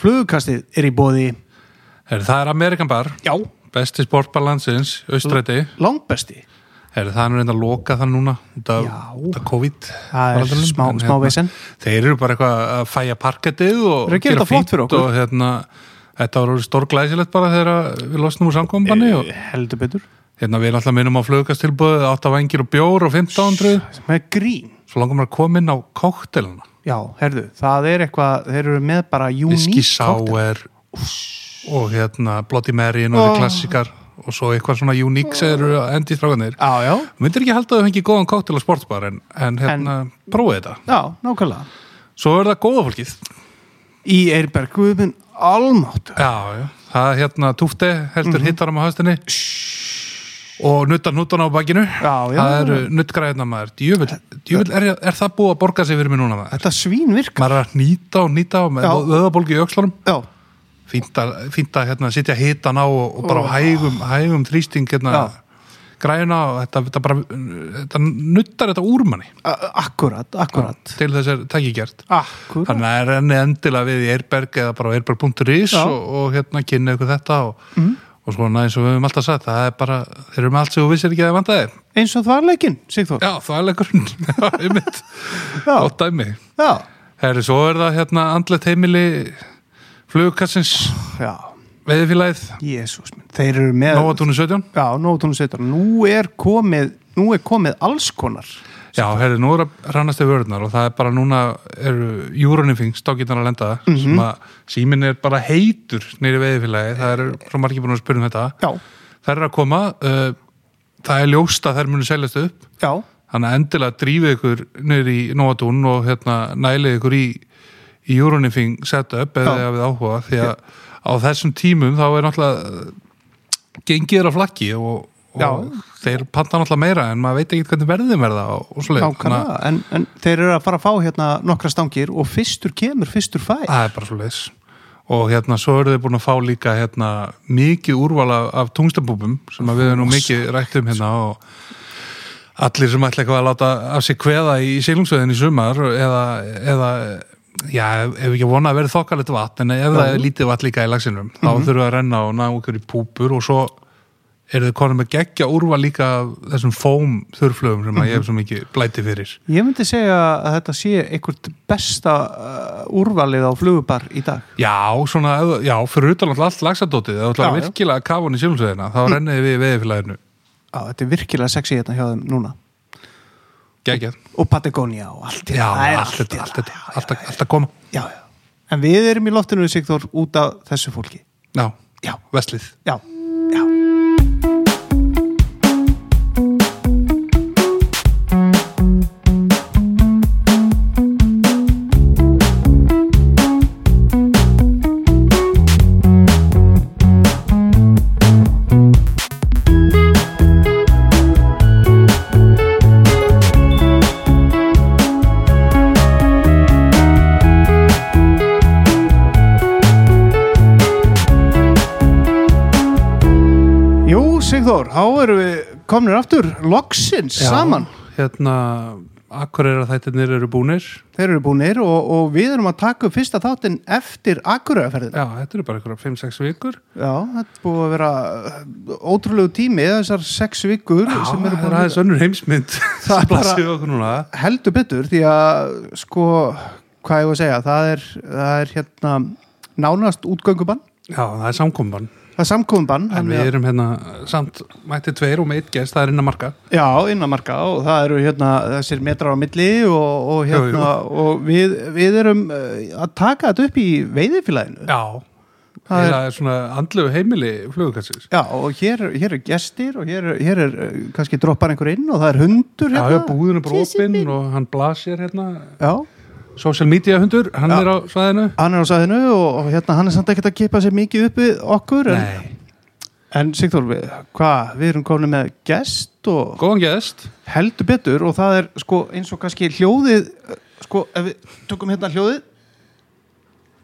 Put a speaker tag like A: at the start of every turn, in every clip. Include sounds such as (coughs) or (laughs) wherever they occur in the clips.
A: flugukastið er í bóði
B: Her, það er Amerikan bar,
A: já,
B: besti sportbar landsins, austræti.
A: langbesti
B: Her, það er nú reynda að loka það núna, það,
A: Já.
B: það COVID.
A: Það er
B: faraldrinum,
A: smá-
B: en hérna,
A: smá vesen.
B: Þeir eru bara eitthvað að fæja parkettið og
A: Þeir eru að gera þetta flott fyrir okkur.
B: Og, hérna, þetta var orðið stórglæsilegt bara þegar við losnum úr samkombanni
A: Eh.
B: og
A: heldur betur
B: hérna við erum alltaf minnum á flugkastilbúið, 8 vengir og bjór og 1500.
A: með grín,
B: Svo langar maður að koma inn á kóktelina.
A: já, herðu það er eitthvað, þeir eru með bara
B: Whisky
A: unique cocktail.
B: Sour og hérna Bloody Mary og
A: Oh.
B: þessi klassikar og svo eitthvað svona unique sem eru að endi strákanir
A: já, já,
B: myndir ekki halda að þau fengi góðan kóktel á sportbar en, en hérna, prófið þetta
A: já, nákvæmlega
B: svo er það góða fólkið
A: í Eirberg Guðbjörn Almáttur
B: já, já. það er hérna túfte heldur mm -hmm. hittarum á höstinni og nutta nútana á bakinu
A: Já, já.
B: það eru nuttgræðina maður djöfull, djöfull er, er það búið að borga sig fyrir mig núna maður?
A: þetta svín virka
B: maður er að nýta og nýta og með
A: Já.
B: vöðabólgi í öxlunum
A: já,
B: fínt að, fínt að hérna, sitja hitan á og, og bara á hægum, hægum þrýsting hérna, græna og þetta, þetta bara þetta nuttar þetta úr manni
A: a- akkurat, akkurat
B: til þess er tæki gert
A: Ah. akkurat,
B: þannig að er enni endilega við í Eirberg eða bara á eirberg.is
A: Já. Mhm.
B: og, og hérna kynna ykkur þetta og, og svona eins og við höfum alltaf sagt það er bara, þeir eru með allt sem þú vissir ekki að það vandaði
A: eins og það var leikinn Sigþór,
B: já, það er leikurinn, (laughs) já, einmitt
A: Já.
B: og dæmi
A: já,
B: Herri, svo er það hérna andlet heimili flugkassins
A: já
B: veðifílaðið,
A: jésús minn, þeir eru með
B: Nóatúni 17
A: já, nótunum sveitar, nú er komið nú er komið alls konar
B: Já, herri, nú er að rannast við vörðnar og það er bara núna eru júrunifing stákitan að lenda
A: Mhm.
B: mm sem að síminn er bara heitur nýri veiðfélagi, það er svo margir búin að spyrja um þetta.
A: já,
B: Það er að koma uh, það er ljóst að þær munu seljast upp
A: já,
B: þannig að endilega drífið ykkur nýri í Nóatún og hérna nælið ykkur í, í júrunifing setup
A: Já.
B: eða Já. við áhuga því að á þessum tímum þá er náttúrulega gengið er að flakki og, og
A: Já.
B: þeir panta náttúrulega meira en maður veit ekki hvernig verðið verða og, og svoleiðis. Þannig að-
A: nákvæmlega en, en þeir eru að fara að fá hérna nokkra stangir og fyrstur kemur, fyrstur fær
B: Það er bara svo leis og hérna svo eru þau búin að fá líka hérna, mikið úrval af, af tungstabúbum sem að við erum nú mikið rætt um hérna og allir sem ætla eitthvað að láta af sér kveða í sílungsveðin í sumar eða, eða já, ef ef ekki að vona að verði þokkalegt vatn en ef það er lítið vatn líka í lagsinum þá þurfum við að renna og ná ykkur í púpur og svo eru þau konum að gegja úrval líka af þessum fóm þurflögum sem að ég hef svo mikið blæti fyrir
A: ég myndi segja að þetta sé einhvert besta uh, úrvalið á flugubar í dag
B: Já, svona, ef- já, fyrir utan alltaf allt lagsadótið,
A: Já,
B: það var
A: já. Hm.
B: virkilega kafan í sjálfsveðina, þá renniði við í veðifélaginu
A: Já, þetta er virkilega sexy hérna hjá þeim núna
B: geggjað.
A: og Patagonia og allt
B: Já,
A: hérna, það er
B: allt þetta,
A: hérna.
B: allt þetta, allt að- allt að koma
A: já, já. En við erum í loftinu Sigþór út af þessu fólki
B: Já,
A: Já,
B: veslið
A: já, já Jú, Sigþór, þá erum við komnir aftur loksins saman
B: Hérna, akkurera þættirnir eru búnir
A: Þeir eru búinir og, og við erum að taka upp fyrsta þáttinn eftir Akureyraferðina.
B: Já, þetta eru bara einhverja 5-6 vikur
A: Já, þetta er búið að vera uh, ótrúlegu tími, þessar sex vikur sem
B: það
A: eru
B: er
A: búin að
B: aðeins önnur
A: (laughs)
B: heimsmynd
A: Það er
B: sem
A: bara-
B: blasir við okkur núna
A: heldur betur því að sko, hvað ég var að segja, það er, það er hérna nánast útgöngubann,
B: Já, það er samkomban
A: það er samkofunbann.
B: En við erum hérna, samt mætti tveir og með eitt gest, það er inn að marka
A: Já, innanmarka og það eru hérna þessir metrar á milli og, og
B: Jú,
A: hérna og við, við erum uh, að taka þetta upp í veiðifélaginu.
B: Já,
A: Það er-
B: það er svona andlegu heimili flugkassins
A: Já, og hér, hér er gestir og hér, er- hér er uh, kannski droppar einhver inn og það er hundur
B: Já,
A: hérna.
B: já, búðin er bara opinn og hann blasir hérna
A: Já,
B: Social media hundur, hann
A: Já.
B: er á svæðinu
A: hann er á sæðinu og, og hérna hann er samt ekkert að kipa sér mikið upp við okkur. en- En Sigþór, við- hvað, við erum komin með gest og
B: Góðan gæðist
A: heldur betur og það er sko eins og kannski hljóðið, eh, sko ef við tökum hérna hljóðið,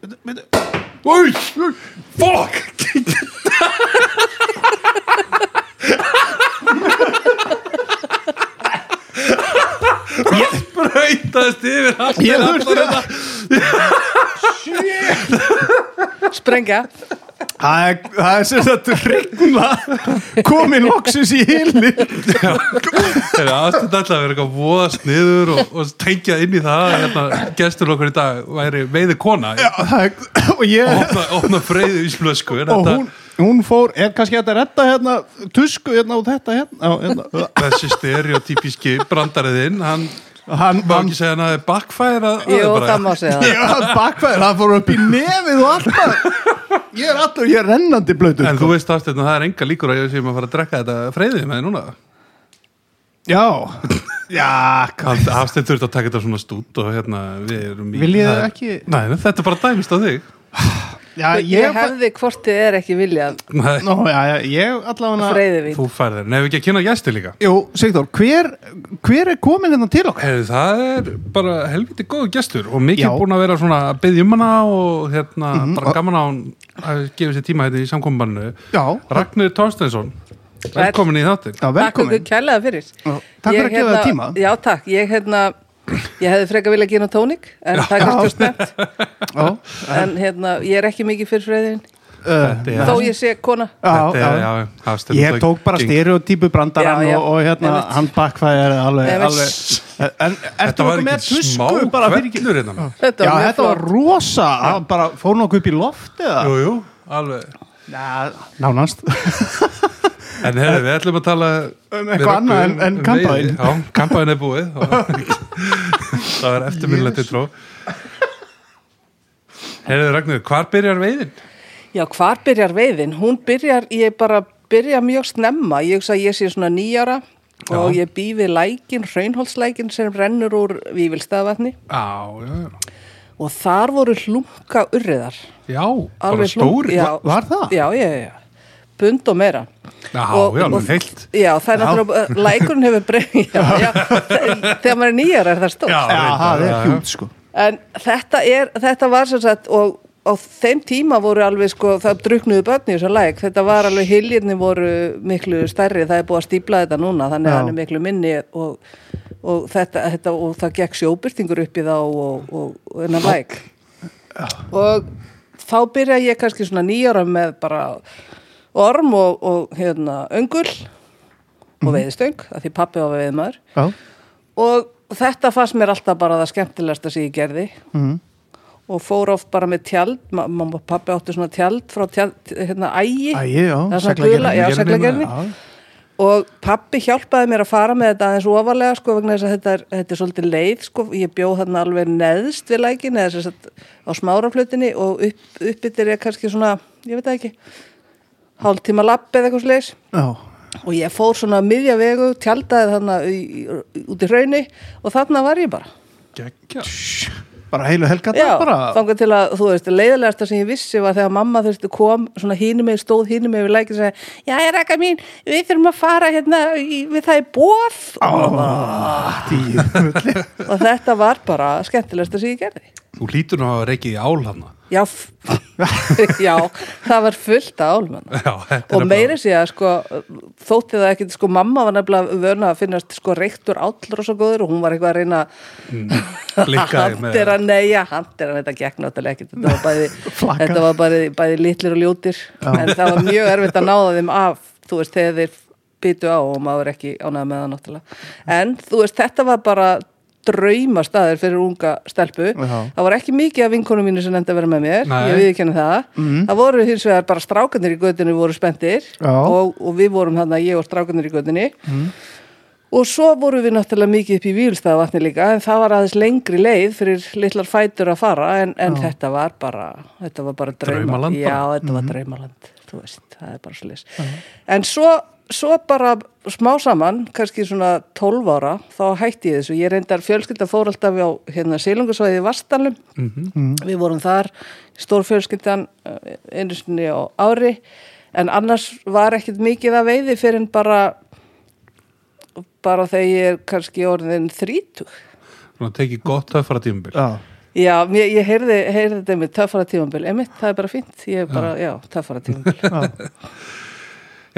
A: Bíddu, bíddu.
B: Fuck Brautast yfir allir
A: Ég þurfti
B: allar þetta
C: Sprengja
A: Það er, það er sem sagt regla komin loksins í hilli (laughs)
B: Það er aðstætt alltaf að vera eitthvað voðast niður og, og tengja inn í það að hérna, gestur okkur í dag væri veiði kona
A: Það er- og ég
B: opna, opna freyðu ísflösku en
A: og
B: þetta,
A: hún, hún fór, er kannski hægt að retta hérna tusku hérna og þetta hérna, á, hérna.
B: þessi stereotypíski brandariðinn, hann
A: hann
B: má
A: var
B: ekki segja hann að backfæra
C: Jú, það má segja það
A: bakfæður, hann fór upp í nefið og alltaf ég er alltaf, ég er rennandi sko. blöytur
B: En þú veist aftur að það er enga líkur að ég sem að fara að drekka þetta freyðið með núna (laughs)
A: já, já kann-
B: Aftur þurft að taka þetta svona stút og hérna við erum í
A: Viljið
B: það
A: þið
B: er-
A: ekki-
B: Nei, nei, þetta er bara dæmist á þig
A: já,
C: Ég
A: (laughs) ég,
C: hefði hvort þið er ekki viljað
B: Nei,
A: Nó, já, já, ég allavega
C: freyði vín
B: Þú færðir, nefnir ekki að kynna gæsti líka
A: Jú, Sigdór, hver, hver er komin hérna til okkar?
B: Heyrðu, það er bara helviti góðu gestur og mikið
A: Já.
B: búin að vera svona að byggja um hana og hérna, bara gaman á hún að gefa sér tíma hérna í samkombannu
A: Já,
B: Ragnar Tórstensson, velkomin í þáttir
A: já
C: Takk ykkur
A: velkomin
C: kærlega fyrir
A: Já, takk fyrir
C: Ég
A: að
C: hérna-
A: gefa þér tíma.
C: Já, takk, ég hérna Ég hefði freka viljað gera tónik en það er kannski of snemmt
A: (laughs) já,
B: (laughs)
C: en hérna, ég er ekki mikið fyrir freyðin
A: uh,
B: Já.
C: þó ég sé kona
A: já, já, já. Ég tók bara stereotypu brandarann
C: Já, já.
A: og, og hérna
C: Einmitt.
A: hann bakfæði alveg,
C: Einmitt.
A: alveg. En ertu
B: Þetta var
A: okkur með
B: ekki smá
A: tusku bara fyrir ekki?
B: kvellur hérna
C: Þetta
A: Já,
C: var mjög
A: þetta var
C: flott.
A: rosa, hann bara fór nokkuð upp í loft eða?
B: Jú, jú, alveg
A: Já, nánast.
B: En heyrðu, við ætlum að tala
A: Um
B: við
A: eitthvað
B: Rögnu
A: annað en- en
B: um
A: kampavín.
B: veiði. Já, kampaðin er
A: (laughs)
B: búið Það er eftirminnlega til tró Heyrðu Ragnar, hvar byrjar veiðin?
C: Já, hvar byrjar veiðin? Hún byrjar, ég bara byrja mjög snemma. Ég hugsa að ég sé svona nýjara og ég bý við lækin, hraunholtslækin sem rennur úr Vívilstaðavatni
B: Á, já, já
C: og þar voru hlunga urriðar.
B: Já, bara stóri
C: Já.
A: Var það?
C: Já, já, já, já. Bund og meira.
B: Já, já, alveg heilt.
C: Já, það er náttúrulega, lækurinn hefur
B: (laughs)
C: breyð, já, já, þegar maður er nýjar er það stórt.
B: Já,
A: Já, það er
B: já.
A: hjút sko.
C: En þetta, er, þetta var sem sagt og á þeim tíma voru alveg sko það druknuðu börn í þessu læk þetta var alveg hiljirni voru miklu stærri það er búið að stípla þetta núna þannig
A: Já.
C: að hann er miklu minni og, og, þetta, þetta, og það gekk sjóbyrtingur upp í þá og, og, og hennar læk og þá byrja ég kannski svona nýjara með bara orm og, og hérna öngul og veiðstöng að því pappi var veiðmaður
A: Já,
C: og þetta fannst mér alltaf bara það skemmtilegasta sem ég gerði
A: Mhm.
C: og fór oft bara með tjald Ma- mamma og pappi áttu svona tjald frá tjald, hérna ægi
A: Ægi, já,
C: Það er svona
A: seglagerði.
C: gula- já,
B: Gerði
C: seglagerði.
A: já.
C: og pappi hjálpaði mér að fara með þetta aðeins ofalega sko vegna þess að þetta er, þetta er svolítið leið sko, ég bjó þarna alveg neðst við lækin eða þess að á smáraflutinni og upp, uppbyttir er kannski svona ég veit það ekki hálftíma lapp eða eitthvað sliðis
A: já.
C: og ég fór svona á miðja vegu, tjaldaði þarna í, í, út í hraunni og þarna var ég bara
B: Gekkja
A: Bara heilu helgat
C: Já,
A: bara.
C: þangað til að, þú veist, leiðilegasta sem ég vissi var þegar mamma þurfti kom, svona hínum með, stóð hínum með við lækið og segja, já, ég rekka mín, við þurfum að fara hérna, í, við það er bóð (laughs)
A: Dýrulli.
C: og þetta var bara skemmtilegasta sem ég gerði.
B: Þú lítur nú að hafa reykið í ál hana
C: Já,
B: (laughs)
C: f- já það var fullt af álmanna.
B: Já, þetta
C: Og
B: er
C: meira sé að sko, þótti það ekkit, sko, mamma var nefnilega vöna að finnast sko reyktur átlur og svo góður og hún var eitthvað að reyna
B: blikkaði með
C: Handera, nei, já, handera, þetta gekk náttúrulega ekkert Þetta var bæði,
A: Flakka.
C: þetta var bæði, bæði litlir og ljótir En það var mjög erfitt að náða þeim af Þú veist, þegar þeir byttu á og maður er ekki ánæða með það náttúrulega En þú veist, þetta var bara drauma staðir fyrir unga stelpu
A: Já.
C: Það var ekki mikið af vinkonum mínu sem nefndi að vera með mér
B: Nei.
C: Ég viðkenni það Það voru hins vegar bara strákanir í göttinu voru spenntir
A: Já.
C: og, og við vorum þarna, ég og strákanir í göttinu Og svo vorum við náttúrulega mikið upp í Vílstaðavatni líka en það var aðeins lengri leið fyrir litlar fætur að fara en, en þetta var bara, þetta var bara drauma.
B: Draumaland
C: Já,
B: bara. Mhm.
C: þetta var draumaland, þú veist, það er bara slis. En svo, svo bara smá saman, kannski svona 12 ára, þá hætti ég þessu. Ég reyndar fjölskylda fór alltaf á hérna Silungasvæði í Vastalum.
B: Mhm.
C: Við vorum þar, stór fjölskyldan eh, einu sinni á ári en annars var ekkit mikið að veiði fyrir en bara bara þegar ég er kannski orðin þrítug.
B: Svona tekið gott töffara tímabil
A: Já.
C: Já, mér, ég heyrði, heyrði þetta með töffara tímambil. Emitt, það er bara fínt. Ég er bara, já, töffara (laughs) tímambil.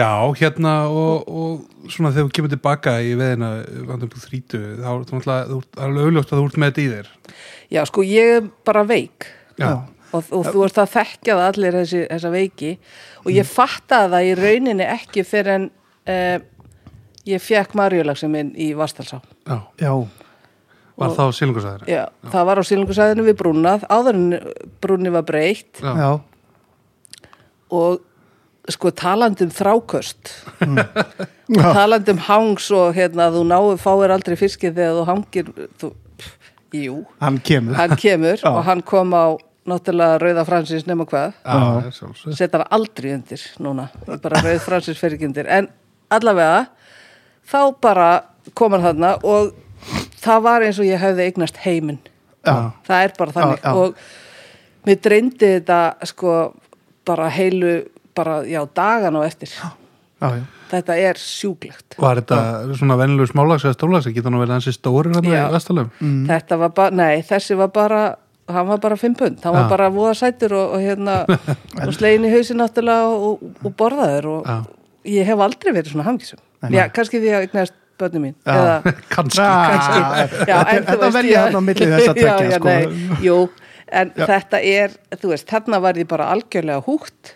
B: Já, hérna og, og svona þegar þú kemur tilbaka í veðina vandum på þrítu þá er þú náttúrulega- þú ert alveg auðljóst að þú ert með þetta í þér
C: já, Mm. sko, ég er bara veik.
B: Já,
A: Já.
C: og, og þú ert að þekkja það allir þessi, þessa veiki og ég fattaði það í rauninni ekki fyrir en eh, ég fekk marjulagsum minn í Vastalsá
B: Já,
A: já,
B: var þá sílungusæður
C: Já, það var á sílungusæðinu við brúnað áður en brúnni var breytt
A: já,
C: og sko talandi um þráköst (laughs)
A: Já.
C: talandi um hangs og hérna þú náu fáir aldrei fiskið þegar þú hangir þú, pff, jú,
A: hann kemur
C: hann kemur
A: Já.
C: og hann kom á náttúrulega Rauða Fransins nema hvað
B: Já, sjálfsög
C: setja hann aldrei undir núna Ég bara rauð fransins fer ekki undir en allavega þá bara kom hann þarna og það var eins og ég hefði eignast heiminn
A: Já.
C: það er bara þannig
A: Já, já.
C: og mér dreyndi þetta sko bara heilu bara, já, dagan og eftir
A: já, já.
C: þetta er sjúklegt
B: Var þetta svona venlur smálags eða stólags geta hann að vera hansi stóri hann í
C: Já.
B: vestalum (laughs)
A: Mm.
C: þetta var bara, nei, þessi var bara hann var bara fimm pund, hann
B: Já.
C: var bara voða sætur og, og
A: (laughs)
C: hérna, og slegin í hausin náttúrulega og, og borðaður og
B: Já.
C: ég hef aldrei verið svona hangisum já, kannski því að eignast bönni mín
A: Já.
C: eða,
B: Kanski
A: Ah,
C: já,
A: þetta
C: en þú
A: þetta
C: veist,
A: velja
C: ég-
A: hann á milli þess að
C: (laughs) Já,
A: tekja
C: já,
A: sko.
C: nei, jú, en þetta er, þú veist, þarna var ég bara algjörlega húgt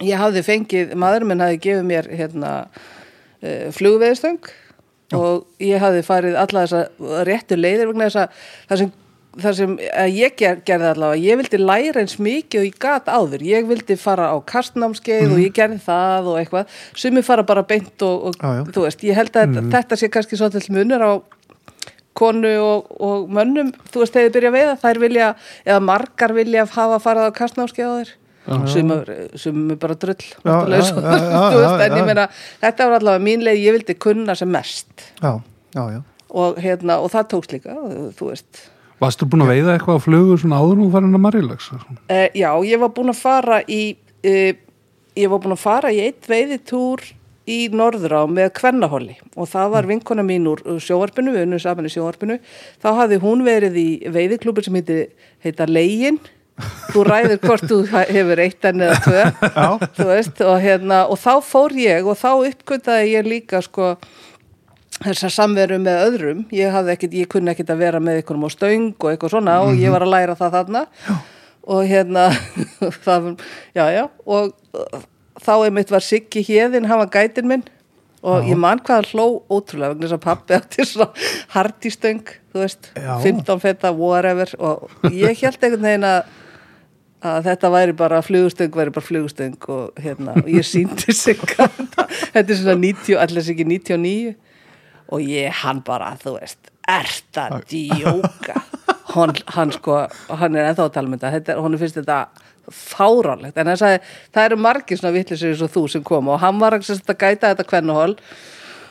C: ég hafði fengið, maður minn hafði gefið mér hérna uh, flugveðstöng og ég hafði farið alla þessa réttu leiðir vegna þess að það sem, það sem að ég ger, gerði allavega, ég vildi læra eins mikið og ég gat áður, ég vildi fara á kastnámskeið og
A: Mhm.
C: ég gerði það og eitthvað, sumi fara bara beint og, og
A: Já, já. Mhm.
C: þú veist, ég held að þetta- þetta sé kannski svolítið munur á konu og, og mönnum þú veist, þegar þið byrja að veiða, þær vilja eða margar vilja hafa farað á kastnámskeiðaðir sem, sem er bara drull
A: Já,
C: náttúrulega,
A: já,
C: svo-
A: já, já,
C: (laughs) þú veist,
A: já,
C: en ég
A: já.
C: meina þetta var allavega mín leið, ég vildi kunna sem mest
A: já, já, já.
C: og hérna, og það tókst líka þú veist,
B: Varstu búin að veiða eitthvað á flugu svona áður nú farin að marjulags
C: e, já, ég var búin að fara í e, ég var búin að fara í eitt veiðitúr í Norðrá með Kvennahóli og það var vinkona mín úr úr sjóvarpinu, við unnum saman í sjóvarpinu þá hafði hún verið í veiðiklúbur sem heiti, heita Legin þú ræðir hvort þú hefur eittan eða tvö
A: Já.
C: þú veist, og hérna og þá fór ég og þá uppkvitaði ég líka sko þessar samveru með öðrum ég hafði ekkit, ég kunni ekkit að vera með einhverjum á stöng og eitthvað svona og ég var að læra það þarna og hérna (laughs) það, var- já já og uh, þá einmitt var Siggi Hjeðin hann var gætin minn og ég man hvað hann hló ótrúlega vegna þess að pappi átti svona hardistöng þú veist,
A: Já.
C: 15 feta whatever og ég held einhvern veginn að að þetta væri bara flugustöng, væri bara flugustöng og hérna, og ég síndi (laughs) sig þetta þetta er svona 90, allir sig ekki 99 og ég, hann bara, þú veist ert að djóka hann, hann sko, hann er ennþá að tala um þetta, þetta er- honum finnst þetta fáránlegt, en hann sagði, það eru margir svona vittlisir eins og þú sem kom og hann var að sem sagt að gæta þetta kvennuhól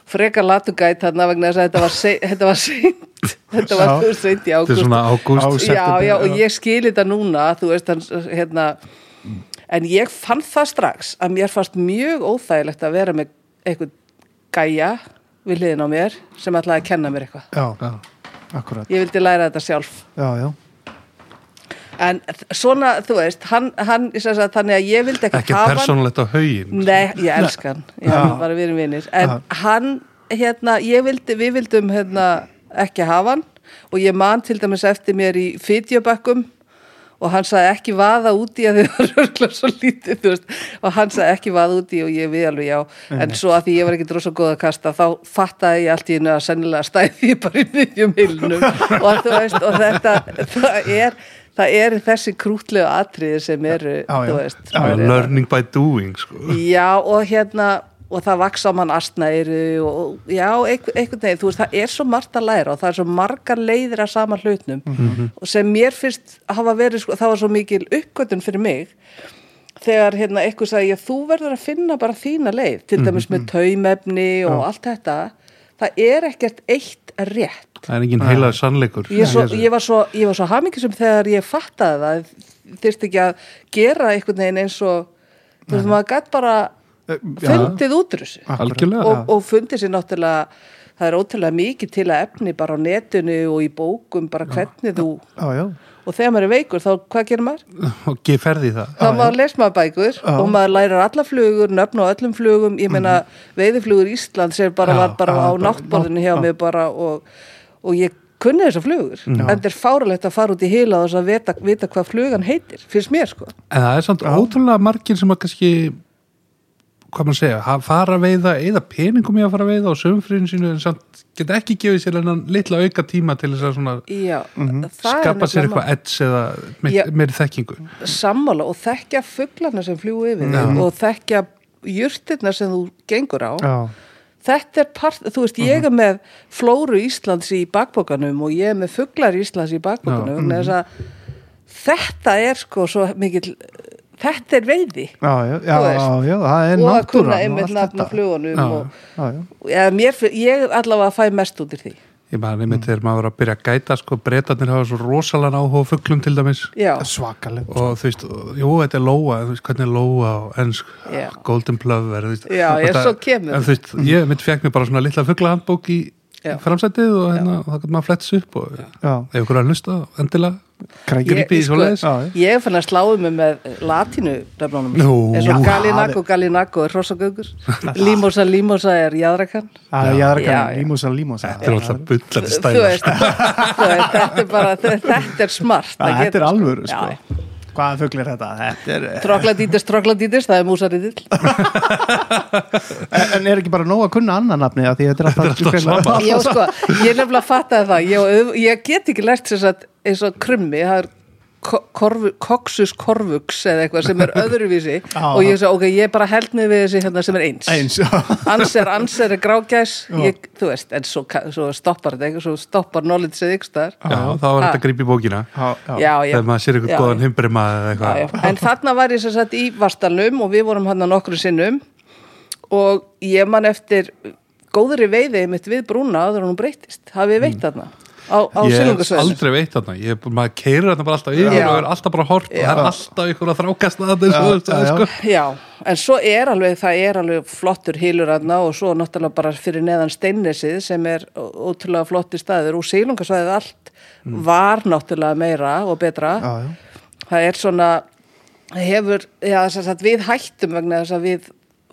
C: frekar latu gæt þarna vegna þess að þetta var, se- (laughs) þetta var seint þetta var
A: Já.
C: þú veist, seint í
B: Þetta er
C: ágúst
B: svona ágúst
A: Ágúst.
C: já,
A: september,
C: já,
A: já.
C: og ég skil þetta núna þú veist, hans, hérna en ég fann það strax að mér fannst mjög óþægilegt að vera með eitthvað gæja við hliðin á mér sem ætlaði að kenna mér eitthvað
A: já,
B: Já.
A: akkurat
C: ég vildi læra þetta sjálf
A: já, já,
C: en þ- svona, þú veist, hann, hann ég sagði, þannig að ég vildi ekki,
B: Ekki
C: hafa hann
B: persónulegt á sko. haugin
C: Nei, ég elska hann, já,
A: Já.
C: bara við erum vinir en
A: Já.
C: hann, hérna, ég vildi við vildum hérna, ekki hafa hann og ég man til dæmis eftir mér í fitjabökkum og hann sagði ekki vaða út í að þið (laughs) var örgla svo lítið, þú veist, og hann sagði ekki vaða út í og ég við alveg já, en svo að því ég var ekki drosa góð að kasta, þá fattaði ég allt í hennu að sennilega stæði ég bara í miðjum hilnum og þú veist, og þetta það er, það er þessi krútlegu atriði sem eru,
A: Já, já.
C: þú veist
A: Já,
C: sem eru-
B: Learning by doing sko.
C: Já og hérna og það vaks á mann astnæri og og- já, einhver- einhvern veginn, þú veist, það er svo margt að læra og það er svo margar leiðir að sama hlutnum og sem mér fyrst hafa verið, sko, það var svo mikil uppgötun fyrir mig þegar hérna eitthvað sagði ég, þú verður að finna bara þína leið, til dæmis með taumefni og allt þetta, það er ekkert eitt rétt
B: Það er engin heilaður sannleikur
C: ég, svo,
B: í þessu.
C: ég var svo, ég var svo hamingisum þegar ég fattaði það þyrst ekki að gera einhvern veginn eins og þú veist maður gætt bara
A: Eh, já.
C: fundið út úr þessu
B: Ah, Algjörlega
C: og, og fundið sér náttúrulega það er ótrúlega mikið til að efni bara á netinu og í bókum bara hvernig þú
A: já, já.
C: og þegar maður er veikur þá hvað gerir maður?
B: og ég ferði í það
C: þá maður les maður bækur og maður lærir alla flugur, nöfn og öllum flugum ég meina veiðiflugur Ísland sem
B: Já,
C: bara var bara
A: já,
C: á
A: bara-
C: náttborðinu hjá mig bara og, og ég kunni þessar flugur en þetta er fáralegt að fara út í heila og þess að vita, vita hvað flugan heitir, finnst mér sko
B: En það er samt ótrúlega margir sem að kannski hvað maður segja, ha- fara að veiða eða peningum í að fara að veiða á sömfriðin sínu en samt geta ekki gefið sér en litla auka tíma til þess að svona
C: Já, það er
B: skapa sér
C: nefnilega
B: eitthvað edds eða
C: Já.
B: meir, meiri þekkingu
C: sammála og þekkja fuglana sem fljú yfir þig og þekkja jurtirna sem þú gengur á
A: Mhm. já, Mhm.
C: þetta er part, þú veist, ég er með flóru Íslands í bakbókanum og ég er með fuglar Íslands í
B: Já,
C: bakbókanum vegna þess að
A: Mhm.
C: þetta er sko svo mikill þetta er veiði
A: já, já, já,
C: Þú veist.
A: já, já, það er
C: og að kunna
A: náttúran
C: einmitt
A: og allt
C: nafn
A: þetta
C: á flugunum
B: Já.
C: og,
A: Já, já.
C: ja, mér, finn- ég allavega fæ mest út í því
B: ég bara
C: Mm.
B: nefnir þegar maður var að byrja að gæta sko breytarnir hafa svo rosalega áhuga á fuglum til dæmis
C: já,
A: svakaleg
B: og þú veist, jú, þetta er lóa en þú veist, hvernig er lóa og ennsk
C: Já.
B: golden plover, þú veist
C: Já,
B: og
C: ég-
B: þetta-
C: svo kemur Mm.
B: en þú veist, ég mitt fekk mér bara svona litla fugglahandbók í
C: Já.
B: framsætið og hérna, og það gæti maður fletts upp og
A: Já.
B: ef ykkur er að hlusta, endilega
A: Krækir
C: ég, sko-
B: Grípið í svoleiðis.
A: Já, já.
C: ég fann að sláðu mig með latinu nafnunum
B: Nú.
C: eins
B: Já,
C: og Galinago, Galinago
A: (laughs)
C: er hrossagaukur Limosa, Limosa er jáðrakan
A: Já, já, það er
C: Já, já.
A: kannan límúsan, límúsan
B: þetta er alltaf bullandi
C: þú
A: (laughs)
B: stæla
C: veist, þú veist þetta er bara, þetta er smart
A: Æ,
C: að
A: Þetta
C: geta,
A: er alvöru
C: Já, já.
A: sko. Hvaða fugl er þetta? þetta er,
C: Trogladítis, trogladítis, það er músariðill
A: En- En er ekki bara nóg að kunna annan nafni af Því þetta er alltaf,
B: Þetta er alltaf
A: greinilega-
C: Já, sko, ég nefnilega fattaði það ég, á auð- ég get ekki lært þess að eins og krummi, það er ko- korfu, koksus korvuks eða eitthvað
A: (laughs)
C: sem er öðruvísi
A: Já.
C: og ég sagði, ok, ég bara held mig við þessi hérna sem er eins
A: Eins já.
C: Anser, anser er grágæs, ég, þú veist, en svo, ka- svo stoppar þetta, ekki, svo stoppar knowledgeið ykkur staðar.
B: já, þá var þetta
C: Ha.
B: að grípa í bókina
A: Já, já.
C: Já, já.
B: þegar maður sér ykkur
C: Já,
B: góðan
C: já.
B: himbrima eða eitthvað
C: Já, já. En þarna var ég sem sagt í Vastalum og við vorum hann að nokkru sinnum og ég man eftir góðri veiði mitt við brúna áður en hún breyttist. Hafið við veitt þarna á, á
B: Mm. Ég hef
C: silungasveðinu?
B: aldrei veitt þarna, ég, maður keirir þarna bara alltaf yfir
C: Já.
B: og er alltaf bara hort og það
C: Já.
B: er alltaf ykkur að þrákast að þetta eins og
A: Já,
B: þú sagðir,
A: já, já.
B: sko.
C: Já, en svo er alveg, það er alveg flottur hýlur aðna og svo náttúrulega bara fyrir neðan steinnesið sem er ó- ótrúlega flotti staður og silungasveðið allt var náttúrulega meira og betra.
A: Mm. Já, já.
C: það er svona hefur, já þess að við hættum vegna þess að við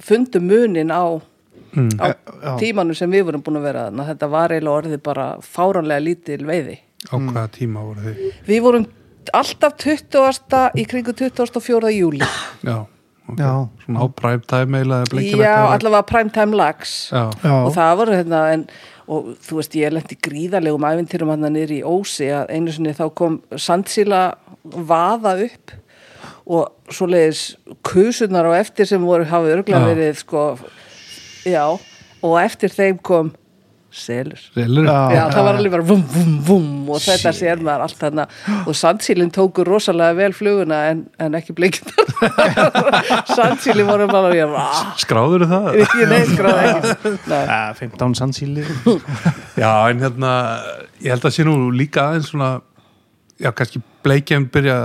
C: fundum munin á, á
A: Mm. E, já.
C: tímanum sem við vorum búin að vera þannig þetta var eiginlega orðið bara fáranlega lítil veiði.
A: Mm.
B: Á hvaða tíma voru þið?
C: Við vorum alltaf 20. í kringu 24. júli
B: Já, ok.
A: Já.
B: Svona á prime time eiginlega eða blikkið
C: já, allavega primetime lags
B: Já,
A: Já.
C: og það voru hérna en, og þú veist ég lendi gríðarlegum ævintýrum hann nýri í Ósi að einu sinni þá kom sandsíla vaða upp og svoleiðis kusurnar á eftir sem voru hafið örglega
B: Já.
C: verið sko já og eftir þeim kom selur
B: selur
A: Já.
C: Já, það var alveg bara vum, vum, vum og þetta sér maður allt þarna og sandsílinn tóku rosalega vel fluguna en, en ekki
B: (laughs)
C: blikindar sandsílinn voru bara ég, "Ah,
B: Skráður það?
C: ég neiskráði ekki (laughs) Nei.
A: Já, 15
C: (laughs)
A: sannsýli
B: Já, en hérna ég held að sé nú líka aðeins svona já, kannski bleikjum byrja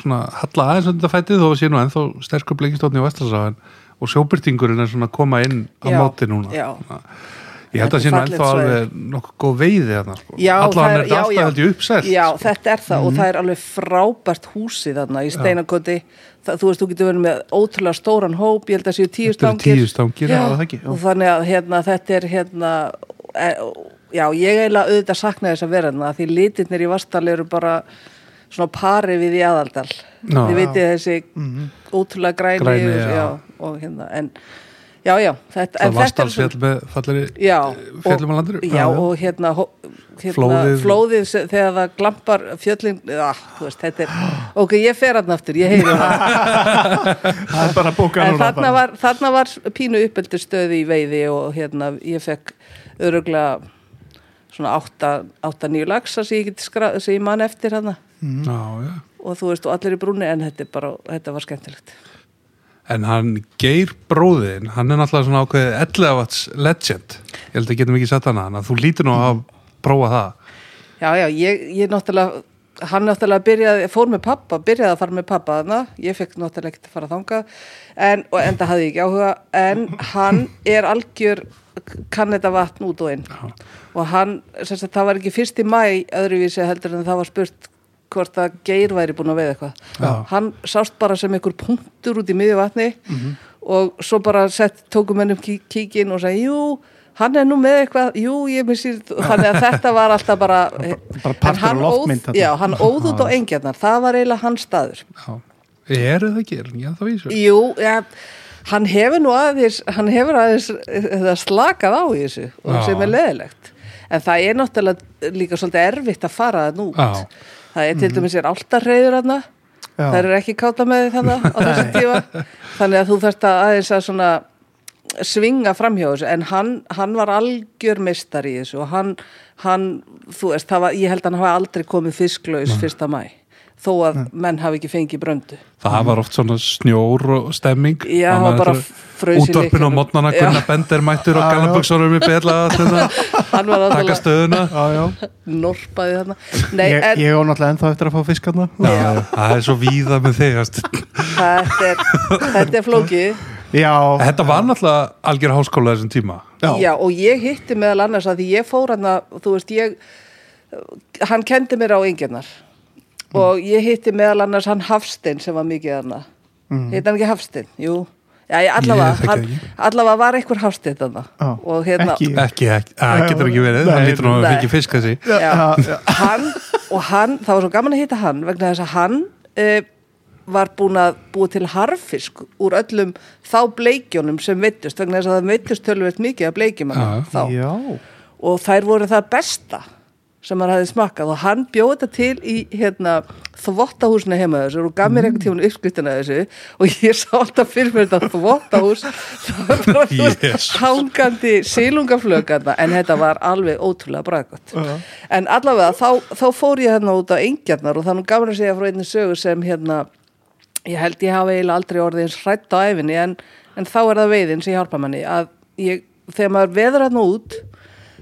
B: svona að halla aðeins undir fætið þó að sé nú ennþá sterkur bleikistóttni á Vestasafan og sjóbyrtingurinn er svona að koma inn á
C: Já,
B: móti núna
C: já.
B: Ég held að
C: Þetta er
B: sé nú
C: fallegt
B: ennþá
C: svæði.
B: alveg nokkuð góð veiði þarna sko.
C: Já, það
B: Allan er þetta
C: já,
B: alltaf
C: já.
B: held ég uppselt sko. Mhm.
C: Já, þetta er það og það er alveg frábært húsi þarna í Steinakoti það, þú veist, þú getur verið með ótrúlega stóran hóp ég held að séu tíu
B: Þetta eru
C: stangir
B: tíu stangir,
C: já,
B: já,
A: það ekki, já.
C: og þannig að hérna, þetta er hérna e, já, ég eiginlega auðvitað sakna þess að vera þarna því litirnir í Vastal eru bara svona pari við í aðaldal
B: Já.
C: þið veitir þessi ótrúlega græni,
B: Græni,
C: og,
B: já.
C: og hérna, en já, já, þetta, en
B: Það varst
C: þetta er
B: alls fjall með falleri
C: já,
B: fjöllum
C: og-
B: á landinu.
C: já,
B: Já, já.
C: og hérna, hó- hérna
B: Flóðið.
C: flóðið, se- þegar það glampar fjöllin ah, þú veist, þetta er, ok, ég fer hann aftur ég heyri hann,
A: Það er bara bókað
C: en
A: núna
C: þarna var, þarna var pínu uppeldistöði í veiði og hérna, ég fekk öruglega svona átta, átta nýju lagsa sem ég, get skra, sem ég man eftir hann
B: Mm. Já, já.
C: og þú veist, og allir í brúni en þetta, er bara, þetta var skemmtilegt
B: En hann Geir bróðin, hann er náttúrulega svona ákveðið 11 watts legend. Ég held að getum ekki sett hann að hann, að þú lítur nú að prófa það.
C: Já, já, ég, ég náttúrulega, hann náttúrulega byrjaði, fór með pappa, byrjaði að fara með pappa þarna, ég fekk náttúrulega ekkert að fara þangað, en, og enda hafði ég ekki áhuga, en hann er algjör, kann þetta vatn út og inn. Og hann, sem sagt, það var ekki fyrst í mæ öðruvísi heldur en það var spurt hvort að geir væri búin að veið eitthvað.
B: Já.
C: Hann sást bara sem einhver
A: Mhm.
C: punktur út í miðju vatni og svo bara sett, tókum henn upp kí kíkin og sagði, jú, hann er nú með eitthvað, jú, ég minn sér
A: (laughs)
C: þannig að þetta var alltaf bara
A: Bara partur
C: en hann
A: af loftmynd
C: óð-
A: þarna.
C: já, hann óð út á engjarnar, það var eiginlega hans staður
B: Já. Eru það ekki, er hann ekki að það vísur?
C: jú, ja, hann hefur nú aðeins hann hefur aðeins eh, það slakað á í þessu og
B: Já.
C: sem er leðilegt en það er náttúrulega líka svolítið erfitt að fara það nút
B: Já.
C: það er til dæmis er áltarreiður hann
A: Já.
C: það er ekki káta með því þannig á þessu tíma þannig að þú þarft að aðeins að svona svinga framhjá þessu en hann, hann var algjör mistar í þessu og hann, hann þú veist, það var, ég held að hann hafa aldrei komið fisklaus fyrsta mæ þó að menn hafi ekki fengið bröndu
B: Það var oft svona snjór og stemming
C: Já,
B: Þannig að
C: bara
B: þetta-
C: fraus í
B: Útvarpinu á
C: leikjunum.
B: modnana,
C: Já.
B: Gunnar Bender mættur og
A: Já, já.
B: Galaböksorum í beðla
C: (laughs) hann var
B: taka
C: alltaf
B: stöðuna
A: Já, já.
C: norpaði þarna Nei,
A: ég,
C: en
A: ég á náttúrulega ennþá eftir að fá fiskarna
B: Já, það er svo víða með þig hast.
C: þetta er, þetta er flókið
A: já,
B: Þetta var náttúrulega algjör háskóla þessum tíma
A: já,
C: Já, og ég hitti meðal annars að því ég fór hann að, þú veist, ég, hann kendi mér á engjarnar og
A: Mm.
C: ég hitti meðal annars hann Hafstein sem var mikið hann að,
A: Mm.
C: hitti hann ekki Hafstein, jú, já, ég, allavega,
B: Ég þekki
C: hann,
B: ekki.
C: allavega var einhver Hafstein hann
A: Já.
C: og hérna,
A: Ekki-
B: Ekki, ekki, það getur ekki verið Það
A: Nei,
B: lítur nú að
C: nei.
B: fengi fisk þessi
C: já, hann og hann, það var svo gaman að hitta hann vegna þess að hann uh, var búin að búa til harfisk úr öllum þá bleikjónum sem veittust, vegna þess að það veittust tölvöld mikið af bleikjum
B: Já.
C: hann þá
A: já.
C: og þær voru það besta sem hann hafði smakkað og hann bjóði þetta til í hérna, þvottahúsinu heima þessu og gaf mér einhvern tímann uppskriftina af þessu og ég sá alltaf fyrir mér þetta þvottahús það var bara þú veist,
B: Jesus.
C: hangandi sílungaflögarna en þetta var alveg ótrúlega braðgott en allavega þá, þá fór ég hérna út á engjarnar og þannig gaf mér að segja frá einni sögu sem hérna ég held ég hafa eiginlega aldrei orðið eins hrætt á æfinni en, en þá er það veiðin sem hjálpa manni að ég, þegar maður veður hann út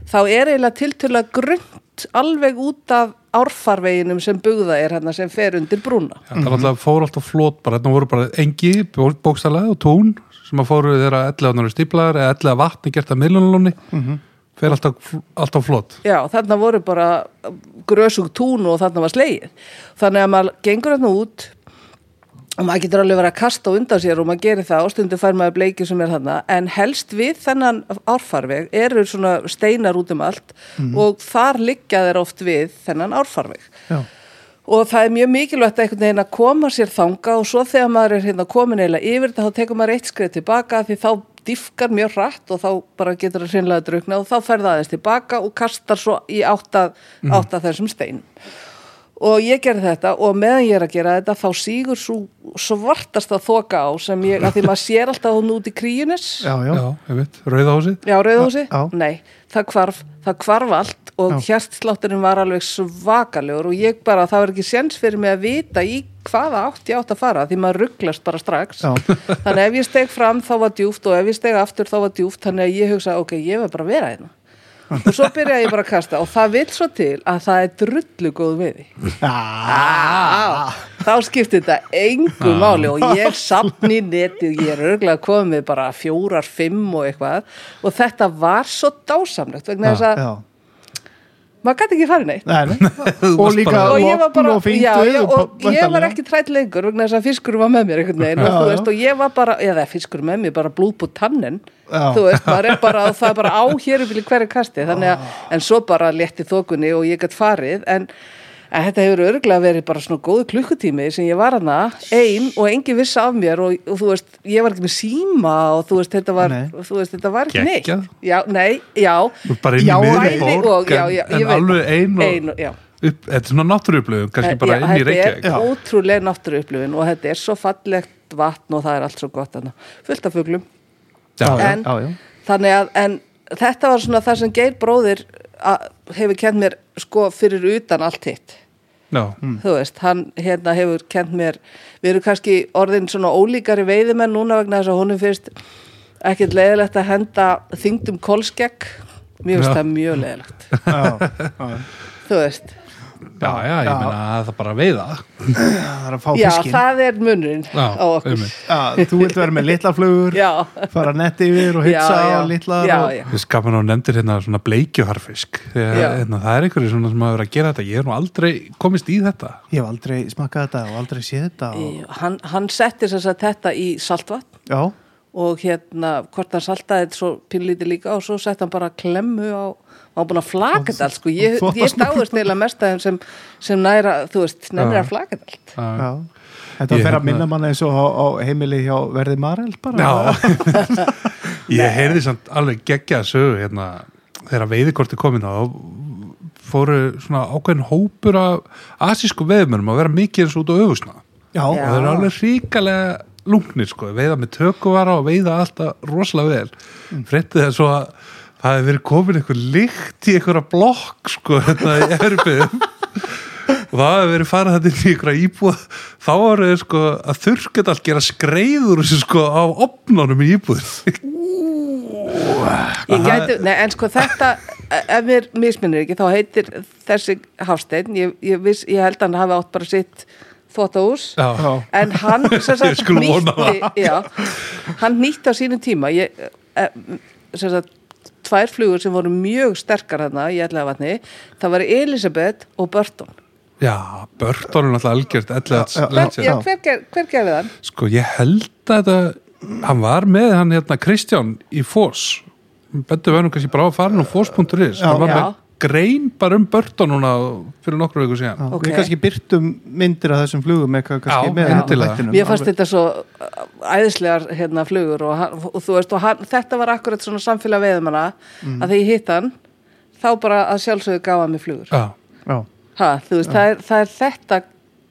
C: þá er eiginlega tiltölulega grunnt alveg út af árfarveginum sem bugða er hérna sem fer undir brúna
B: Það var alltaf fór alltaf flót bara Þetta voru bara engi, bókstælega og tún sem að fóru þeirra 11 ánur stíplar eða 11 vatni gert að miðlunalóni fer alltaf, alltaf flót
C: Já, þarna voru bara grösug tún og þarna var slegið þannig að maður gengur hann út og maður getur alveg verið að kasta á undan sér og maður gerir það og stundu fær maður bleikið sem er þarna en helst við þennan árfarveg eru svona steinar út um allt og þar liggja þeir oft við þennan árfarveg
A: já.
C: og það er mjög mikilvægt að einhvern veginn að koma sér þanga og svo þegar maður er hérna komin eiginlega yfir þetta þá tekur maður eitt skrið tilbaka því þá diffkar mjög hratt og þá bara getur það sinnlega drukna og þá fer það aðeins tilbaka og kastar svo í átta, átta þessum stein og ég gerði þetta og meðan ég er að gera þetta þá sígur svo svartasta þoka á sem ég, að því maður sér alltaf hún út í kríunis
A: já, já.
B: Já, ég veit, Rauðahúsið
C: Já, Rauðhúsi?
A: Já.
C: Nei, það hvarf, það hvarf allt og
A: Já.
C: hjartslátturinn var alveg svakalegur og ég bara, það var ekki séns fyrir mig að vita í hvaða átt ég átt að fara því maður rugglast bara strax.
A: Já.
C: Þannig ef ég steg fram þá var djúft og ef ég steg aftur þá var djúft þannig að ég hugsa, ok, ég verð bara að vera hérna. Og svo byrja ég bara að kasta og það vil svo til að það er drullu góð veði.
A: Ah.
C: Þá skipti þetta engu máli og ég sapni neti og ég er örgulega komið með bara fjórar, fimm og eitthvað og þetta var svo dásamlegt vegna þess að
A: Ah, Já.
C: maður gæti ekki farið neitt.
A: Nei,
B: (laughs)
A: nei. og líka
B: bara-
C: Og ég var bara,
A: logn og fínt
C: já,
A: veður
C: já, og
A: bara-
C: ég var
A: væntanlega.
C: ekki trætt lengur vegna þess að fiskur var með mér einhvern veginn og,
A: Já,
C: þú
A: já.
C: veist, og ég var bara, eða fiskur með mér bara blúb og tannen,
A: Já.
C: þú veist, maður er bara það er bara á hér upp í hverju kasti þannig að,
A: Ah.
C: en svo bara létti þokunni og ég gætt farið, en, en þetta hefur örgulega verið bara svona góðu klukkutími sem ég var hana, ein og engin vissi af mér og, og þú veist, ég var ekki með síma og þú veist, þetta var,
A: Nei.
C: þú veist, þetta var ekki neitt
B: Geggjað.
C: Já, nei, já,
B: bara inn í
A: Já,
B: miðri
A: bæði
B: borg
C: og- já, já,
B: en,
C: ég
B: en
C: veit.
B: alveg ein og,
C: ein og, já
B: upp, þetta er svona náttúruupplöðum kannski bara
C: Já,
B: inn í
C: Þetta
B: Reykjavík
A: Já.
C: er ótrúlega náttúruupplifun og þetta er svo fallegt vatn og það er allt svo gott hana. fullt af fuglum.
B: Já, já.
C: En,
A: já, já.
C: Þannig að en, þetta var svona það sem Geir bróðir a- hefur kent mér sko fyrir utan allt hitt.
B: Já.
C: Þú veist, hann hérna hefur kent mér, við erum kannski orðin svona ólíkari veiðimenn núna vegna þess að honum finnst ekkert leiðilegt að henda þyngdum kolskegg. Mér finnst
B: Já.
C: það mjög
B: (laughs)
C: leiðilegt.
A: Já, já.
C: Þú veist,
B: já, já, ég
A: Já.
B: meina að það er bara að veiða
A: það er að fá
C: já,
A: fiskin
C: það er munurinn
B: Já,
C: á okkur.
B: einmitt.
A: Já, þú vilt vera með litla flugur
C: Já,
A: fara netti yfir og hitsa
C: já, já.
A: og litla
C: já,
A: og...
C: já.
B: Ég skapa nú nefndir hérna svona bleikjuharfisk Þegar,
C: Já.
B: hérna, það er einhverju svona sem hafa verið að gera þetta ég er nú aldrei komist í þetta
A: ég hef aldrei smakkað þetta og aldrei séð þetta og...
C: Í- hann, hann setti þess að þetta í saltvatn
A: já,
C: og hérna, hvort hann saltaði þetta svo pínlítið líka og svo sett hann bara klemmu á, hann var búin að flaka þetta allt sko, ég,
A: Þvottaskúlpu.
C: ég dáðist neila mest að þeim sem, sem næra, þú veist, nefnir að flaka þetta allt
A: Já. Þetta
B: Ég
A: fer að
B: hérna-
A: minna manna eins og á, á heimili hjá verði Marel bara.
B: Já, ég heyrði samt alveg geggjað sögu hérna þegar veiðikorti komin á fóru svona ákveðin hópur af asísku veðmörnum að vera mikið eins og út á öfusna
A: (laughs) Já.
B: og þeir eru alveg ríkalega lungnir sko, veiða með tökuvara og veiða alltaf rosalega vel mm. fréttið það svo að það hefur verið komin einhver lykt í einhverja blokk sko, hérna í erfiðum og það hefur verið farið þetta inn í einhverja íbúð þá eru þeir sko að þurrkett allt gera skreiður þessu sko á opnunum í íbúð
C: Ég
B: Aha.
C: gæti, nei, en sko þetta, ef mér misminnir ekki, þá heitir þessi Hafsteinn, ég, ég, viss, ég held að hann hafi átt bara sitt þvóttahús,
B: Já.
C: en
A: (laughs)
C: hann sem
B: Ég
C: sagt
B: skulum vona
C: nýtti, já, hann nýtti á sínum tíma, ég, eh, sem sagt, tvær flugur sem voru mjög sterkar hana í ætlaðavatni, það var Elisabeth og Burton.
B: Já, Börton er náttúrulega algjört
A: Já, já.
B: ellið
C: Hver, já, hver, ger, hver gerði þann?
B: Sko, ég held að þetta, hann var með hann hérna Kristján í Fós Böndu verðum kannski bara á að fara nú Fós.is
A: Já.
B: Hann var með
C: Já.
B: grein bara um Börton núna fyrir nokkru viku síðan
C: Ok.
A: Við kannski byrtum myndir af þessum flugum eitthvað kannski
B: Já,
A: með á
B: endilega.
A: þættinum.
C: Mér fannst
A: Alveg.
C: þetta svo uh, æðislegar hérna flugur og, hann- og þú veist og hann, þetta var akkurat svona samfélag veðumanna
A: Mm.
C: að þegar ég hitt hann þá bara að sjálfsögðu gafa mér flugur
B: Já,
A: Já,
C: ha, þú veist, það er, það er þetta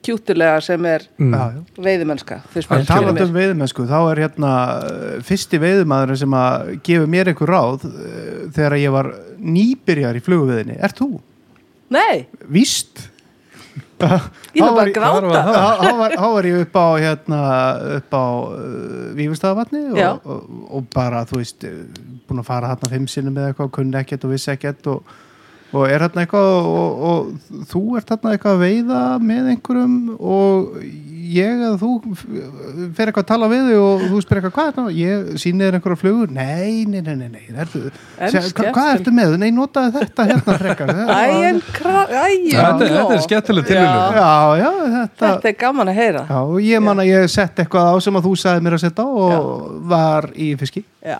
C: kjútulega sem er
B: Mm.
A: já, já.
C: veiðumennska fyrst
A: Það
C: mér
A: er taland
C: fyrir
A: um
C: mér.
A: veiðmennsku, þá er hérna eh, fyrsti veiðmaðurinn sem að gefa mér einhver ráð eh, þegar ég var nýbyrjar í fluguveiðinni, er þú?
C: Nei,
A: Víst?
C: (laughs) ég
A: Þá
C: var bara að
B: hvar var
C: gráta
B: það?
A: Þá þá var, þá var ég upp á hérna, upp á uh, Vífustafvatni
C: Já.
A: og, og, og bara, þú veist eh, búin að fara hérna fimm sinni með eitthvað kunni ekkert og vissi ekkert og, og er hérna eitthvað og, og, og þú ert hérna eitthvað að veiða með einhverjum og ég að þú f- fer eitthvað að tala við þig og þú spyrir eitthvað hvað er það? Ég sýni þér einhverja flugur? Nei, nei, nei, nei, nei. Ertu,
C: En
A: segja, hva, hvað
C: skemmtilegt.
A: ertu með? Nei, notaði þetta hérna frekar.
C: Æjum, æjum
B: Þetta, þetta er skemmtileg tilvíðun
A: Já, já, þetta,
C: Þetta er gaman að heyra
A: Já, og ég man að ég sett eitthvað á sem að þú sagði mér að setja á og var í fiski.
C: Já.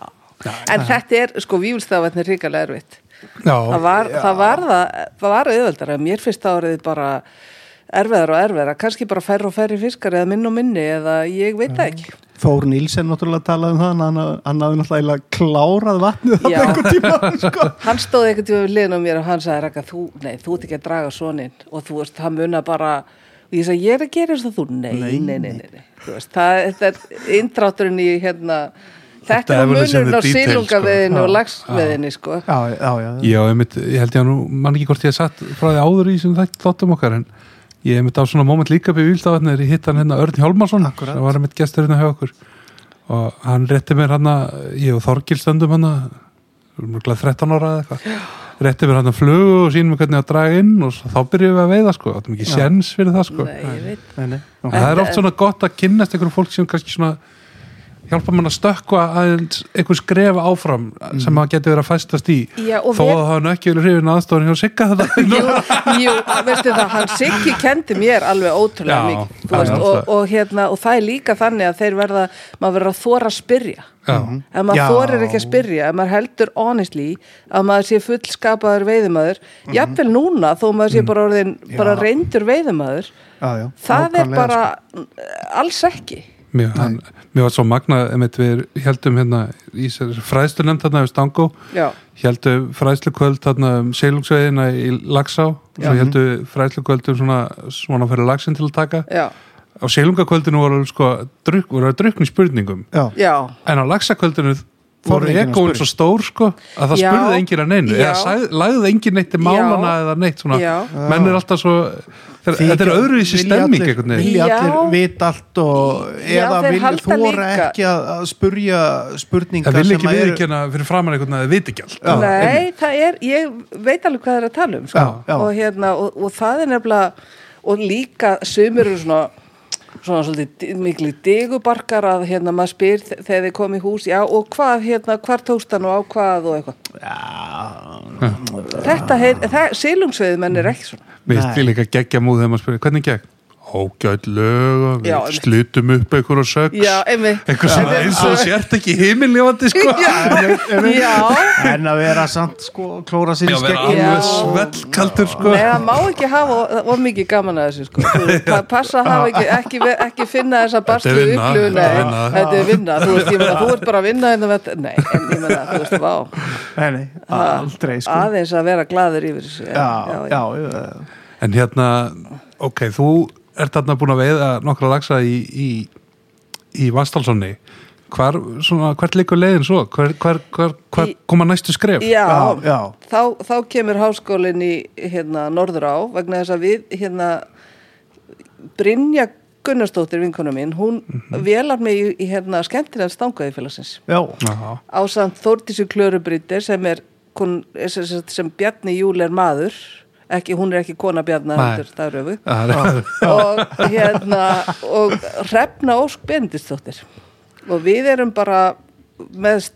C: En þetta er, sko, vífulstafatni er ríkalega erfitt það
B: Já,
C: var, það var það, það var auðveldara mér finnst árið bara erfiðar og erfiðar, kannski bara færri og færri fiskar eða minn og minni eða ég veit
B: Mm.
C: það ekki
A: Þór Nílsen náttúrulega talaði um það, en hann, hann hafði náttúrulega klárað vatnið
C: Já.
A: þarna einhvern tíma,
C: (laughs)
A: sko.
C: hann stóði einhvern tíma við liðin á mér og hann sagði Raka, þú, nei, þú ert ekki að draga soninn og þú veist, hann muna bara og ég sagði, ég er að gera eins og þú, nei, nei, nei, nei, nei, Þú Veist, það, þetta er inndrátturinn í hérna,
B: Þetta
C: þetta er
B: evolution in
C: munurinn á
B: detail, sko.
C: sílungaveðinu og
A: Já.
C: lagsveðinu sko.
A: Já, já, já.
B: já einmitt, ég held ég að nú man ekki hvort ég hef sagt frá því áður í sem þætt þáttum okkar en ég hef mitt á svona moment líka við Víldavatni þegar ég hitt hann hérna Örn Hjálmarsson
A: Akkurat.
B: sem var mitt gestur hérna hjá okkur og hann rétti mér hann ég og Þorgil stöndum hérna, hann mörgulega 13 ára eða eitthvað rétti mér hann að flugu og sínum hvernig að draga inn og svo, þá byrjuðum við að veiða sko, áttum ekki séns fyrir það sko
C: nei, ég veit
A: Nei, nei.
B: En
A: Okay.
B: það er oft svona gott að kynnast einhverjum fólk sem kannski svona hjálpa mann að stökkva aðeins einhver skref áfram sem það getur verið að fæstast í
C: Já, og
B: þó
C: við-
B: að það hafa ekki verið hrifin aðstofan hjá sigga þetta
C: (laughs) Jú, jú, veistu það, hann Siggi kendi mér alveg ótrúlega
B: Já,
C: mikið þú
B: hann
C: veist,
B: er
C: og,
B: alltaf-
C: og, hérna, og það er líka þannig að þeir verða maður verður að þóra að spyrja
B: Já.
C: ef maður
A: Já.
C: þórir ekki að spyrja, ef maður heldur honestly að maður sé fullskapaður veiðumæður, jafnvel núna þó maður sé bara orðin, bara
A: Mhm. Mm. Já.
C: reyndur veiðumæður,
A: Já, já. sko.
C: það er
A: nákvæmlega,
C: bara eh, alls ekki
B: mér, hann, mér var svo magnað einmitt, við heldum hérna í fræðstu nefnd þarna við Stangó
C: já,
B: heldum fræðslu kvöld þarna um seilungsveiðina í Lagsá svo heldum fræðslu kvöld um svona, svona fyrir lagsin til að taka
C: já,
B: á seilungakvöldinu voru sko druk, voru að drukna í spurningum
A: Já,
C: já
B: En á laxakvöldinu voru
A: enginn að
B: egoinn
A: spyrja.
B: svo stór sko að það
C: Já.
B: spurði enginn að neinu eða
C: Já.
B: sagði, lagði enginn neitt til málana
C: Já.
B: eða neitt svona,
C: Já.
B: menn er alltaf svo þeir,
A: Þykja-
B: þetta er öðruvísi
A: vilja
B: stemming
A: allir-
B: einhvern veginn,
A: Vilja
C: Já.
A: allir vita allt og
C: Já,
A: eða
C: þeir
A: vilja
C: halda
A: þóra
C: líka.
A: ekki að að spurja spurningar
B: það vil ekki
A: að
B: viðurkenna fyrir framann einhvern veginn að þið viti ekki allt
C: Nei, það er, ég veit alveg hvað það er að tala um sko.
A: Já, já.
C: Og, hérna, og, og það er nefnilega og líka sömur eru svona svona svolítið miklu digubarkar að hérna maður spyr þe- þegar þið kom í hús já og hvað hérna, hvar tókst hann og á hvað og eitthvað þetta, heil, það, silungsveið menn er ekki svona
B: Mér finnst
A: Nei.
B: því líka geggja múð þegar maður spyrir, hvernig gegg? Ó, ágætt lög og við
C: Já, einmitt.
B: slutum upp einhverju sögs
C: Já, einmitt.
B: einhver sem
C: Já.
B: eins og sért ekki himinljóðandi sko
C: Já,
A: en að vera samt sko klóra sér
B: Já,
A: í
B: vera
A: skegg
C: Já.
B: alveg svellkaldur sko
C: Nei, það má ekki hafa of- of mikið gaman að þessu sko. Þú- pa- Passa að hafa ekki, ekki, ve- ekki finna þessa barstu
B: Þetta er vinna,
C: upplifun
B: þetta er
C: nei,
B: vinna.
C: Þetta er vinna, þú veist, ég meina þú ert bara að vinna hérna, þetta- Nei, en ég meina, þú veist, vá
A: nei, nei,
C: Ah,
A: aldrei sko
C: Aðeins að vera glaður yfir þessu
A: já, já, já,
B: En hérna, ok, þú ert þarna búin að veiða nokkra lagsa í, í, í Vastalssoni Hvar, svona, hvert likur leiðin svo? Hver, hver, hver, hver
C: Í-
B: koma næstu skref?
C: Já,
A: já, já.
C: Þá, þá kemur háskólinn í hérna, norður á vegna þess að við hérna, Brynja Gunnarsdóttir vinkona mín, hún velar mig í, í hérna, skemmtilega stangaði félagsins
A: já,
B: Já,
C: á samt Þórtísu Klörubrýttir sem er, kon, er sem, sem, sem Bjarni Júl er maður ekki, hún er ekki kona
B: Nei.
C: Bjarni heldur, það er öfu
B: það er-
C: og hérna og hrefna Ósk Bendistóttir og við erum bara með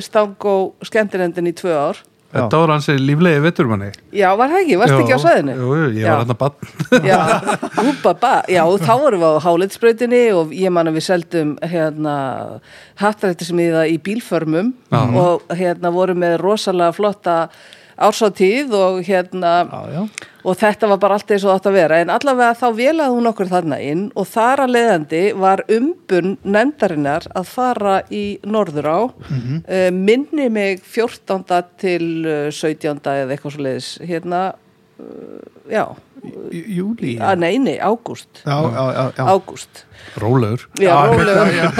C: stangó skemmtilendin í tvö ár
B: (laughs) þetta voru hans líflegi vettur manni
C: já, var það ekki, varst ekki á
B: Já,
C: svæðinu
B: Jú, jú, ég
C: já.
B: var hérna bann
C: já, húbaba, já, og þá vorum við á hálitsbrautinni og ég man að við seldum hérna hattrættismiða í bílförmum
B: Já.
C: og hérna vorum með rosalega flotta ársáttíð og hérna
A: já, já.
C: og þetta var bara allt eins og það átt að vera en allavega þá velaði hún okkur þarna inn og þar að leiðandi var umbun nefndarinnar að fara í norður á Eh, minni mig 14. til eh, 17. eða eitthvað svo leiðis hérna, eh, já
A: Í- júlí já,
C: að Ah, nei, nei, ágúst
A: já, já, já.
C: ágúst,
B: (laughs) Rólegur
C: já,
A: Já,
C: rólegur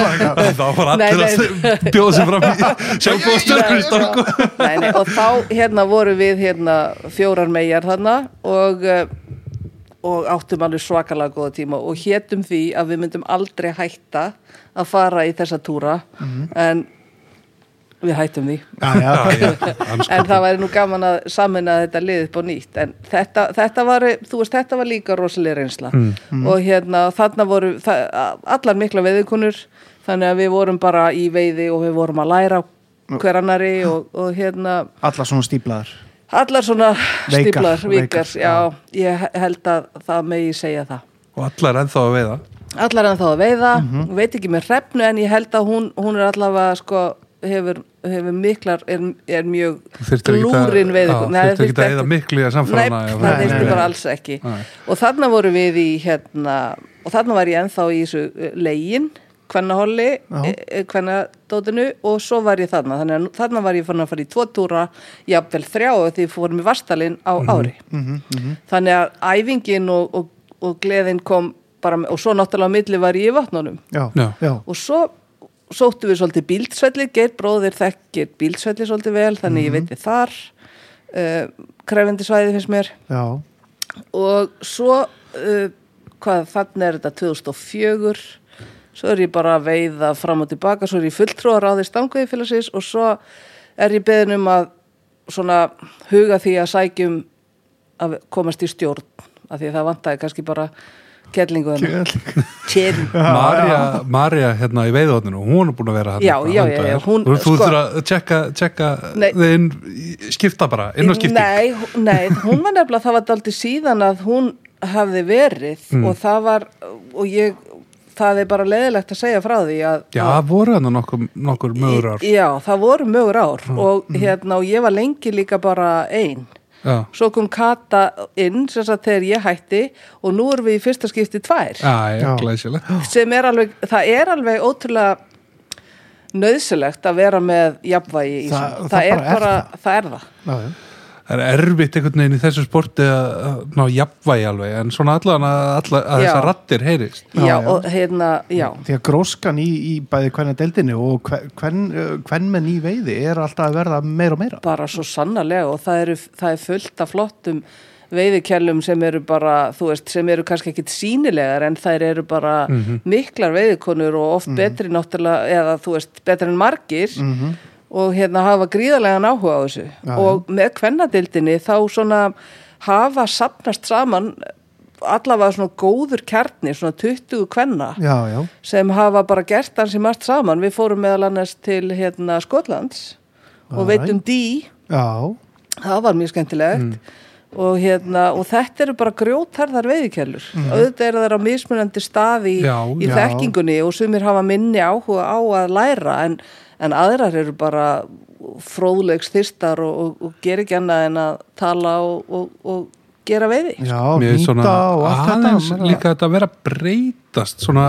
B: (laughs) Þá var
C: Nei,
B: allir
C: nei.
B: að (laughs) bjóða sér fram í
C: (laughs)
B: sjálfbóðstörnum í stokku
C: nei, nei, og þá hérna voru við hérna fjórar megar þarna og eh, og áttum alveg svakalega góða tíma og hétum því að við myndum aldrei hætta að fara í þessa túra
A: Mhm.
C: en við hættum því
A: já,
B: (laughs)
A: já, já.
B: sko.
C: en það væri nú gaman að samina þetta lið upp á nýtt en þetta, þetta var, þú veist, þetta var líka rosalega reynsla
A: Mm.
C: og hérna þarna voru það, allar mikla veiðikunur þannig að við vorum bara í veiði og við vorum að læra hver annari og, og hérna
A: alla svona stíplaðar
C: allar svona
A: Veikar,
C: stíplar,
A: veikar,
C: vikar já, ég he- held að það megi segja það
B: Og allar ennþá að veiða
C: allar en þá að veiða,
B: Mhm.
C: veit ekki með hrefnu en ég held að hún, hún er allavega sko, hefur, hefur miklar er, er mjög
B: Þú þyrftir ekki að-
C: glúrin veið
B: Já, þyrftir ekki að eyða miklu í að sannfæra
C: nei,
B: hana, já,
C: það
A: nei,
C: þurfti
A: nei.
C: bara alls ekki
B: Nei.
C: og þarna voru við í hérna og þarna var ég ennþá í þessu eh, legin kvennaholli, eh,
A: Já.
C: kvennadótinu og svo var ég þarna þannig að nú- þarna var ég fann að fara í tvo túra jafnvel þrjá og því fórum í vastalinn á
B: Mhm.
C: ári
A: Mhm,
C: þannig að æfingin og, og, og gleðin kom bara, með- og svo náttúrulega á milli var ég í vatnunum
A: já,
B: Já.
A: já,
C: og svo sóttu við svolítið bíldsvelli geir bróðir þekkir bíldsvelli svolítið vel þannig ég veit ég þar uh, krefendi svæði finnst mér
A: já
C: og svo uh, hvað þannig er þetta 2004 svo er ég bara að veiða fram og tilbaka, svo er ég fulltrúar á því stanguði félagsins og svo er ég beðin um að svona huga því að sækjum að komast í stjórn af því að það vantaði kannski bara kellingu hennar.
B: (laughs)
C: Kellingu.
B: Marja, Marja hérna í veiðotninu hún er búin að vera
C: Já,
B: hérna
C: já, já, já, hún-
B: þú, þú
C: sko-
B: þurfa að tjekka, tjekka
C: Nei.
B: þið inn, í- skipta bara, inn á skipti
C: Nei, hú- nei, hún var nefnilega, það var daldi síðan að hún hafði verið og það var, og ég, það er bara leðilegt að segja frá því að
B: já, voru hann nokkur, nokkur mögurar
C: Í- Já, það voru mögur ár og
A: Mhm.
C: hérna og ég var lengi líka bara ein.
B: já,
C: Svo kom Kata inn sem sagt þegar ég hætti og nú erum við í fyrsta skipti tvær
B: já, já,
A: Já.
B: glæsileg
C: sem er alveg, það er alveg ótrúlega nöðsilegt að vera með jafnvægi í
A: Það-
C: svona.
A: það bara
C: er
A: er
C: bara, það er það.
A: já, já.
B: það er erfitt einhvern veginn í þessu sporti að að ná jafnvægi alveg en svona allan að, alla, að
C: Já.
B: þessar rattir heyrist
C: Já,
A: Já, já.
C: og hérna, já.
A: því að gróskan í, í bæði hvernig deildinu og hvern menn í veiði er alltaf að verða meira og meira
C: bara svo sannarlega og það, eru, það er fullt af flottum veiðikjallum sem eru bara, þú veist, sem eru kannski ekkit sínilegar en þær eru bara
A: Mhm.
C: miklar veiðikonur og oft betri náttúrulega, eða þú veist, betri en margir og hérna hafa gríðarlegan áhuga á þessu
A: Mhm. Já, já.
C: og með kvennadildinni þá svona hafa sapnast saman allavega svona góður kjarni, svona 20 kvenna
A: já, já,
C: sem hafa bara gert hans í margt saman. Við fórum meðal annars til hérna Skotlands og
A: Alright.
C: veitum dý
A: já Mm.
C: það var mjög skemmtilegt og, hérna, og þetta eru bara grjótarðar veiðikjælur auðvitað eru þær á mismunandi staði í,
B: Já,
C: í
A: Mhm. já.
C: þekkingunni og sumir hafa minni áhuga á að læra en, en aðrar eru bara fróðlegs þyrstar og, og, og ger ekki annað en að tala og, og, og gera veiði
A: já,
B: Mér er
A: hnýta og allt þetta
B: aðeins
A: maður er að-
B: líka þetta að vera að breytast svona,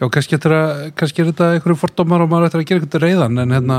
B: já, kannski, eftir að, kannski er þetta einhverju fordómar og maður ættir að gera eitthvað reyðan en hérna,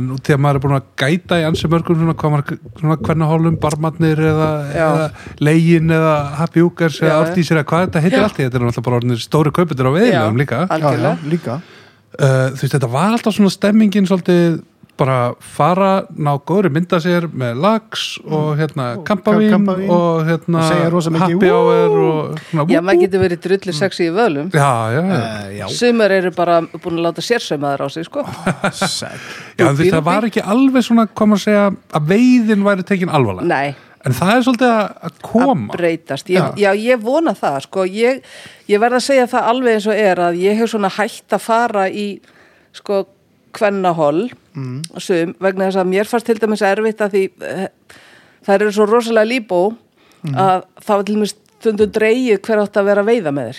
B: en út því að maður er búin að gæta í ansi mörgum svona, hvað maður, svona hvernig hólum, barmatnir eða,
C: Já.
B: eða legin eða happy hookers eða
C: Já,
B: allt í sér eða hvað þetta heitir allt í þetta er náttúrulega bara orðinir stóri kaupitur á veiðilegum
C: Já.
B: líka
C: Al-
A: já, já,
C: algjörlega.
A: líka
B: uh, þú veist, þetta var alltaf svona stemmingin svolítið bara fara, ná góðri mynda sér með lags og hérna kampavín
A: Mm. kampavín.
B: og hérna
A: Og segja rosa mikið,
B: happy
A: "Wú!"
B: hour og svona
C: Já,
B: "Wú,
C: maður
B: wú."
C: getur verið drullu sexi í völum
B: já, já, já,
A: Eh, já,
C: Sumar eru bara búin að láta sérsaumaður á sig,
A: (laughs)
C: sko.
A: sæll
B: já en þú veist, það var ekki alveg svona kom að segja að veiðin væri tekin alvarlega
C: Nei,
B: en það er svolítið að- að
C: að
B: koma
C: breytast. Ég, já. ég vona það, sko. Ég, ég verð að segja það alveg eins og er að ég hef svona hægt að fara í, sko, kvennaholl sum, vegna þess að mér fannst til dæmis erfitt að því eh, þær eru svo rosalega líbó að það var til dæmis stundum dreigið hver átt að vera að veiða með þér.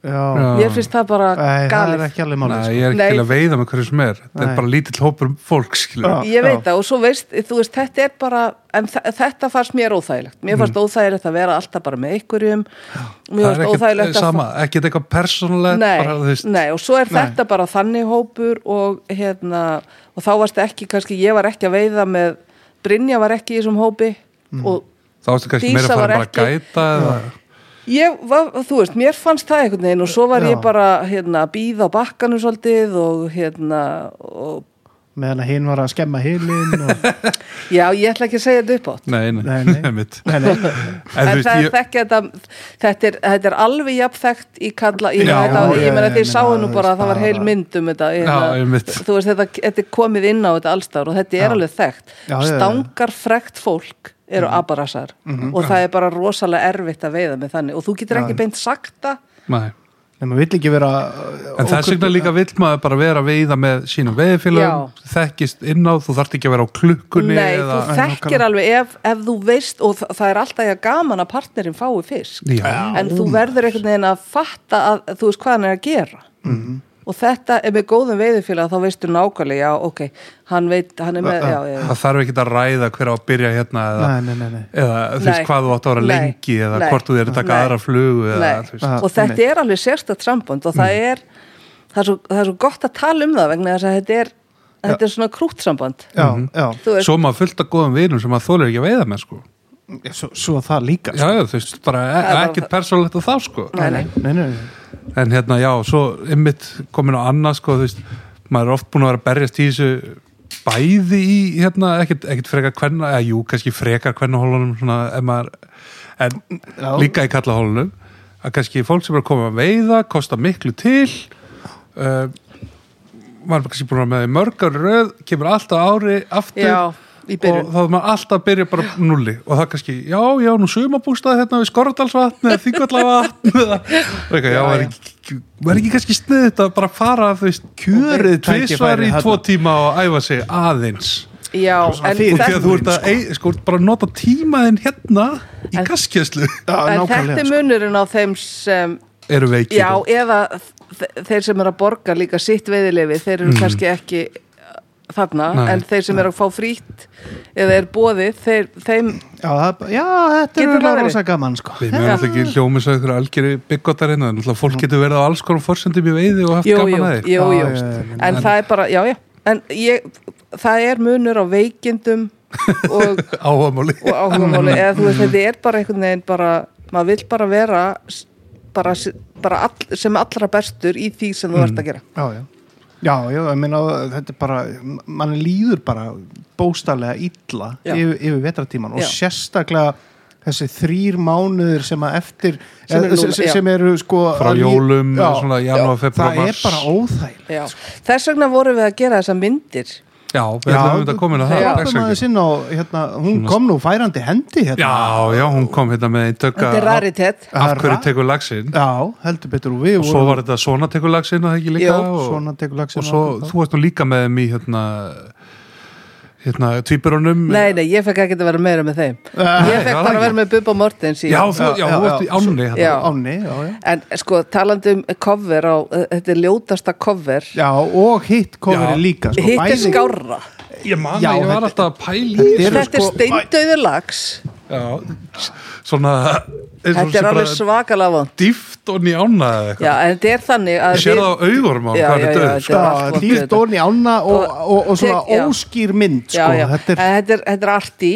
A: já,
B: Já.
C: Mér finnst það bara
A: Nei, það er
C: galið.
A: ekki alveg málið
B: Nei,
A: sko.
B: ég er ekki
C: Nei.
B: til að veiða með hverju sem er þetta
A: Nei.
B: er bara lítill hópur um fólk skilur
A: Já.
C: ég veit það og svo veist, þú veist, þetta er bara en þa- þetta fannst mér óþægilegt mér fannst óþægilegt að vera alltaf bara með einhverjum
B: það er
C: mér fannst
B: ekkert
C: óþægilegt
B: eh, sama, ekkert eitthvað persónulegt
C: nei,
B: bara, þú veist,
C: nei, og svo er þetta bara þannig hópur og hérna og þá varst ekki, kannski, ég var ekki að veiða með Brynja var ekki í þessum hópi
B: Mhm.
C: og
B: þá ertu kannski meira
C: Dísa
B: að
C: var
B: fara bara að
C: ekki-
B: gæta eða,
C: Ég var, þú veist, mér fannst það einhvern veginn og svo var
A: Já.
C: ég bara, hérna, að býða á bakkanum svolítið og, hérna, og,
A: meðan að hinn var að skemma hilin og...
B: (laughs)
C: já, ég ætla ekki að segja þetta upp átt.
B: nei, nei,
A: Nei, nei.
B: (laughs) einmitt.
A: nei, nei,
B: En
C: En,
B: þú veist,
C: það
B: ég-
C: er þekkt þetta, þetta er, þetta er alveg jafn þekkt í kalla,
B: Já,
C: ég, já, þetta,
A: já,
C: ég meina
A: já,
C: þeir
A: ég
C: sáu
A: meina,
C: nú
A: þú veist,
C: bara að það var
A: bara-
C: heil mynd um þetta,
B: einmitt.
C: þú veist þetta, þetta er komið inn á þetta allstar og þetta er alveg þekkt,
A: Já, já, Mhm. já.
C: stangar frekt fólk eru abarasar og það er bara rosalega erfitt að veiða með þannig og þú getur ekki beint sakta
B: nei
A: nei maður vill ekki vera uh,
B: En þess vegna líka vill maður bara vera að veiða með sínum veiðfélagum, þekkist inn á, þú þarft ekki að vera á klukkunni
C: Nei,
B: eða...
C: þú þekkir alveg ef, ef þú veist og þa- það er alltaf að gaman að partnerinn fái fisk
B: Já.
C: en þú verður einhvern veginn að fatta að, að þú veist hvað hann er að gera
B: Mhm.
C: og þetta er með góðum veiðufélag þá veistu nákvæmlega, já ok hann veit, hann er með, já, já, já.
B: Það þarf ekki að ræða hver á að byrja hérna eða,
A: Nei, nei, nei, nei.
B: eða þú veist
C: Nei.
B: hvað þú átt að vera
C: Nei.
B: lengi eða
C: Nei.
B: hvort þú er að taka
C: Nei.
B: aðra flugu eða
C: Nei.
B: þú veist. Mhm.
A: Ah,
C: og þetta
A: einmitt.
C: er alveg sérstætt samband og það er það er, svo, það er svo gott að tala um það vegna þess að þetta er, þetta er svona krútsamband
A: já,
B: Mhm.
A: já,
C: þú veist,
B: Svo maður fullt af góðum vinum sem maður þólir ekki að veiða með sko.
A: svo, svo það líka sko.
B: Já, já, þú veist, bara e
C: Það er bara
B: ekkert
C: það.
B: persónlegt á þá sko.
C: Nei, nei.
A: nei, nei, nei.
B: En hérna, já, svo ymmit komin á annað sko, þú veist, maður er oft búin að vera að berjast í þessu bæði í, hérna, ekkert, ekkert frekar kvenna, eða jú, kannski frekar kvennahólunum svona, ef maður, en
A: Já.
B: líka í kallahólunum, að kannski fólk sem er að koma að veiða, kosta miklu til, uh, maður er kannski búin að vera með í mörgar röð, kemur alltaf ári aftur,
C: já, í
B: og
C: byrjun
B: þá er maður alltaf að byrja bara á núlli og það kannski, já, já, nú sumabústaði hérna við Skorradalsvatn eða Þingvallavatn eða eitthvað, já,
C: Já,
B: var
C: já.
B: ekki var ekki kannski sniðið þetta að bara fara þú veist, kjörið
A: Og beint
B: tvisvar
A: tækifæri
B: í
C: hérna.
A: þarna.
B: tvo tíma og æfa sig aðeins
C: já,
A: svona
C: en
A: fyrir-
B: og því að
C: þetta,
B: þú ert að, ei, sko, bara nota tímaðin hérna í
C: En-
B: gaskjæslu
A: Já,
C: en
A: nákvæmlega,
C: þetta er
A: sko.
C: munurinn á þeim sem
B: eru veikir
C: Já, eða þ- þeir sem eru að borga líka sitt veiðilefi, þeir eru kannski ekki uh, þarna,
B: Nei.
C: en þeir sem eru að fá frítt eða er bóðið, þeir, þeim
A: sko. Já, það, já, þetta er
C: Getur það
A: alveg
C: verið?
A: rosa gaman sko.
B: Við mögum alltaf ekki hljómið svo ykkur algjöri byggotar hérna, en alltaf fólk getur verið á alls konum forsendum í veiði og haft
C: Mm. jú, jú,
B: gaman að því.
C: jú,
A: Já,
C: jú,
A: já, já, já.
C: en það er bara, já, já en ég, það er munur á veikindum og,
B: Áhamáli.
C: og áhugamáli eða þú veist, þetta er bara einhvern veginn bara, maður vill bara vera s- bara, s- bara all, sem allra bestur í því sem þú ert að gera
A: Já, já Já, já, ég meina, þetta er bara mann líður bara bóstarlega illa
C: Já.
A: yfir, yfir vetratíman og
C: Já.
A: sérstaklega þessi þrýr mánuður sem að eftir
C: Sem eru
A: eh,
C: núna, já.
A: sem eru sko
B: (laughs) Frá
A: að lí-
B: jólum,
A: Já,
B: svona janúar,
A: já,
B: febrúar,
A: Það
B: mars.
A: er bara óþægilegt
C: já. þess vegna vorum við að gera þessa myndir
B: Já, við ætlum við að koma inn á það.
A: Já,
B: dagsakir.
A: það maður sinn á, hérna, hún kom nú færandi hendi hérna
B: Já, já, hún kom hérna með einn tökka
C: þetta er raritet
B: af
A: Það er
B: hverju
A: ra-
B: tekur lagsinn
A: Já, heldur betur og við
B: og svo var þetta svona tekur lagsinn og það ekki líka
C: Jú,
B: og,
A: svona tekur laxinn
B: og svo
A: og-
B: þú varst nú líka með þeim í hérna hérna, tvíburunum
C: Nei, nei, ég fekk ekki að vera meira með þeim
A: Eh,
C: Ég
B: já,
C: fekk bara
B: ekki.
C: að vera með Bubba Mortens í
B: Já, þú, já,
A: Já, já,
B: þú ert í
A: já.
B: ánni
C: Já.
B: hérna.
A: Áni, já, já.
C: En sko, talandi um cover á, þetta er ljótasta cover
A: Já, og hitt
B: Já.
A: coverið líka sko,
C: Hitt er
A: bæði-
C: skárra
B: Ég man
A: Já,
B: að ég var
A: þetta-
B: alltaf að pæla í
A: þetta eru
C: Þetta er
A: sko-
C: steindauður lags
B: Já, svona eins og
C: Þetta er
B: sé
C: alveg
B: bara
C: svakalega vond
B: dýft og nýjána eða eitthvað
C: Já, en þetta er þannig að
B: Ég sé það á augurum á
C: Já,
B: hvað er
C: já, já,
A: Já,
B: döð sko.
C: þetta allt gott
A: dýrt
C: við þetta.
A: ofan í ána og, og, og svona
C: Tek- já.
A: óskýr mynd sko.
C: Já, já, en
A: þetta er
C: þetta er, þetta er arti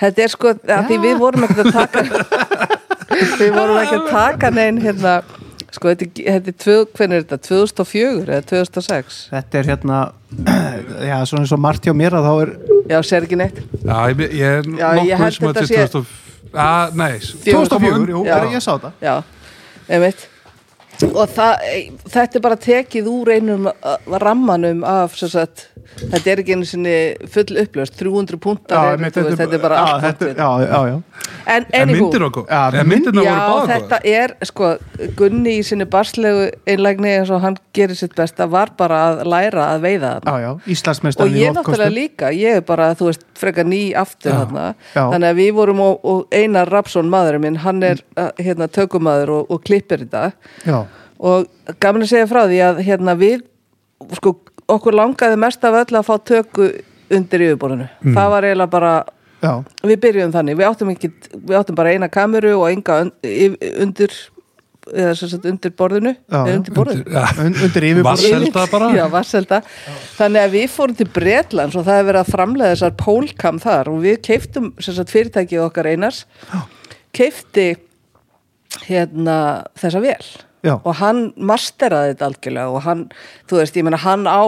C: Þetta er sko, að því við vorum ekkert að taka Við vorum ekkert að taka neinn hérna Sko, þetta, er- þetta er, tvö, hvernig er þetta? 2004 eða 2006?
A: Þetta er hérna, (clears throat) já, svona eins og margt hjá mér að þá er
C: Já, sér ekki neitt
B: Já, ég, ég er
C: Já,
B: nokkuð
C: ég held
B: sem að
C: þetta
B: til
C: sé-
B: 2000 Já, nei,
C: Fjögur.
A: 2004, jú,
C: Já.
A: bara ég sá það.
C: Já, einmitt og það, þetta er bara tekið úr einum uh, rammanum af sem sagt, þetta er ekki einu sinni full upplöst, 300
A: Já,
C: púntar
A: einmitt,
C: þetta, veist, þetta er bara
A: já,
C: allt
A: þetta er-
C: þetta,
A: Já, já, já.
C: en
B: en
C: anywho,
B: myndir okkur
A: Já,
B: En myndirna
C: já,
B: voru báða
C: þetta er sko, Gunni í sinni barslegu einlægni eins og hann gerir sitt besta var bara að læra að veiða þarna
A: já, já.
C: og
A: Íslandsmeistarinn í
C: ég
A: loftköstum.
C: náttúrulega líka, ég er bara, þú veist, frekar ný aftur þarna,
A: já. Mm.
C: þannig að við vorum og, og Einar Rapsson, maðurinn minn, hann er uh, hérna tökumadur og, og klippir þetta
A: Já,
C: og gaman að segja frá því að hérna við, sko, okkur langaði mest af öll að fá töku undir yfirborðinu, það var eiginlega bara
A: já,
C: við byrjuðum þannig, við áttum, ekki, við áttum bara eina kameru og enga un, yf- undir eða sem sagt undir borðinu
A: Já,
C: eða
A: já.
C: undir borðinu
A: (laughs) Und- undir yfirborðinu.
B: Vasselda bara
C: Já, Vasselda. Þannig að við fórum til Bretlands og það hefur verið að framlega þessar pólkam þar og við keiftum sagt, fyrirtækið okkar einars keifti hérna þessa vel
A: Já.
C: og hann masteraði þetta algjörlega og hann, þú veist, ég meina hann á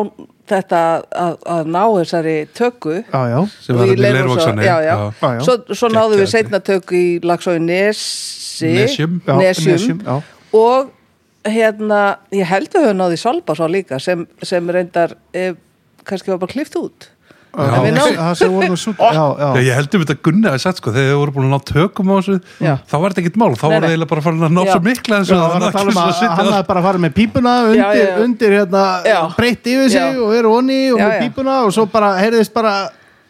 C: þetta að, að ná þessari tökku
A: já, já.
B: Sem var þarna
C: í
B: í
C: Leirvogsá-
B: Leirvogsánni.
C: já, já.
B: Já,
A: já.
C: Svo, svo náðum við
B: Geggjað.
C: setna tökku í Lagsói Nesi
B: Nesjum.
A: Já,
C: Nesjum.
A: Nesjum, já.
C: og hérna, ég held að við höfum náði Salbásá líka sem, sem reyndar eh, kannski var bara klift út
B: Já.
A: Já,
C: við
A: það-
C: náðum-
A: það sem voru nú svo, já,
B: Já,
A: já.
B: ég heldur þetta Gunni að sagt sko, þegar þið voru búin að ná tökum á þessu
C: Já.
B: þá var þetta ekkit mál, þá
C: Nei,
B: var
C: nei.
B: það eiginlega bara farin að ná
C: Já.
B: svo mikla þessu
A: Já, það var að
B: (laughs)
A: tala um að hann hafði bara farið með pípuna undir,
C: Já, já, já.
A: undir hérna,
C: Já.
A: breytt yfir sig
C: Já.
A: og verið onni og
C: Já,
A: með
C: já.
A: pípuna og svo bara heyrðist bara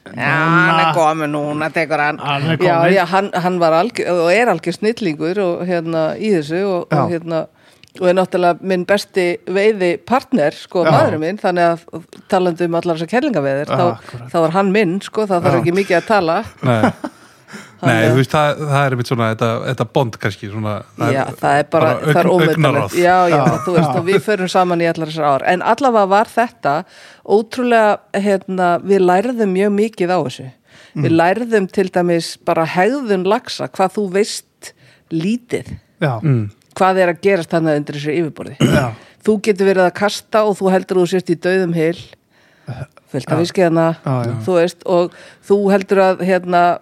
C: Já, hann er komin núna, tekur hann
A: Hann er
C: Já,
A: kominn.
C: já, hann, hann var algjör og er algjör snillingur og hérna í þessu og,
A: Já.
C: og hérna og er náttúrulega minn besti veiði partner, sko,
A: Já.
C: maðurinn minn þannig að talandi um allar þessar kellingaveðir þá,
A: Akkurat.
C: þá var hann minn, sko, það þarf
A: Já.
C: ekki mikið að tala
B: Nei,
C: (laughs)
B: Nei
C: Hann-
B: þú veist, það, það er einmitt svona þetta, þetta bond kannski svona,
C: Já, það er bara, það er
B: augn-
C: ómetanlegt
B: augnaráð.
C: Já, já,
A: Já.
C: þú veist, og við förum saman í allar þessar ár en allavega var þetta ótrúlega, hérna, við lærðum mjög mikið á þessu við lærðum til dæmis bara hegðun laxa, hvað þú veist lítið
A: Já,
C: hvað er að gerast þannig undir þessu yfirborði
A: Já.
C: þú getur verið að kasta og þú heldur að þú sért í dauðum heil fullt af viskiðana
A: Já, já.
C: þú veist, og þú heldur að hérna,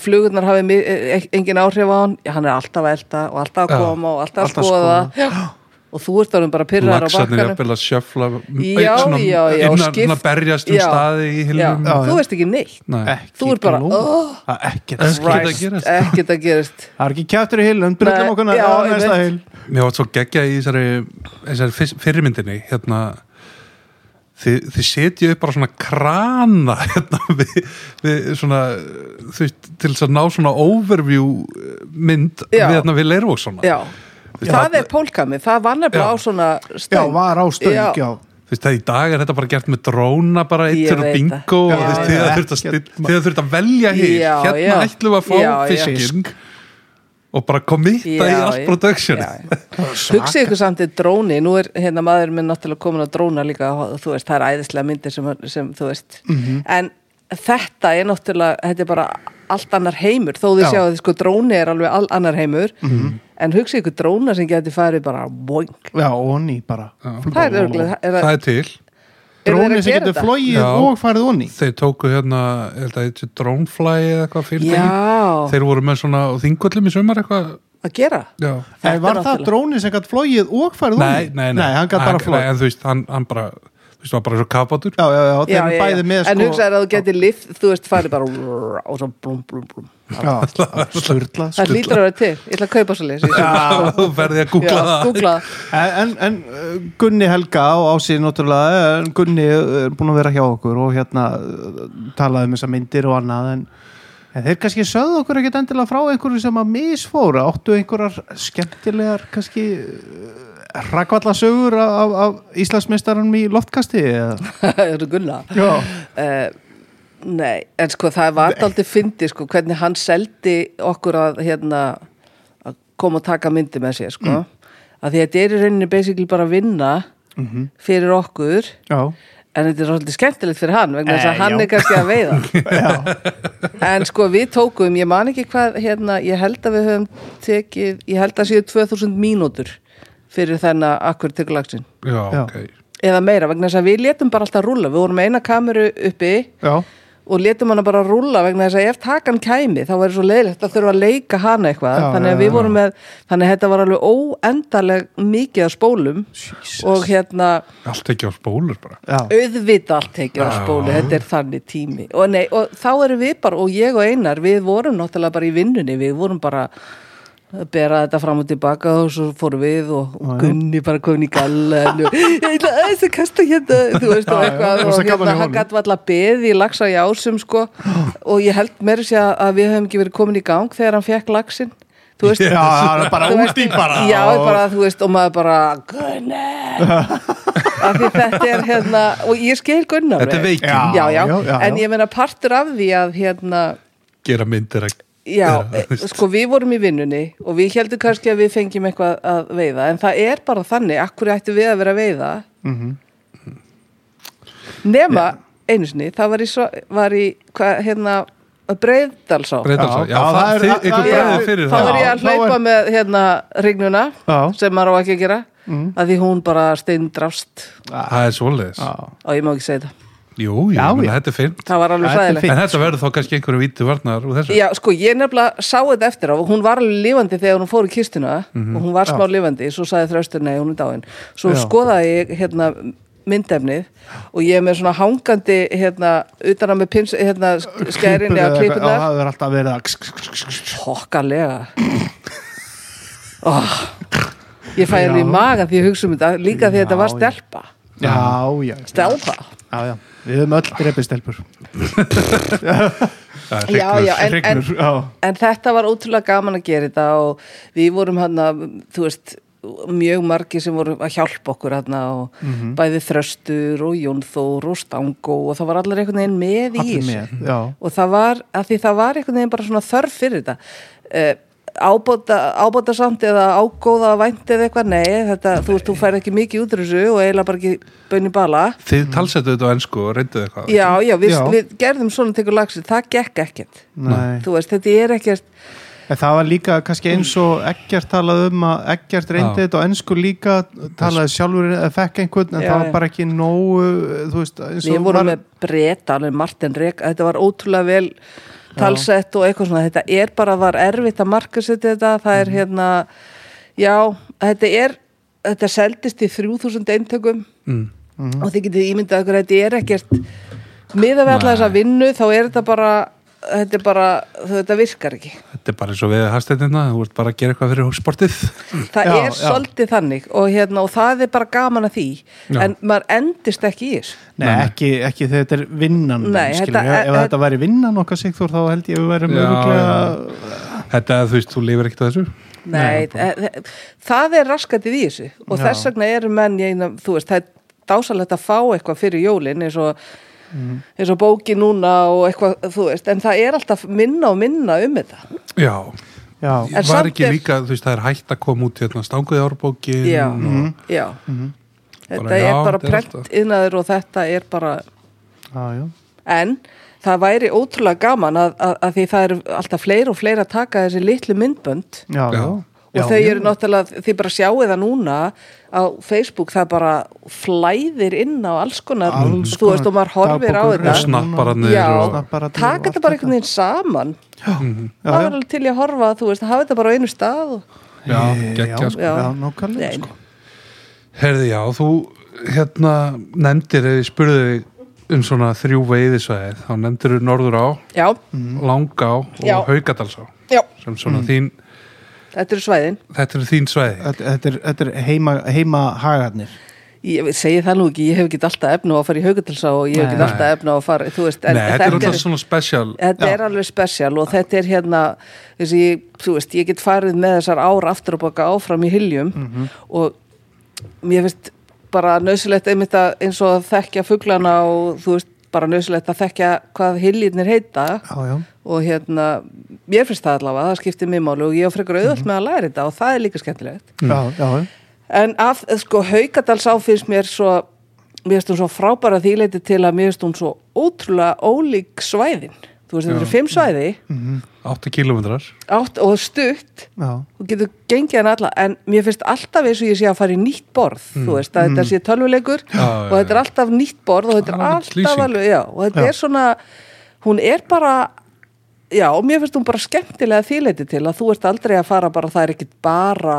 C: flugurnar hafi mi- e- e- engin áhrif á hann, Já, hann er alltaf að elta og
B: Já.
C: alltaf að koma og alltaf að
A: Alltaf að
C: skoða Já. og þú ert orðin bara pyrrar á
B: Laxarnir er
C: bakkanum
B: að sjöfla
C: Já, já, já, og
B: innan, svona
C: skipt-
B: berjast um
C: Já.
B: staði í hilum
C: Já,
A: Já, já.
C: þú veist ekki neitt
B: Nei.
A: ekki
C: Þú ert bara,
A: glóð.
C: "Oh,
A: Það er ekkert
B: Ekki
A: skræ-
B: að gerast.
C: ekkert að gerast
A: Það er ekki kjæftur í hilum,
C: Nei,
A: brillum okkur
C: já,
A: næra
C: ég
A: næsta
C: veit.
A: hil
B: Mér var svo geggja í þessari, þessari fyrst- fyrri myndinni hérna þið, þið setja upp bara svona krana (laughs) hérna við, við svona þú veist, til þess að ná svona overview eh, mynd
C: Já.
B: við hérna við leirvóksona
C: Já. það er pólkami, það var nefnilega
B: Já.
C: á svona
A: Já,
C: stöng
A: var á stöng, já
B: þú veist að í dag er þetta bara gert með dróna bara
C: Ég
B: eittur og
C: veit
B: bingo
C: það.
B: og þú veist
A: Já,
B: þið
A: já.
B: að þurft að, still- þið að, þurft að velja hér
C: Já,
B: hérna
C: já.
B: ætlum við að fá
C: Já, já.
B: fiskinn og bara komitta í
C: Já,
B: allt
C: já.
B: production
C: Já, já. hugsið ykkur samt í dróni nú er hérna maður minn náttúrulega komin á dróna líka og þú veist, það er æðislega myndir sem, sem þú veist,
A: Mhm.
C: en þetta er náttúrulega, þetta er bara allt annar heimur, þó þið
A: Já. Mhm.
C: sjáu að sko dróni er alveg all annar heimur en hugsið ykkur dróna sem geti farið bara boing,
A: Já, onni bara
C: það er örgulega
B: (laughs)
C: er,
B: það
C: það,
B: er til
C: eru þeir
A: Dróni
C: að
A: sem
C: gera
A: getur
C: þetta?
A: flogið
B: Já.
A: og farið onni
B: þeir tóku hérna ég held að þetta er drónflæ eða eitthvað fyrirtæki
C: já,
B: þeir voru með svona á þingvöllum í sumar eitthvað
C: að gera
B: já
C: Þetta
A: En var
C: er
A: það
C: náttúrulega-
A: dróni sem gætt flogið og farið onni?
B: nei, nei, nei,
A: hann gætt bara
B: nei,
A: flogið
B: en þú veist, hann, hann bara þú Vist maður bara svo kapátur? (laughs)
A: já, já, já, þeir eru bæði með sko.
C: en hugsaður að þú getur lift, þú veist, farið bara (laughs) vrrr, og svo blum, blum, blum
A: já, sturla
C: það
A: sturla.
C: lítur að vera til, ég ætla að kaupa svo leys
B: Já,
A: (laughs)
B: þú ferði að googla það.
C: googla það
A: En, en uh, Gunni Helga á ásýði náttúrulega, eh, en Gunni er búin að vera hjá okkur og hérna uh, talaði um þessar myndir og annað en, en þeir kannski sögðu okkur ekkert endilega frá einhverju sem að misfóra áttu einhverjar skemmtilegar kannski rakvallasögur af, af Íslandsmeistaranum í loftkasti eða?
C: (laughs) Þetta er Gunna
A: Já.
C: Eh, Nei, en sko það var aldrei fyndi sko, hvernig hann seldi okkur að hérna að koma og taka myndi með sér sko
A: Mm.
C: að því að þetta er í rauninni basically bara að vinna
A: Mhm.
C: fyrir okkur
A: Já,
C: en þetta er svolítið skemmtilegt fyrir hann vegna þess
A: Eh,
C: að hann
A: já.
C: er kannski að veiða
A: (laughs)
C: en sko við tókum, ég man ekki hvað hérna, ég held að við höfum tekið, ég held að séu 2000 mínútur fyrir þennan akkur tökulagsin
B: Já,
A: Já.
B: ok.
C: eða meira vegna þess að við létum bara alltaf rúlla við vorum með eina kameru uppi
A: já,
C: og létum hana bara rúlla vegna þess að ef takan kæmi þá verður svo leiðilegt að þurfa að leika hana eitthvað
A: Já,
C: þannig
A: já,
C: að við vorum með þannig að þetta var alveg óendaleg mikið að spólum og hérna
B: Allt ekki á spólur bara.
A: já,
C: auðvita allt tekið að spólu, þetta er þannig tími og, nei, og þá erum við bara, og ég og Einar við vorum náttúrulega bara í vinnunni við vorum bara að bera þetta fram og tilbaka og svo fórum við og og Gunni bara komin í gallan og ég ætla að þess að kasta hérna þú veist og
A: Já, já,
C: eitthvað
A: rosa gaman
C: og
A: í
C: hérna, hann
A: honum.
C: gætt valla beð í laxa í ásum sko og ég held meira sér að við höfum ekki verið komin í gang þegar hann fekk laxin þú veist,
A: já, já, bara út
C: Þú
A: í
C: veist,
A: bara
C: já,
A: og-
C: bara, þú veist, og maður bara Gunnar af því þetta er hérna og ég skil Gunnar
B: Þetta er
C: vel.
B: veikin.
C: já, já,
A: Já, já, já.
C: en ég meina partur af því að hérna
B: Gera myndir að...
C: Já,
B: gera, þú veist.
C: sko við vorum í vinnunni og við heldum kannski að við fengjum eitthvað að veiða en það er bara þannig, akkur ættu við að vera að veiða
A: Mhm.
C: nema einu sinni, það var í, svo- var í hvað, hérna, breyðdalsá
B: Breiðdalsá, já,
A: Já,
B: það,
A: það er-
B: þið,
A: það-
B: ykkur
A: það er-
B: bregði fyrir
C: þá
B: það.
C: er ég að
A: Já, þá
C: hlaupa
A: er-
C: með hérna regnuna
A: Já. Mhm.
C: sem maður á ekki að gera mm. að því hún bara steindrafst
B: Það er svoleiðis.
A: Já.
C: og ég má ekki segja það
B: Jú, jú,
A: Já,
B: já,
A: já.
B: þetta er fint.
C: það var alveg
A: Þetta er
C: sæðilegt
A: fínt.
B: En þetta verður þá kannski einhverju víti varnar úr þessu.
C: Já, sko, ég nefnilega sá þetta eftir á hún var alveg lifandi þegar hún fór í kistuna og hún var smá lifandi, svo sagði þröstur nei, hún er dáin, svo
A: Mhm. Já.
C: skoðaði ég hérna myndefnið og ég er með svona hangandi hérna utan að með pins, hérna sk- skærinni
A: Klipur
C: að
A: eða eitthvað, Já,
C: klipunar
A: það er alltaf verið að (coughs)
C: hokkalega oh, ég fæ henni í
A: Já.
C: magan því ég hugsa um þetta líka því þetta var
A: Já, já.
C: stelpa
A: Já, já, já
C: stelpa
A: Já, já, við höfum öll drefið stelpur
B: Það er
C: já,
B: hrygnur.
C: já, en, en,
A: Hrygnur, já.
C: en þetta var ótrúlega gaman að gera þetta og við vorum hann að þú veist, mjög margi sem voru að hjálpa okkur hann og
A: Mhm.
C: bæði þröstur og Jónþór og Stangó og það var allir einhvern veginn með í
A: Allir
C: þessu.
A: með, já.
C: og það var, að því það var einhvern veginn bara svona þörf fyrir þetta uh, ábóta, ábóta samt eða ágóða vænt eða eitthvað, nei, þetta, þú veist, þú færð ekki mikið út úr þessu og eiginlega bara ekki bönni bala
B: Þið talsettu þetta á ennsku og reynduðu eitthvað.
C: Já, já, við,
A: Já.
C: við gerðum svona tegur lagsi, það gekk ekkert
A: Nei.
C: Þú veist, þetta er ekkert
A: En það var líka kannski eins og Eggert talaði um að Eggert reyndi
B: Já.
A: þetta og ennsku líka talaði sjálfur eða fekk einhvern en
C: Já,
A: það
C: já.
A: var bara ekki nógu þú veist, eins
C: Við
A: og
C: vorum
A: var-
C: með breyta, alveg Martin Rek þetta var ótrúlega vel talsett og eitthvað svona, þetta er bara var erfitt að markasetja þetta, það
A: Mhm.
C: er hérna já, þetta er þetta seldist í 3000 eintökum
B: Mm.
A: Mhm.
C: og þið getið ímyndað okkur að þetta er ekkert miða við alla
B: Nei.
C: þessa vinnu þá er þetta bara þetta, er bara, þetta virkar ekki
B: Þetta er bara eins og við hafstættina, þú ert bara að gera eitthvað fyrir sportið.
C: það
A: Já,
C: er
A: já.
C: svolítið þannig og, hérna, og það er bara gaman að því
B: Já.
C: en maður endist ekki í þess
A: Nei, ekki, ekki þegar þetta er vinnan
C: Nei,
A: skilur,
C: þetta-
A: ef, ef
C: e-
A: þetta væri vinnan okkar Sigþór þá held ég að við værum
B: Já,
A: örugglega-
B: Þetta, þú veist, þú lifir ekkert á þessu.
C: Nei, e- e- það er raskatið í þessu og
A: Já.
C: þess vegna eru menn ég, eina- þú veist, það er dásalegt að fá eitthvað fyrir jólin eins og, eins og bóki núna og eitthvað, þú veist en það er alltaf minna og minna um þetta
B: Já,
A: Já,
C: En
B: var
C: samt
B: ekki
C: er-
B: líka, þú veist, það er hægt að koma út hérna stanguði árbókin.
C: Já,
B: og-
C: já Þetta
B: Bara, já,
C: er bara
B: þetta er alltaf-
C: prent innaður og þetta er bara
A: já, já
C: en það væri ótrúlega gaman að, að, að því það eru alltaf fleiri og fleiri að taka þessi litlu myndbönd
A: Já,
B: Já.
A: já
C: og
A: Já,
C: þau
A: já.
C: eru náttúrulega, þið bara sjáu það núna á Facebook, það bara flæðir inn á alls konar,
A: Alls
C: þú veist,
A: konar
C: og maður horfir á
A: dagbókur,
B: Og
C: þetta
B: snappararnir
C: Já,
B: og...
A: Snappararnir og
C: taka
A: allt
C: þetta bara einhvern veginn saman
A: Já,
C: það
A: já.
C: var alveg til ég að horfa, þú veist, að hafa þetta bara á einu stað og...
B: Já, geggja,
A: Já,
B: sko.
A: já,
C: Já.
A: nákvæmlega
C: Nei,
A: sko.
B: Herði, já, þú hérna nefndir ef ég spurði þig um svona þrjú veiðisvæðið þá nefndir þú Norður á,
C: já,
B: Langá og
C: Já.
B: Haugadalsá
C: já,
B: sem svona þín,
C: þetta eru svæðin
B: þetta eru þín svæði
A: Þetta, þetta er, þetta er heima, heima hagarnir
C: ég segi það nú ekki, ég hef ekki alltaf efna á að fara í haugatilsá og ég hef ekki
A: Nei.
C: alltaf efna á að fara, þú veist, en
B: Nei, þetta er
C: þetta
B: alltaf svona special
C: þetta er alveg spesial og þetta er hérna þessi, þú veist, ég get farið með þessar ára aftur og baka áfram í hyljum og mér finnst bara nöðsilegt einmitt að eins og að þekkja fuglana og þú veist bara nöðsilegt að þekkja hvað hyljirnir heita
A: Já, já
C: og hérna mér finnst það allavega, það skiptir mér máli og ég á frekar auðvöld með að læra þetta og það er líka skemmtilegt
A: Já, já, já.
C: En af, sko, Haukadals áfyrst mér svo, mér finnst hún svo frábæra þýleiti til að mér finnst hún svo ótrúlega ólík svæðin. Þú veist, þetta eru fimm svæði,
B: 8 kilometrar
C: átt og stutt,
A: já.
C: þú getur gengið hann alla, en mér finnst alltaf eins og ég sé að fara í nýtt borð, þú veist, að þetta sé
B: Mm.
C: tölvuleikur
B: Já, já,
C: og þetta er alltaf nýtt borð og þetta
B: Það
C: er
B: er
C: alltaf
B: lýsing.
C: alveg, já, og þetta
A: Já.
C: er svona, hún er bara, já, og mér finnst hún bara skemmtilega þýleiti til að þú ert aldrei að fara bara, það er ekkit bara,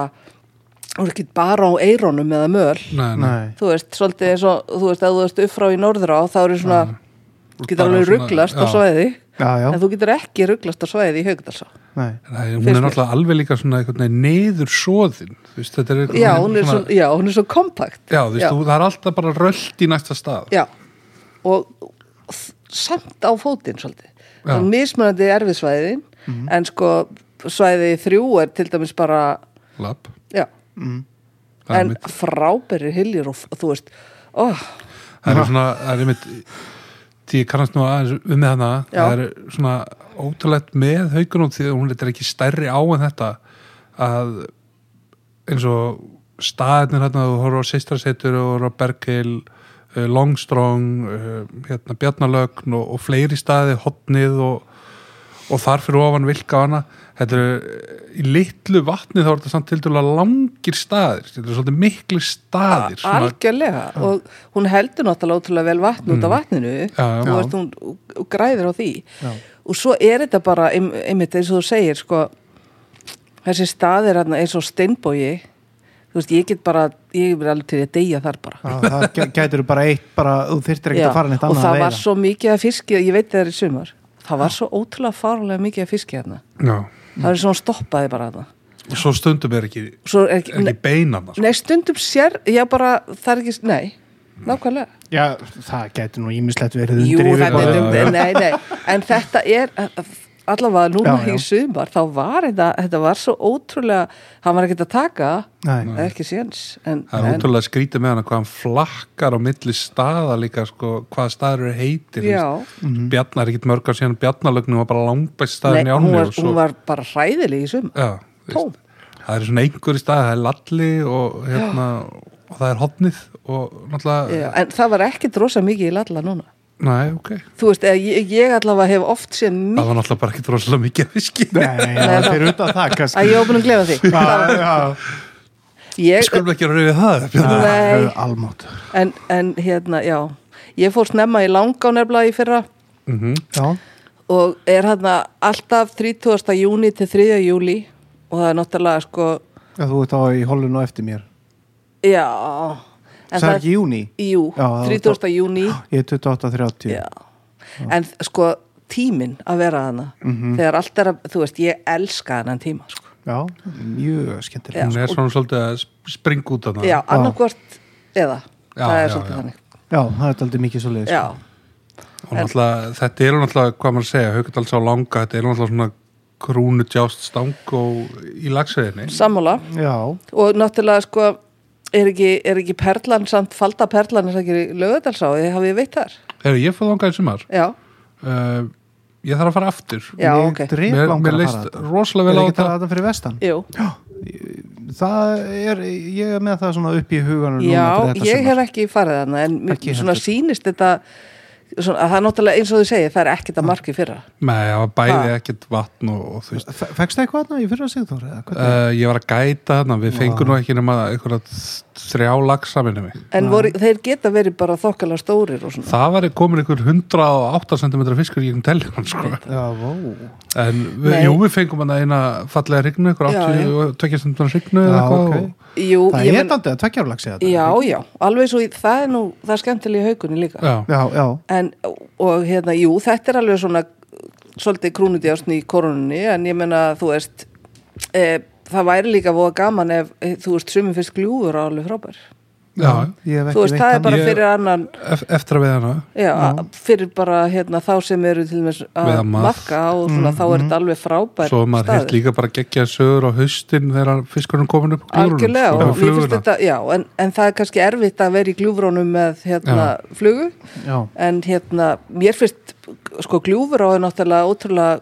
C: þú er ekkit bara á eirónum eða möl,
B: Nei, nei.
A: Nei,
C: þú veist, svolítið eins og þú veist, ef þú veist upp frá í norðrá þá eru svona, getur
B: Bara
C: alveg
B: svona-
C: rugglast á
B: já.
C: svæði
A: já, já,
C: en þú getur ekki rugglast á svæði í haugdalsá
A: nei
B: Nei, hún
C: Finnst
B: er
C: mér.
B: náttúrulega alveg líka svona einhvern veginn neyður svoðin veist, þetta er einhvern
C: já,
B: veginn
C: hún er svo, já, hún er svo kompakt
B: já, þú veist, þú, það er alltaf bara rölt í næsta stað
C: já, og þ- samt á fótinn svolítið
B: Já. Mhm.
C: þannig mismunandi erfið svæðin en sko svæði þrjú er til dæmis bara
B: Lapp,
C: já,
B: það er
C: en
B: mitt
C: frábæri hiljur og f- þú veist, oh,
B: það er svona, það er mitt því ég kannast nú aðeins um með hana
C: Já.
B: það er svona ótrúlegt með haugunum því að hún þetta er ekki stærri á en þetta að eins og staðirnir hérna þú horfður á sýstrasetur og horfður á Bergheil eh, Longstrong eh, hérna Bjarnalögn og, og fleiri staði hotnið og, og þar fyrir ofan vilka hana þetta eru eh, í litlu vatni þá er þetta samt til dæla langir staðir þetta eru svolítið miklu staðir svona-
C: algjörlega og hún heldur náttúrulega ótrúlega vel vatn
A: Mm.
C: út af vatninu
B: Já, já.
C: og veist, hún og- og græðir á því
A: Já.
C: og svo er þetta bara ein- einmitt eins og þú segir sko, þessi staðir þarna eins og steinbói þú veist, ég get bara ég er alveg til að deyja þar bara
A: Já, það gæ- gætur bara eitt bara, þú þyrtir ekkert
C: Já,
A: að fara neitt
C: og
A: annað að
C: það var
A: veiða
C: svo mikið að fiski ég veit það er í sumar, það var svo ótrúlega farulega mikið að fiski hérna
B: Já.
A: Mm.
C: það er svo hún stoppaði bara hérna
B: og svo stundum er ekki,
C: Svo er ekki-
B: er ekki beinan sko.
C: Nei, stundum sér, ég bara, það er ekki, nei,
A: Mm.
C: nákvæmlega
A: Já, það gætur nú ímislegt verið
C: Jú,
A: undir
C: það
A: yfirborðið.
B: Já,
C: er
B: já.
C: um, nei, nei, en þetta er allavega núna
A: Já, já.
C: í sumar þá var þetta, þetta var svo ótrúlega hann var ekkert að taka
A: Nei,
C: ekki séns en,
B: það er
C: en,
B: ótrúlega skrítið með hana hvað hann flakkar á milli staða líka sko, hvað staður eru heitir
C: Já.
B: mm. Bjarnar er ekkit mörg á síðan Bjarnalögnu var bara langbæst staðin
C: nei,
B: í
C: hún,
B: ánni
C: var,
B: og svo,
C: hún var bara hræðileg í sumar
B: já, þú
C: tóm.
B: veist, það er svona einhverju stað það er lalli og, hérna, og það er hotnið og náttúrulega
C: Já, en það var ekkert rosa mikið í lalla núna
B: nei, ok,
C: þú veist, eða ég, ég allavega hef oft séð
B: það
C: mikið
B: var náttúrulega bara ekkit rosalega mikið að fiski
A: nei, já,
C: Nei, það-
A: fyrir utan það
C: að
A: kannski
C: ég var búin að glefa því
A: Já, já,
C: ég,
B: skulum ekki að rauði það Bjarni.
A: það
C: Nei.
A: er almátt
C: en, en hérna, já ég fór snemma í langa nefnilega í fyrra
A: Já,
C: og er hérna alltaf 30. júni til 3. júli og það er náttúrulega sko
A: já, þú ert á í holun og eftir mér
C: já en
A: Það er ekki júni,
C: jú,
A: Já, það-
C: 30. júni
A: ég er 28.30
C: já. en sko tíminn að vera hana
A: Mhm.
C: þegar allt er að, þú veist, ég elska hennan tíma sko.
A: Já, mjög skemmtileg
B: hún er svona svolítið að springa út af það
C: já, annarkvort eða,
B: Já,
C: það er
B: já,
C: svolítið
B: já.
C: þannig
A: Já, það er aldrei mikið svo leiðis
C: já,
B: og náttúrulega, þetta eru náttúrulega hvað maður að segja, Haukadals á langa þetta eru náttúrulega svona krúnu djást stang og í lagsveginni
C: sammála
A: já,
C: og náttúrulega sko er ekki, er ekki perlan samt falda perlan er það ekki lögðalsá, ég hafi veitt þar
B: Hefur ég fóð langað í sumar
C: já,
B: uh, ég þarf að fara aftur
C: já,
A: Mig
C: ok
A: drep
B: mér,
A: langar
B: mér
A: að
B: leist
A: fara þetta.
B: rosalega
A: Er
B: vel á
A: ekki að
B: þetta
A: tala þetta fyrir vestan?
C: Jú.
A: Það er, ég er með það svona upp í huganum núna
C: Já,
A: fyrir þetta
C: ég
A: sumar.
C: hef ekki farið hana en mér
A: Ekki
C: svona
A: heldur.
C: sýnist þetta svona, að það er náttúrulega eins og þú segir, það er ekkert að marki fyrra
B: Nei, það var bæði ekkert vatn og, og þú veist,
A: Fekst það eitthvað þarna í fyrra sigþóri? eða hvernig?
B: uh, ég var að gæta þarna, við fengum nú ekki nema einhverja þrjá lagsa minni mig.
C: en voru, þeir geta verið bara þokkala stórir og svona
B: Það var komin einhver 108 cm fiskur í einhvern teljan, sko.
A: Já, vó.
B: En við,
C: Nei.
B: jú, við fengum hann eina fallega rignu, einhver
C: Já,
B: 82 cm rignu eða
A: Já,
B: eitthvað.
A: ok.
B: og-
C: Jú,
A: Það
C: ég
A: er
C: menn-
A: daldið að tvekja álagsið þetta.
C: Já, já, alveg svo, í- það er nú, það er skemmtilega í haukunni líka.
B: Já.
A: Já, já.
C: En, og hérna, jú, þetta er alveg svona, svolítið krúnudjásn í koronunni, en ég menna, þú veist, e, það væri líka voða gaman ef, e, þú veist, sumum fyrst gljúfur á alveg frábær.
B: Já,
A: Ég hef
C: Þú
A: ekki
C: veist,
A: veitt
C: það er
A: hann.
C: bara
B: Ég-
C: fyrir annan,
B: ef- eftir að við hana.
C: já, fyrir bara, hérna, þá sem eru til dæmis
B: Við að
C: að
B: mað-
C: makka og svona, þá er þetta alveg frábær
B: Svo hefur maður hefði líka bara geggja sögur á haustin þegar fiskurinn komin upp á glúrunum,
C: Algjörlega,
B: sko,
C: og
B: með
C: mér finnst
B: fluguna.
C: þetta, já, en, en það er kannski erfitt að vera í gljúfrónum með, hérna, flugu.
A: Já.
C: en hérna, mér finnst sko gljúfur á er náttúrulega ótrúlega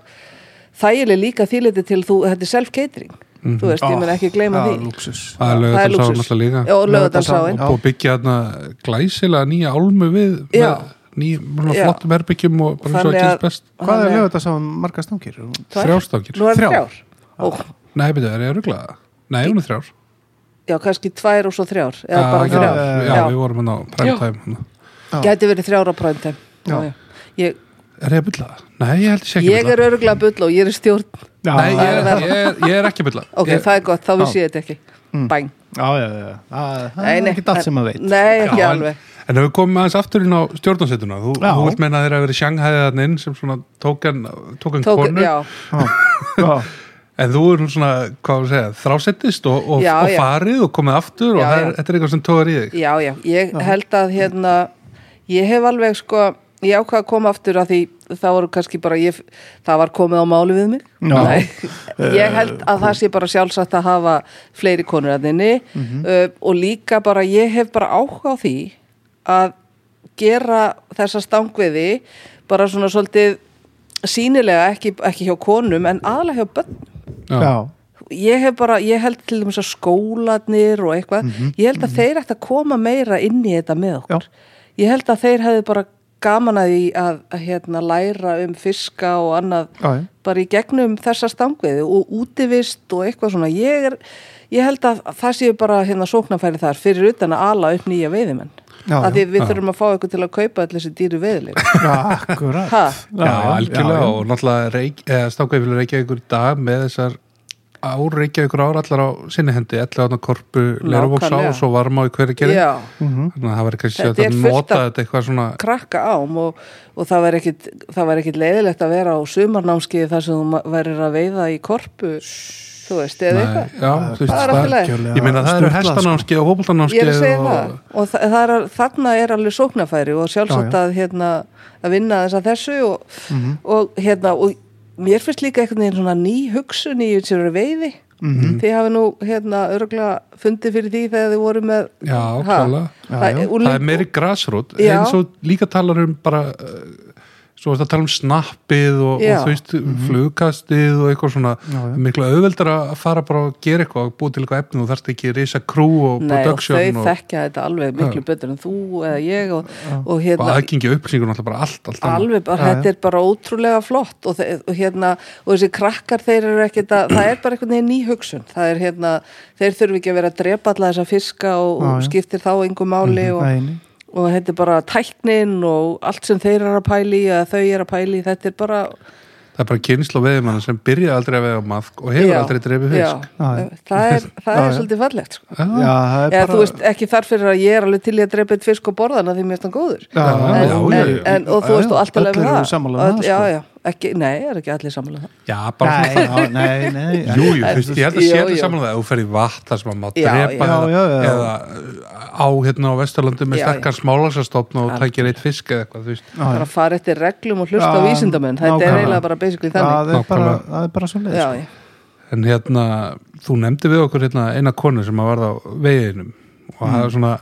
C: þægileg líka þýliti til þú, þetta er self-catering
B: Mhm.
C: þú veist, ég menn ekki gleyma því
A: lúksus.
B: Það er lögðardansá
C: lúxus.
B: náttúrulega líka.
C: Já, og lögadalsáin
A: Já.
B: og byggja þarna glæsilega nýja álmu við
C: Já.
B: með nýjum
C: Já.
B: flottum herbyggjum og bara eins og að
C: Þannig að-
B: gerst best
A: Hvað er lögut að sá um marga stangir?
B: þrjárstangir,
C: Nú er
A: Þrjár.
C: þrjár Ó,
B: nei betur, er ég ruglaða? Nei, hún er þrjár
C: Já, kannski tvær og svo þrjár eða
B: Ah,
C: bara
B: já, já,
C: þrjár Já.
B: við vorum hann á prime
C: Já.
B: time hérna. hana.
C: Gæti verið þrjár á primetime Já,
A: Já.
C: já. Ég,
B: Er ég að bylla það? Nei, ég held ég sé ekki
C: ég
B: að
C: er örgulega bull og ég er í stjórn
A: Já,
B: Nei, ég
A: já,
B: er, ég er, ég er ekki að bylla
C: Ok,
B: ég, Mm.
C: það er gott, þá vissi ég þetta ekki Bæn
A: já, já. Það það er Ah, ekki allt sem að veit.
C: Nei, ekki
B: Já, en-
C: alveg
B: En ef við komum aðeins aftur inn á stjórnansettuna Þú,
A: Já.
B: þú vilt meina að þeirra að vera sjanghæðið þarna inn sem svona tók en, tók en
C: Tók,
B: konu
C: já,
A: Já, já.
B: En þú er nú svona, hvað á að segja, þrásettist og, og,
C: Já,
B: og
C: já.
B: farið og komið aftur og
C: Já,
B: það er,
C: já.
B: þetta er eitthvað sem tóðar í þig
C: Já, já, ég held að hérna, ég hef alveg sko, ég ákvað að koma aftur að því það voru kannski bara, ég, það var komið á máli við mig.
A: Já.
C: (laughs) ég held að það sé bara sjálfsagt að hafa fleiri konur að þinni
A: Mhm.
C: uh, og líka bara, ég hef bara áhuga á því að gera þessa stangviði bara svona svolítið sínilega, ekki, ekki hjá konum en aðlega hjá börnum
A: Já,
C: ég hef bara, ég held til dæmis að skólanir og eitthvað,
A: Mhm,
C: ég held að þeir ætti að koma meira inn í þetta með okkur ég held að þeir hefði bara gaman að því að, að hérna, læra um fiska og annað
A: Já, já.
C: bara í gegnum þessa stangviði og útivist og eitthvað svona ég, er, ég held að það séu bara hérna sóknarfæri þar fyrir utan að ala upp nýja veiðimenn
A: Já,
C: að
A: já.
C: því við þurfum að fá eitthvað til að kaupa allir þessi dýru veiðileg
A: já, akkurat.
C: Ha?
B: Já, algjörlega og náttúrulega reik, eða, stákaði reykja ykkur í dag með þessar ár reykja ykkur ár allar á sinni hendi, allar á korpu leirvóksá
C: Nákvæmlega.
B: og svo varma á í hverju gerði
C: Já.
B: þannig að það var kannski
C: Þetta
B: þetta
C: er
B: að
C: fullt
B: nota
C: af-
B: þetta eitthvað svona
C: krakka ám og, og það var ekkit það var ekkit leiðilegt að vera á sumarnámskið þar sem þú ma- værir að veiða í korpu þú veist, eða
B: Nei,
C: eitthvað
B: já, þú veist,
C: Það er allt í lagi.
B: ég meina það eru hestanámski og
C: sko. ég er að
B: hópultanámski
C: segja það
B: og
C: og þa það er, að- þarna er alveg sóknarfæri og sjálfsagt að, hérna, að vinna þess að þessu og, og hérna og mér finnst líka einhvern veginn svona ný hugsun í þessari veiði þið hafi nú hérna örgla fundið fyrir því þegar þið voru með
B: Já,
C: Ha?
B: klárlega.
A: Já,
C: Það-
A: já.
C: ungling-
B: það er meiri grassrút
C: Já.
B: eins og líka talar um bara eh, svo varst að tala um snappið og,
C: Já. Mhm.
B: og þú veist, flugkastið og eitthvað svona,
A: já.
B: miklu auðveldar að fara bara og gera eitthvað og búa til eitthvað efni og þarft ekki risa krú og
C: Nei, og
B: production
C: þau
B: og,
C: þekkja þetta alveg miklu betur en þú eða ég og, og hérna
B: og aðgengi upplýsingur náttúrulega bara allt, allt annað.
C: alveg bara, þetta er bara ótrúlega flott og, þe- og hérna, og þessi krakkar þeir eru ekkert að, það er bara einhvern veginn ný hugsun það er hérna, þeir þurfi ekki að vera að drepa alla þessa fiska
A: Já,
C: og, og
A: já. Mhm,
C: skiptir þá engu máli
A: Nei,
C: og,
A: nei.
C: og þetta er bara tæknin og allt sem þeir eru að pæli eða þau eru að pæli, þetta er bara
B: það er bara kynslu og veðimann sem byrja aldrei að veða maðk og hefur
C: já,
B: aldrei dreifið
C: já.
A: Já,
B: fisk
A: já. (laughs)
C: það er, það
A: Já,
C: er
A: já.
C: svolítið fallegt sko.
B: Já.
A: Já, það er
C: eða þú
A: bara...
C: veist, ekki þar fyrir að ég er alveg til í að drepa eitt fisk og borða hana því mér er þann góður
A: Já,
C: en,
B: já,
C: en,
B: já.
C: en, og
A: Já,
C: þú
A: já.
C: veist, og allt alveg
A: Öll eru
C: það,
A: sammála um
C: Öll-
A: það,
C: já,
A: sko.
C: já, ekki, nei, er ekki allir sammála um það
B: já, bara
A: Nei,
B: svona
A: já, nei, nei.
B: Jú, jú, þú veist, ég held að sé
C: Jú,
B: þetta
C: jú.
B: saman að það ef þú fer í vatn þar sem að má
C: Já,
B: drepa
A: já.
B: eða-
A: Já, já, já.
B: eða á hérna á Vesturlandi með
C: Já,
B: sterkar smálagsastofn og tækir eitt fisk eða eitthvað, þú veist
A: Já, já.
C: bara fara eftir reglum og hlusta
A: Já,
C: á vísindamenn þetta er
A: nákvæmlega.
C: eiginlega bara basically
A: Það
C: þannig
A: er bara,
B: Nákvæmlega.
A: það er bara svo leið.
C: já,
A: sko.
C: já.
B: en hérna, þú nefndi við okkur hérna eina konu sem að varða á veginum og það er svona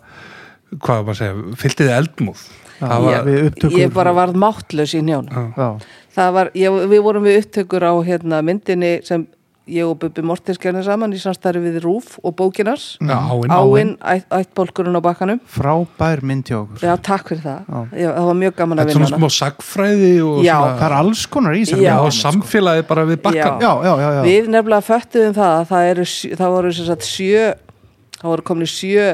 B: hvað var maður að segja, fylltið eldmúð það
A: Já,
B: var,
A: við upptökum-
C: ég bara varð máttlaus í njón
A: Já,
C: var, ég, við vorum við upptökur á hérna, myndinni sem ég og Bubi Mortens gerðum saman í samstæri við Rúf og Bókinars
B: Já, áin,
C: Áinn, ætt, ættbólkurinn á bakkanum
A: frábær mynd hjá okkur
C: Já, takk fyrir það, já. það var mjög
B: Þetta
C: gaman að
B: er
C: vinna
B: svona
C: hana
B: smá sagfræði og
C: Já.
A: það
B: svona
A: er alls konar í sér
C: Já.
B: og samfélagi bara við bakkan.
A: sko. já, já, já, já.
C: Við nefnilega föttuðum það að það, eru, sjö- það voru sem sagt sjö það voru komni sjö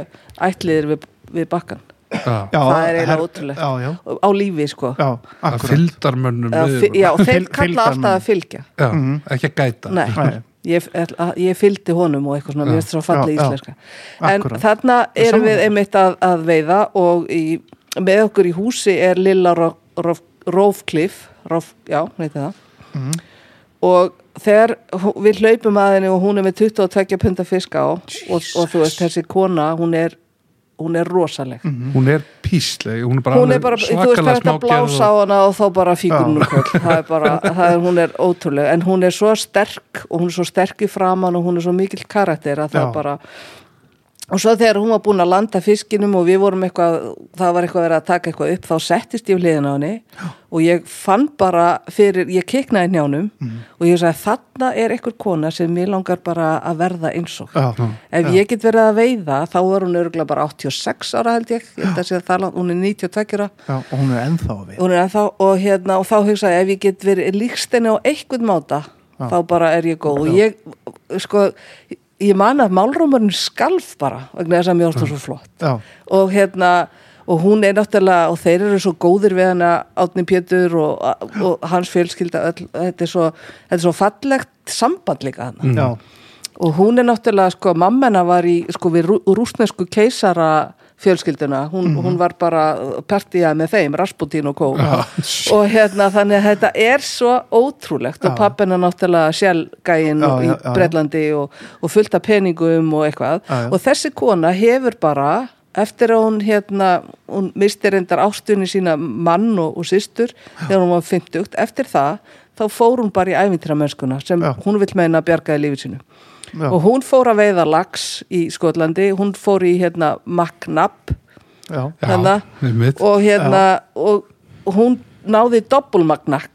C: ætliðir við, við bakkan
B: Já.
A: já,
C: það er eiginlega
A: her-
C: ótrúlegt.
A: já, já,
C: á lífi sko
A: já,
B: Að
A: akkurat
B: fylgdar mönnum
C: Eða
B: við.
C: fi-
A: (laughs)
C: Já, þeir
A: Fylg-
C: kalla
A: fylgdarmenn.
C: alltaf að fylgja
B: Já, Ekki að gæta.
C: Nei,
A: Nei.
C: Ég, ætla- ég fylgdi honum og eitthvað svona mér finnst það svo
A: Já, já.
C: falli íslenska en
A: Akkúrat.
C: þarna
A: Ég
C: erum við
A: sammála.
C: einmitt að, að veiða og í, með okkur í húsi er Lilla Ro- Rof- Rófklif Róf, já, neyti það
A: Mhm.
C: og þegar hú- við hlaupum að henni og hún er með 22 punda fiska á og, og þú veist, þessi kona hún er, hún er rosaleg
B: Hún er písleg, hún er bara,
C: Mhm. hún er
B: alveg
C: bara, þú veist, það
B: svakalega
C: er þetta að
B: smágerð
C: blása á
B: og-
C: hana og þá bara fíkunum kvöld það er bara, það er, hún er ótrúlega en hún er svo sterk og hún er svo sterk í framann og hún er svo mikill karakter að það
A: Já.
C: bara og svo þegar hún var búin að landa fiskinum og við vorum eitthvað, það var eitthvað verið að taka eitthvað upp þá settist ég hliðin á henni og ég fann bara fyrir, ég kiknaði njánum mm. og ég sagði þarna er einhver kona sem mér langar bara að verða eins og
A: Já.
C: Ef ég get verið að veiða, þá er hún örgulega bara 86 ára held ég, ég held að sé að það, langt- hún er 92 ára,
A: Já, og hún er ennþá að við
C: hún er ennþá, og hérna, og þá hugsaði, ég, ef ég get verið líkst henni á einhvern máta, þá bara er ég góð, og ég, sko, ég man að málrómurinn skalf bara, vegna þess að mér ástu svo flott,
A: Já.
C: og hérna, og hún er náttúrulega, og þeir eru svo góðir við hana, Átni Pétur og, og hans fjölskylda, öll, þetta er svo, þetta er svo fallegt samband líka hana
A: já,
B: Mm.
C: og hún er náttúrulega sko, mammena var í sko við rú, rúsnesku keisara fjölskylduna, hún,
A: Mhm.
C: hún var bara partíjað með þeim, Rasputin og Kó
B: (laughs)
C: og hérna þannig að þetta er svo ótrúlegt og pappina náttúrulega sjálfgæin
A: Já,
C: í
A: já, já.
C: Bretlandi og, og fullt af peningum og eitthvað
A: Já, já.
C: og þessi kona hefur bara eftir að hún hérna hún misti reyndar ástunni sína mann og, og systur þegar hún var 50 eftir það þá fór hún bara í æfintramennskuna sem
A: Já.
C: hún vill meina að bjargaði lífið sínu
A: já,
C: og hún fór að veiða lax í Skotlandi, hún fór í hérna McNabb
A: já,
B: Já,
C: hérna,
B: einmitt.
C: og hérna og hún náði doppulmagnapp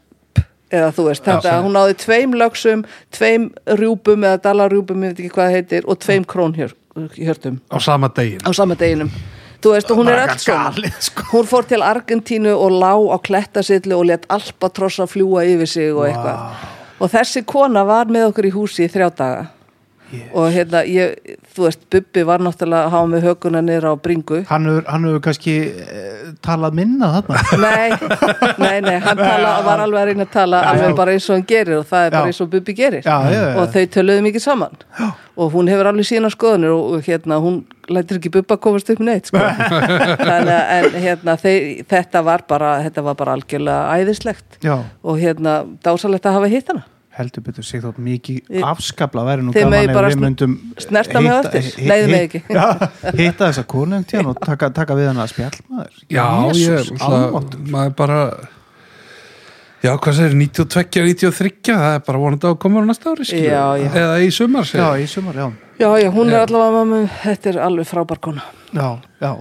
C: eða þú veist, þetta, hún náði tveim lögsum, tveim rjúpum eða dalarjúpum, ég veit ekki hvað það heitir og tveim krónhjörtum
B: Á sama degin.
C: á sama deginum þú veist, og hún er
A: Bara
C: öll svona
A: galið, sko.
C: hún fór til Argentínu og lá á klettasillu og let albatrossa fljúa yfir sig og eitthvað og þessi kona var með okkur í húsi í þrjá daga og hérna, ég, þú veist, Bubbi var náttúrulega að hafa með höguna niður á bringu
A: hann hefur, hann hefur kannski eh, talað minna
C: (laughs)
A: þarna
C: nei, nei, nei, hann tala, var alveg að reyna að tala alveg bara eins og hann gerir og það er
A: Já.
C: bara eins og Bubbi gerir
A: Já, já, já.
C: og þau töluðu mikið saman já. og hún hefur alveg sína skoðanir og, og hérna, hún lætur ekki Bubba komast upp neitt
A: (laughs)
C: sko. þannig að en, hérna, þau, þetta var bara þetta var bara algjörlega æðislegt
A: já,
C: og hérna, dásalegt að hafa hitt hana
A: heldur betur sig þótt mikið afskabla væri nú
C: Þið
A: gaman
C: megið
A: ef
C: bara
A: við
C: sn-
A: myndum
C: snerta mig á
A: hitta-
C: eftir.
A: hi-
C: Nei, þið
A: hi-
C: megið ekki.
A: Já, hitta þessa konung tíðan og taka, taka við hana að spjall maður
B: Já,
A: Jesus,
B: ég,
A: almáttugur.
B: það, maður bara, já, hvað segir, 92, 93, það er bara vonandi á komur næsta ári, skilur.
C: Já, já.
B: Eða í sumar,
A: já,
B: segir.
A: í sumar, já
C: já, já, hún er allavega mamma, þetta er alveg frábær kona
A: já, já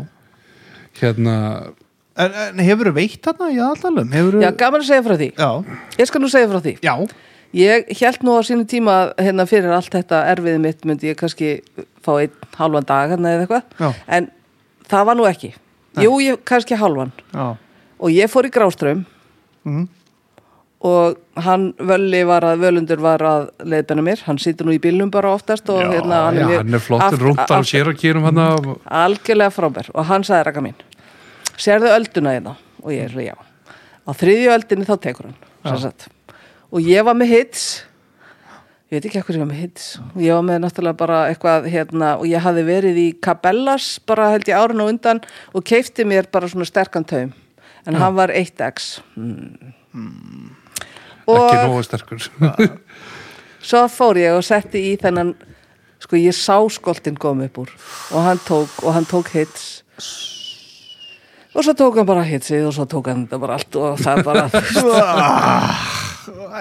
B: Hérna,
A: En, en hefur þú veitt þarna í aðalum? Hefur
C: já, gaman að segja frá því,
A: já,
C: ég skal nú segja frá því
A: já,
C: Ég held nú á sínu tíma að, hérna fyrir allt þetta erfiði mitt myndi ég kannski fá einn halvan dag hérna eða
A: Já.
C: eitthvað en það var nú ekki Jú, ég, kannski halvan
A: já.
C: og ég fór í Gráström
A: (laughs) Mhm.
C: og hann völli var að völundur var að leiðbenna mér hann situr nú í bílnum bara oftast og
B: já,
C: hérna
B: já,
C: mjög-
B: hann er flottur
C: aft-
B: rúnt á
C: aft-
B: sér að kýrum hann af.
C: Mm. algjörlega frábær og hann sagði raka mín sérðu ölduna þína og ég er svo já á þriðju öldinni þá tekur hann sem sagt. og ég var með hits ég veit ekki hvað ég var með hits ég var með náttúrulega bara eitthvað hérna, og ég hafði verið í Cabellas bara held ég árun og undan og keifti mér bara svona sterkan taum en hann var 1x mm.
B: Ekki nógu sterkur. (laughs)
C: Svo fór ég og setti í þennan sko ég sá skoltinn kom upp úr og hann tók, og hann tók hits og svo tók hann bara hitsið og svo tók hann þetta bara allt og það bara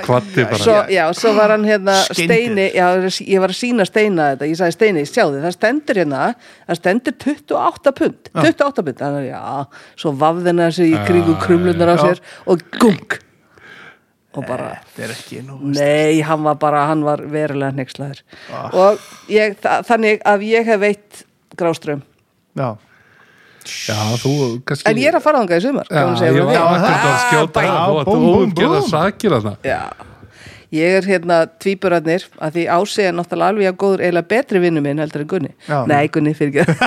B: Kvatti bara.
C: svo, já, svo var hann hérna
A: Skyndið.
C: steini, já, ég var að sína steina þetta ég sagði steini, sjáðu, það stendur hérna það stendur 28 pund 28 pund, þannig að já, svo vafðina þessi í kringu krumlunar á sér og gung og bara
A: þetta er ekki nú veist.
C: Nei, hann var bara, hann var verulega hneykslaður og ég, þa þannig að ég hef veitt gráströmm
A: já,
B: Já, þú kannski...
C: en ég er að um fara þangað í sumar
B: Já,
C: gaman að segja
B: ég
C: frá
B: var
C: því. Ah.
B: akkurat að skjóta
A: bæ.
B: það og
A: Búm,
B: þú
A: búm,
B: útgerða
A: búm.
B: sakir að það.
C: Já, ég er hérna tvíburarnir að því Ási er náttúrulega alveg að góður eiginlega betri vinnu minn heldur en Gunni
A: Já.
C: Nei, Gunni fyrir ekki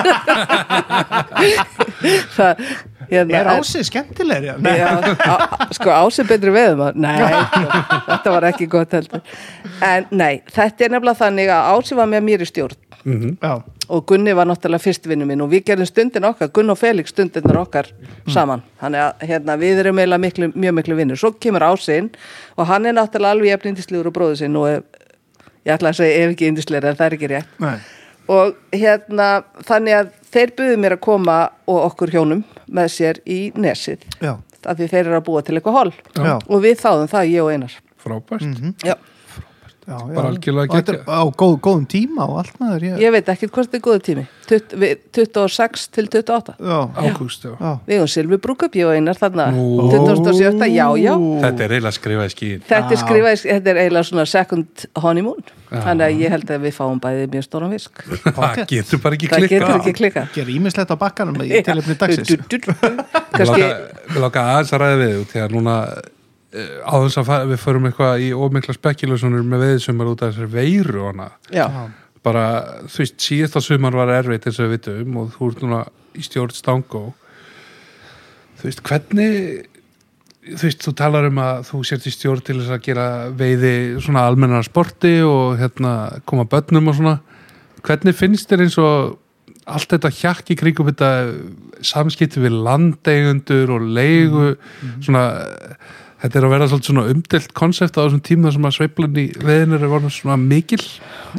C: Það, hérna
A: er ásið skemmtilegri já,
C: Já, á- sko Ási er betri veðum Nei, sko, þetta var ekki gott heldur En nei, þetta er nefnilega þannig að Ási var með mér í stjórn
A: já,
C: og Gunni var náttúrulega fyrstvinnu minn og við gerðum stundin okkar, Gunn og Felix stundinar okkar saman, þannig að hérna, við erum eiginlega miklu, mjög miklu vinnur svo kemur ásinn og hann er náttúrulega alveg jafn indislegur og bróðu sinn og ef, ég ætla að segja ef ekki indislegur en það er ekki rétt
A: nei,
C: og hérna þannig að þeir buðu mér að koma og okkur hjónum með sér í nesið
A: já,
C: af því þeir eru að búa til eitthvað hol
A: Já.
C: og við þáðum það, ég og Einar
B: Frábært.
C: Já.
A: já, já.
B: Bara algjörlega
A: Og þetta er á góð, góðum tíma og allt maður ég,
C: ég veit ekki hvort þetta er góðu tími Tutt, við, 26 til 28
A: já,
B: Ágúst, já.
A: já,
C: Við erum Silvi Brúkup, ég og Einar þarna
B: Nú.
C: 27. já, já
B: Þetta er eiginlega skrifað í skýn.
C: Þetta er skrifaði, þetta er eiginlega svona second honeymoon Þannig að ég held að við fáum bæði mjög stóran fisk
B: Það getur bara ekki
C: Það getur
B: klikkað.
C: ekki klikkað
A: gera ímislegt á bakkanum í tilöfni dagsins
C: Du- du- du- du.
B: Við
C: Kannski,
B: láka aðeins að ræða við þú, því að núna eh, áðans að fara, við förum eitthvað í ómikla spekjulásunir með veið sem er út af þessari veiru og hana.
C: já,
B: Bara, þú veist, síðasta sumar var erfitt eins og við vitum og þú ert núna í stjórn stangó. Þú veist, hvernig, þú veist, þú talar um að þú sért í stjórn til þess að gera veiði svona almennar sporti og hérna koma börnum og svona. Hvernig finnst þér eins og allt þetta hjakk í kringum þetta samskipti við landeigundur og leigu svona, þetta er að vera svolítið svona umdelt konsept á þessum tíma sem að sveiflan í veðinur er voru svona mikil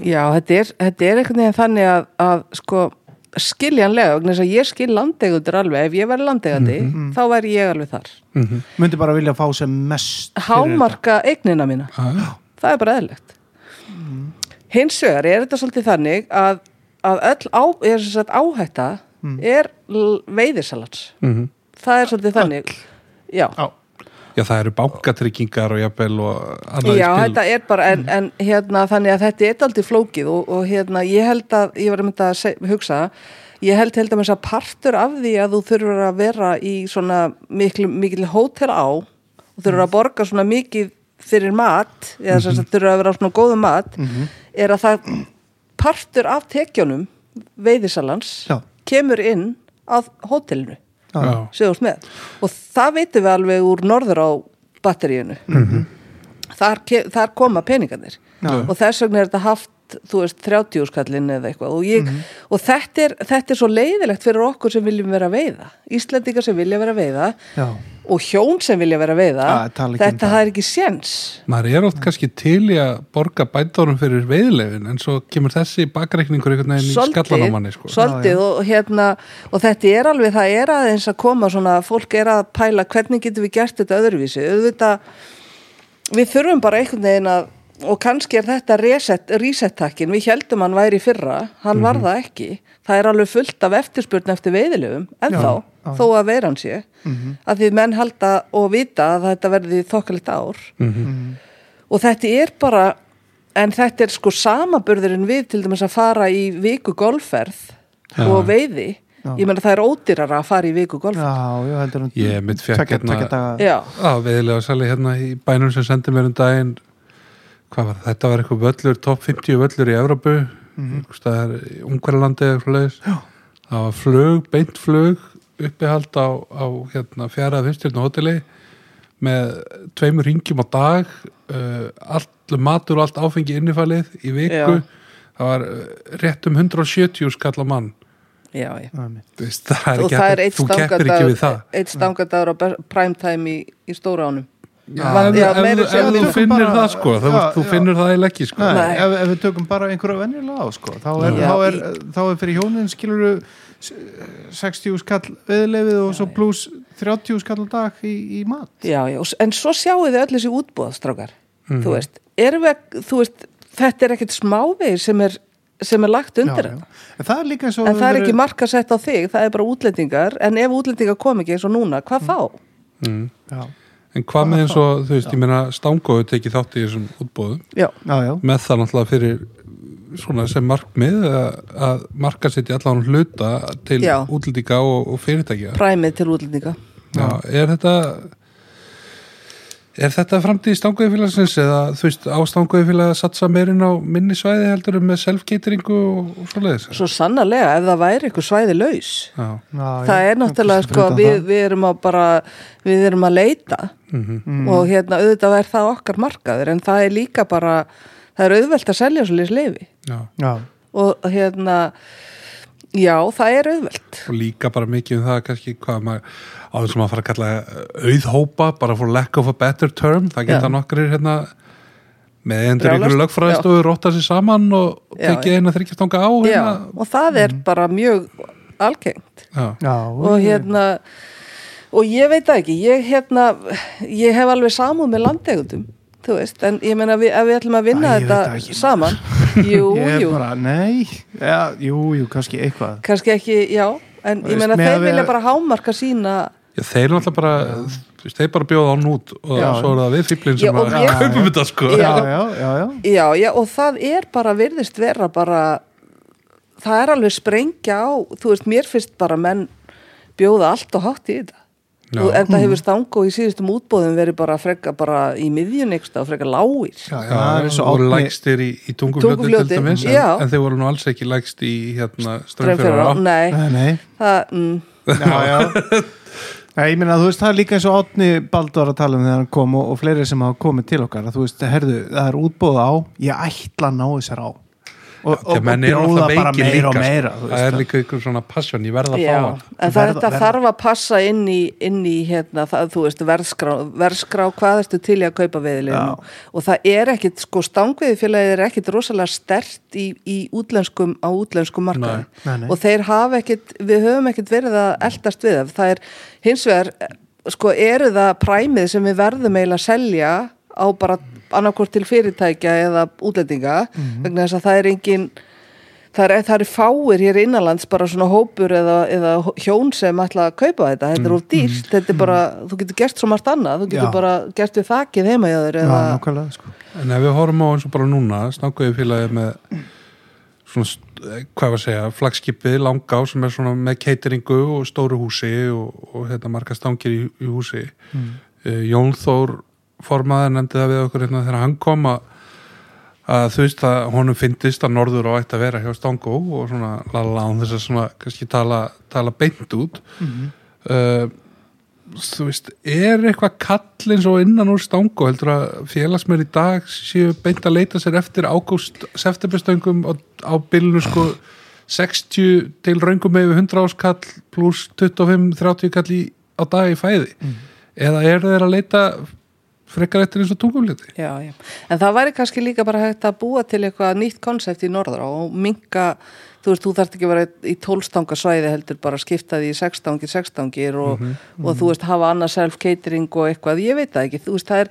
C: já þetta, er, þetta er einhvern veginn þannig að, að sko, skiljanlega vegna þess að ég skil landegundur alveg ef ég væri landegandi,
B: Mhm.
C: þá væri ég alveg þar
A: myndi bara vilja fá sem mest fyrir
C: hámarka eignina mína
B: ah.
C: það er bara eðlilegt hins vegar er þetta svolítið þannig að, að öll á, er, sem sagt, áhætta er l- veiðisalats
B: Mhm.
C: það er svolítið þannig já,
A: þetta.
B: já það eru bankatryggingar og jafnvel og annað
C: já
B: í spil
C: þetta er bara en, en hérna þannig að þetta er aldrei flókið og, og hérna ég held að ég var að mynda að seg, hugsa ég held held að mér að partur af því að þú þurfur að vera í svona mikil, mikil hótel á og þurfur að borga svona mikið fyrir mat eða þess að þurfur að vera á svona góðum mat
B: Mhm.
C: er að það partur af tekjunum veiðisalans
A: Já.
C: kemur inn að hótelinu
B: já.
C: segjast með og það veitum við alveg úr norður á batteríinu þar, ke- þar koma peningarnir
A: Mhm. Já.
C: og þess vegna er þetta haft þú veist 30 skallin eða eitthvað og, ég,
A: Mhm.
C: og þetta, er, þetta er svo leiðilegt fyrir okkur sem viljum vera að veiða Íslandingar sem vilja vera að veiða
A: Já.
C: og hjón sem vilja vera að veiða
A: Ja, tala ekki um
C: þetta
A: það.
C: það er ekki séns
B: maður er oft kannski til í að borga bændórum fyrir veiðlefin en svo kemur þessi bakreikningur einhvern veginn í skallan á manni sko.
C: svolítið og hérna og þetta er alveg, það er aðeins að koma svona, fólk er að pæla hvernig getum við gert þetta öðruvísi, auðvitað við þurfum bara einhvern veginn að og kannski er þetta reset, reset-takkin við heldum hann væri í fyrra, hann
B: Mhm.
C: var það ekki það er alveg fullt af eftirspurn eftir veiðilöfum, en þá þó að veiran sé,
B: Mhm.
C: að því menn halda og vita að þetta verði þokkalitt ár og þetta er bara en þetta er sko samaburðurinn við til dæmis að fara í viku golfferð og veiði ég meina það er ódýrara að fara í viku golfferð
A: já, já, heldur en
B: Ég mitt fékk
A: tvekja-
B: hérna-
A: tvekja daga-
C: já,
B: að veðilega sali hérna í bænum sem sendi mér um daginn hvað var það? þetta var eitthvað völlur, top 50 völlur í Evrópu einhvers staðar í Ungverjalandi eða eitthvað leiðis það var flug, beint flug uppihald á, á hérna, fjara fimmstjörnu hóteli með tveimur ringjum á dag uh, allt matur og allt áfengi innifalið í viku
C: Já.
B: það var uh, rétt um 170 skall á mann
C: já, já
A: Já, mitt.
B: Þú veist, það er
C: og
B: ekki
C: það er
B: hægt-
C: eitt
B: þú keppir ekki við það
C: stangadagur eitt stangadagur á be- primetime í, í stóra ánum
B: Já, ef,
C: já,
B: ef,
C: meira
B: ef,
C: að segja
B: þú
A: við-
B: finnir
A: bara-
B: það sko þú,
A: Já,
B: þú
A: já.
B: finnir það eiginlega ekki sko
A: Nei,
C: Nei.
A: Ef, ef við tökum bara einhverja venjulega á sko, þá, er,
C: Já.
A: þá, er, þá er fyrir hjónin skiluru 60 skall viðlefið og svo pluss 30 skall á dag í, í mat
C: Já, já, og s- en svo sjáu þið öll þessi útbúðastrákar,
B: Mhm.
C: þú veist, erum við, að- þú veist, þetta er ekkert smávegir sem er, sem er lagt
A: já,
C: undir
A: já.
C: þetta.
A: En það er líka eins og
C: En það er
A: verið-
C: ekki marka sett
A: Mm.
C: á þig, það er bara útlendingar, en ef útlendingar kom ekki eins og núna, hvað þá?
A: Já.
B: Mm. En hvað með eins og, þú veist, ég meina stangóðu tekið þátt í þessum útbóðum
C: já,
A: já, já,
B: með það náttúrulega fyrir svona sem markmið að- að marka sitt í allan hluta til
C: Já.
B: útlendinga og, og fyrirtækja
C: præmið til útlendinga
B: Já, er þetta er þetta framtíð stanguðfélagsins eða þú veist á stanguðfélag að satsa meirinn á minni svæði heldur en með self-cateringu og, og svoleiðis
C: svo sannarlega ef það væri eitthvað svæði laus
B: Já,
A: já
C: það
A: já.
C: er náttúrulega
A: Fyrir
C: sko
A: utan
C: við,
A: það. Mhm.
C: við erum að bara við erum að leita og hérna auðvitað er það okkar markaður en það er líka bara það er auðvelt að selja svo lýs lifi
B: já
A: já,
C: og hérna já, það er auðvelt
B: og líka bara mikið um það kannski hvað maður áður sem að fara að kalla eh, auðhópa, bara for lack of a better term það
C: Já.
B: geta nokkrir hérna með endur
C: Brjálast,
B: ykkur lögfræðist og rotta sér saman og
C: Já,
B: tekið eina þryggjastanga á
C: já,
B: hérna.
C: og það
A: Mhm.
C: er bara mjög algengt
B: Já.
A: já,
C: og hérna og ég veit það ekki, ég hérna ég hef alveg samúð með landegundum þú veist, en ég meina við, ef við ætlum að vinna
A: Æ, ég veit það
C: þetta
A: ekki. (laughs)
C: saman jú,
A: ég er
C: jú,
A: bara, nei já, jú, jú, kannski eitthvað
C: kannski ekki, já en
A: Þú
C: ég
A: veist,
C: meina
A: með
C: þeir
A: að við-
C: vilja bara hámarka sína
B: Já, þeir náttúrulega bara þú veist, þeir bara bjóða án út og
A: Já.
B: svo er það við fýblin
C: Já,
B: sem
C: og
B: að
C: ég-
B: kaupum þetta sko
A: já, já, já, já,
C: já, já, og það er bara virðist vera bara það er alveg sprengja á þú veist, mér finnst bara menn bjóða allt og hátt í þetta
B: Já.
C: og
A: Mhm.
C: en það hefur stangó í síðustum útbóðum verið bara freka bara í miðjun eitthvað og freka lágir
A: já, já, það er
B: Já,
A: eins
B: og
A: og
B: voru
A: átni
B: lægstir í, í tungufljóti til
C: Tungufljóti,
B: dæmis en,
C: já.
B: en þeir voru nú alls ekki lægst í hérna
C: Straumfjörður á,
B: strömmfjörður
C: nei,
A: nei, nei
C: það, mm,
A: já, (laughs) já Nei, ég meina, þú veist, það er líka eins og Átni Baldur að tala um þegar hann kom og, og fleiri sem hafa komið til okkar, að þú veist, herðu, það er útbóð á, ég ætla að ná þessar á og, og, og bjóða bara meira og meira þú
B: sko. það er
A: veist,
B: líka ykkur svona passion, ég verða að fá
C: já,
B: hann
C: en það,
A: Verð-
C: þetta
A: verð-
C: þarf að passa inn í, inn í hérna, það, þú veist, verðskrá, verðskrá hvað ertu til í að kaupa
A: Já.
C: veðileginu og það er ekkit, sko, stangveðifélagið er ekkit rosalega stert í, í útlenskum, á útlenskum markaði
A: Nei, nei.
C: og þeir hafa ekkit, við höfum ekkit verið að eldast við það, það er hins vegar, sko, eru það præmið sem við verðum eiginlega að selja á bara annarkvort til fyrirtækja eða útlendinga,
A: Mhm.
C: vegna þess að það er engin Það er, það er fáir hér innanlands bara svona hópur eða, eða hjón sem ætla að kaupa þetta, þetta er úr dýrt þetta er bara, þú getur gert svo margt annað þú getur
A: Mm, Já.
C: bara gert við þakið heima hjá þér
A: Já,
C: eða,
A: nákvæmlega, sko
B: En ef við horfum á eins og bara núna, snákuðið félagið með svona, st- eh, hvað var að segja, flagskipið, langá sem er svona með cateringu og stóru húsi og, og hérna marga stangir í, í húsi. Mm. Jón Þór formaður nefndi það við okkur hérna þegar hann kom að að þú veist að honum fyndist að norður á ætti að vera hjá Stangó og svona lala án þess að svona kannski tala, tala beint út uh, þú veist, er eitthvað kall eins og innan úr Stangó heldur að félagsmeir í dag séu beint að leita sér eftir ágúst septemberstöngum á, á bylunu sko 60 til raungum með 100 áskall pluss 25-30 kall í, á dag í fæði
A: Mm.
B: eða eru þeir að leita frekar eftir eins og tungumliti
C: já, já. en það væri kannski líka bara hægt að búa til eitthvað nýtt konsept í norðra og minka, þú veist, þú þarft ekki að vera í tólstangasvæði heldur bara skipta því í sextangir, sextangir og,
A: Mhm,
C: og þú veist, hafa annað self-catering og eitthvað, ég veit það ekki, þú veist, það er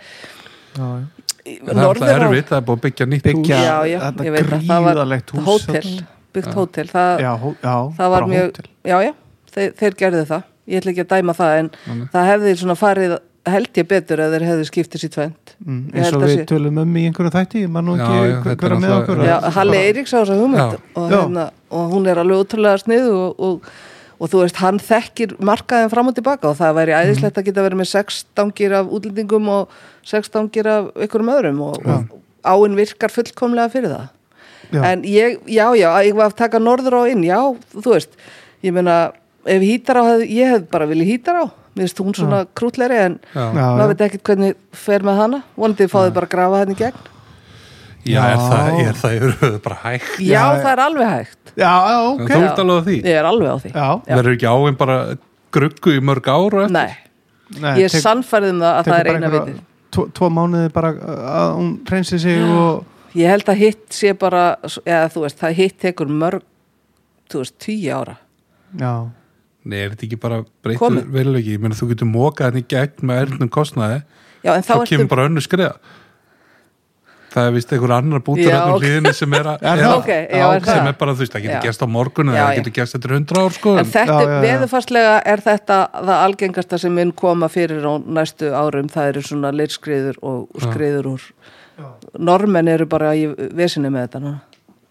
A: já, já.
B: Það er alltaf erfitt, það er búið að byggja nýtt
A: Byggja-
B: hús.
C: já, já,
A: Þetta
C: ég veit að það var
A: gríðarlegt hús
C: hótel,
A: þarna.
C: byggt hótel það,
A: Já, hó- já,
C: það var
A: bara
C: mjög
A: hótel.
C: já, já, þeir, þeir gerðu það ég ætla ekki að dæma það en það hefði svona farið held ég betur að þeir hefði skiptið sér tvend
A: Mm, eins og við tölum um í einhverjum þætti ég man nú
B: Já,
A: ekki
B: já,
A: hver-
B: þetta er
A: hver að með
B: náttúrulega-
A: okkur
C: já,
A: Þetta er
C: Halli
A: bara-
C: Eiríks á þessa hugmynd og,
A: Já.
C: hérna, og hún er alveg útrúlega snið og, og, og þú veist, hann þekkir markaðin fram og tilbaka og það væri æðislegt að geta verið með sex stangir af útlendingum og sex stangir af ykkurum öðrum og, og áinn virkar fullkomlega fyrir það
A: Já.
C: en ég, já, já, að ég var að taka norður á inn, já, þú veist ég meina, ef hýtar á hefði, ég hef bara viljað hýtar á, mér finnst hún svona krútleiri en
B: Já.
A: Já, já.
C: maður veit ekkert hvernig fer með hana, vonandi fá þau bara að grafa henni í gegn
B: Já, er
A: Já.
B: það, er það yfir bara hægt?
C: já, það er alveg hægt
A: já, já, ok
B: Þú ert alveg að því?
C: ég er alveg á því
A: já,
C: Já.
B: Það eru ekki áin bara gruggu í mörg ár og eftir?
C: Nei,
A: nei,
C: ég er
A: tek-
C: sannfærð um það að það
A: tekur
C: er
A: bara
C: eina
A: einhverja
C: vitið
A: tvo- tvo mánuði bara uh, að hún reynsi sig og
C: ég held að hitt sé bara eða þú veist, það hitt tekur mörg þú veist, tíu ára
A: já,
B: Nei, er þetta ekki bara breytur
C: Komið.
B: veruleiki? Ég meina, þú getur mókað henni gegn með erðnum kostnaði
C: já, en þá
B: þá
C: ertu,
B: kemur bara önnu skriða það er vist einhver annar bútur
C: Já,
B: hérna um
C: ok.
B: hliðinni sem
C: (laughs)
B: er, að,
A: Er
B: já,
A: það?
C: Ok, já, er
B: sem
C: það?
B: er bara þú veist, það
C: Já.
B: getur gerst á morgun
C: Já,
B: eða það
C: já.
B: getur gerst eftir hundra ár sko
C: En þetta,
A: já, já, já.
C: veðurfarslega er þetta það algengasta sem mun koma fyrir á næstu árum, það eru svona leirskriður og skriður úr normenn eru bara í vesinu með þetta núna.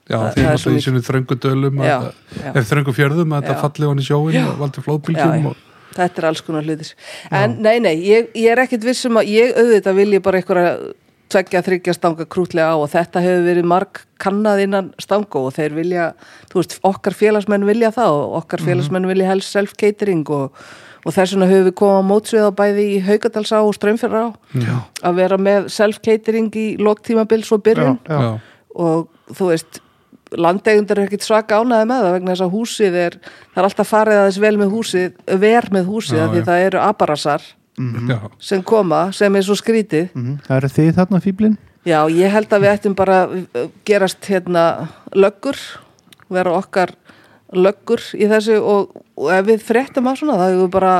B: já,
C: það-
B: því
C: það er
B: að
C: svo
B: það í
C: mikið.
B: sinni þröngu dölum
C: Já,
B: að,
C: já.
B: ef þröngu fjörðum að
C: Já.
B: þetta falli hann í sjóin og valdi
C: Já, já.
B: flóðbylgjum og
C: Þetta er alls konar hlutis. En nei, nei, ég, ég er ekkit vissum að ég auðvitað vil ég bara einhverja tveggja, þryggja stanga krútlega á og þetta hefur verið marg kannað innan stanga og þeir vilja, þú veist, okkar félagsmenn vilja það og okkar félagsmenn vilja helst self-catering og, og þess vegna höfum við komað á mótsvið á bæði í Haukadalsá og Strömfjörðará að vera með self-catering í loktímabils og byrjun
A: Já.
B: já,
C: og þú veist landeigundur er ekkit svaka ánaði með það vegna þess að húsið er, það er alltaf farið aðeins vel með húsið, ver með húsið
B: Já,
C: af því
B: já.
C: það eru aparasar
B: já,
C: sem koma, sem er svo skrítið
A: Mhm. Það eru þið þarna fýblin
C: já, ég held að við ættum bara uh, gerast hérna löggur vera okkar löggur í þessu og, og ef við fréttum að svona, þá hefur við bara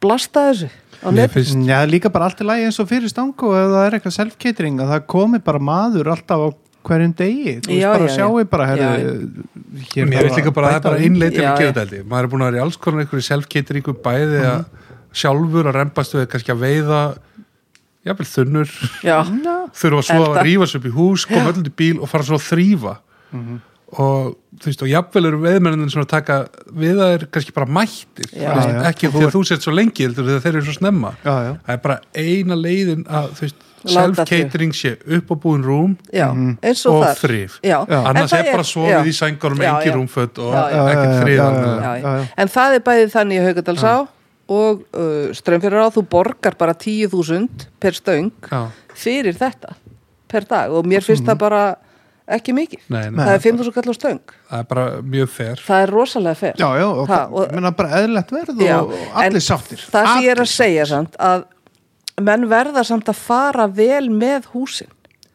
C: blasta þessu á
B: mér
C: net
B: finnst
A: Mm, Já, það er líka bara allt í lagi eins og fyrir stangu ef það er eitthvað self-catering að það komi bara maður alltaf á hverjum degi þú veist
C: Já,
A: bara
C: já, já.
A: sjáu bara herri,
C: Já,
A: hér
B: Mér
A: þarf
B: veist líka bara að það er
A: bæta
B: bara
A: við.
B: innleitir
C: Já,
B: með
C: já. Mhm.
B: geðdældi. Maður er búin að vera í alls konar einhverju self-cateríku bæði að sjálfur að rempast við kannski að veiða jafnvel
C: (laughs)
B: þunnur,
C: já,
B: þurfa svo að
C: Elda.
B: rífa sig upp í hús, koma öllum til bíl og fara svo að þrýfa.
C: Mhm.
B: Og þú veist, og jafnvel eru veiðmennin sem eru að taka við það er kannski bara mættir.
C: Já.
B: Þú veist,
A: Já, já.
B: Ekki því að þú sett svo lengi, heldur þegar þeir eru svo snemma.
A: Já, já.
B: Það er bara eina leiðin að, þú veist,
C: Láta þau.
B: self-catering sé upp á búin rúm
C: já, eins og,
B: Mm. og
C: þar
B: þrif
C: já. En
B: annars
C: það
B: er bara
C: já.
B: sofið í sængarum
C: Já,
B: engi
C: já.
B: rúmföt og
C: Já, já.
B: ekkert
A: Já, já,
B: friðan
A: já,
B: eða-
C: já,
A: já, já.
C: já. en það er bæðið þannig í Haugadalsá og uh, strömmfyrir á þú borgar bara 10.000 per stöng
B: Já.
C: fyrir þetta per dag og
A: Mhm.
C: mér finnst það bara ekki mikið
B: Nei, nei.
C: það er 5.000 kallar stöng
B: það er bara mjög fer
C: það er rosalega fer
A: Já, já, og,
C: Ha,
A: það,
C: og-
A: menna bara eðlilegt verð
C: Já,
A: og, og allir
C: en
A: sáttir
C: það sem ég er að
A: Allir.
C: segja samt að menn verða samt að fara vel með húsin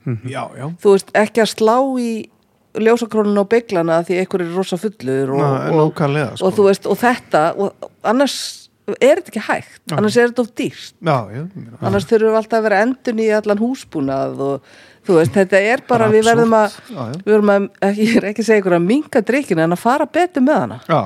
B: Mhm.
A: Já, já,
C: þú veist ekki að slá í ljósakrónun og bygglana því einhver er rosa fullur og,
A: Ná,
C: og,
A: nákvæmlega, sko.
C: og þú veist, og þetta og annars er þetta ekki hægt annars er þetta of dýrt
A: já, já ég meina.
C: annars þurfum við alltaf að vera endun í allan húsbúnað og þú veist, þetta er bara,
B: Bara
C: við verðum að,
A: Já, já.
C: við verðum að ég er ekki að segja ykkur að minka drikkina en að fara betur með
A: (laughs)
C: hana
A: Já,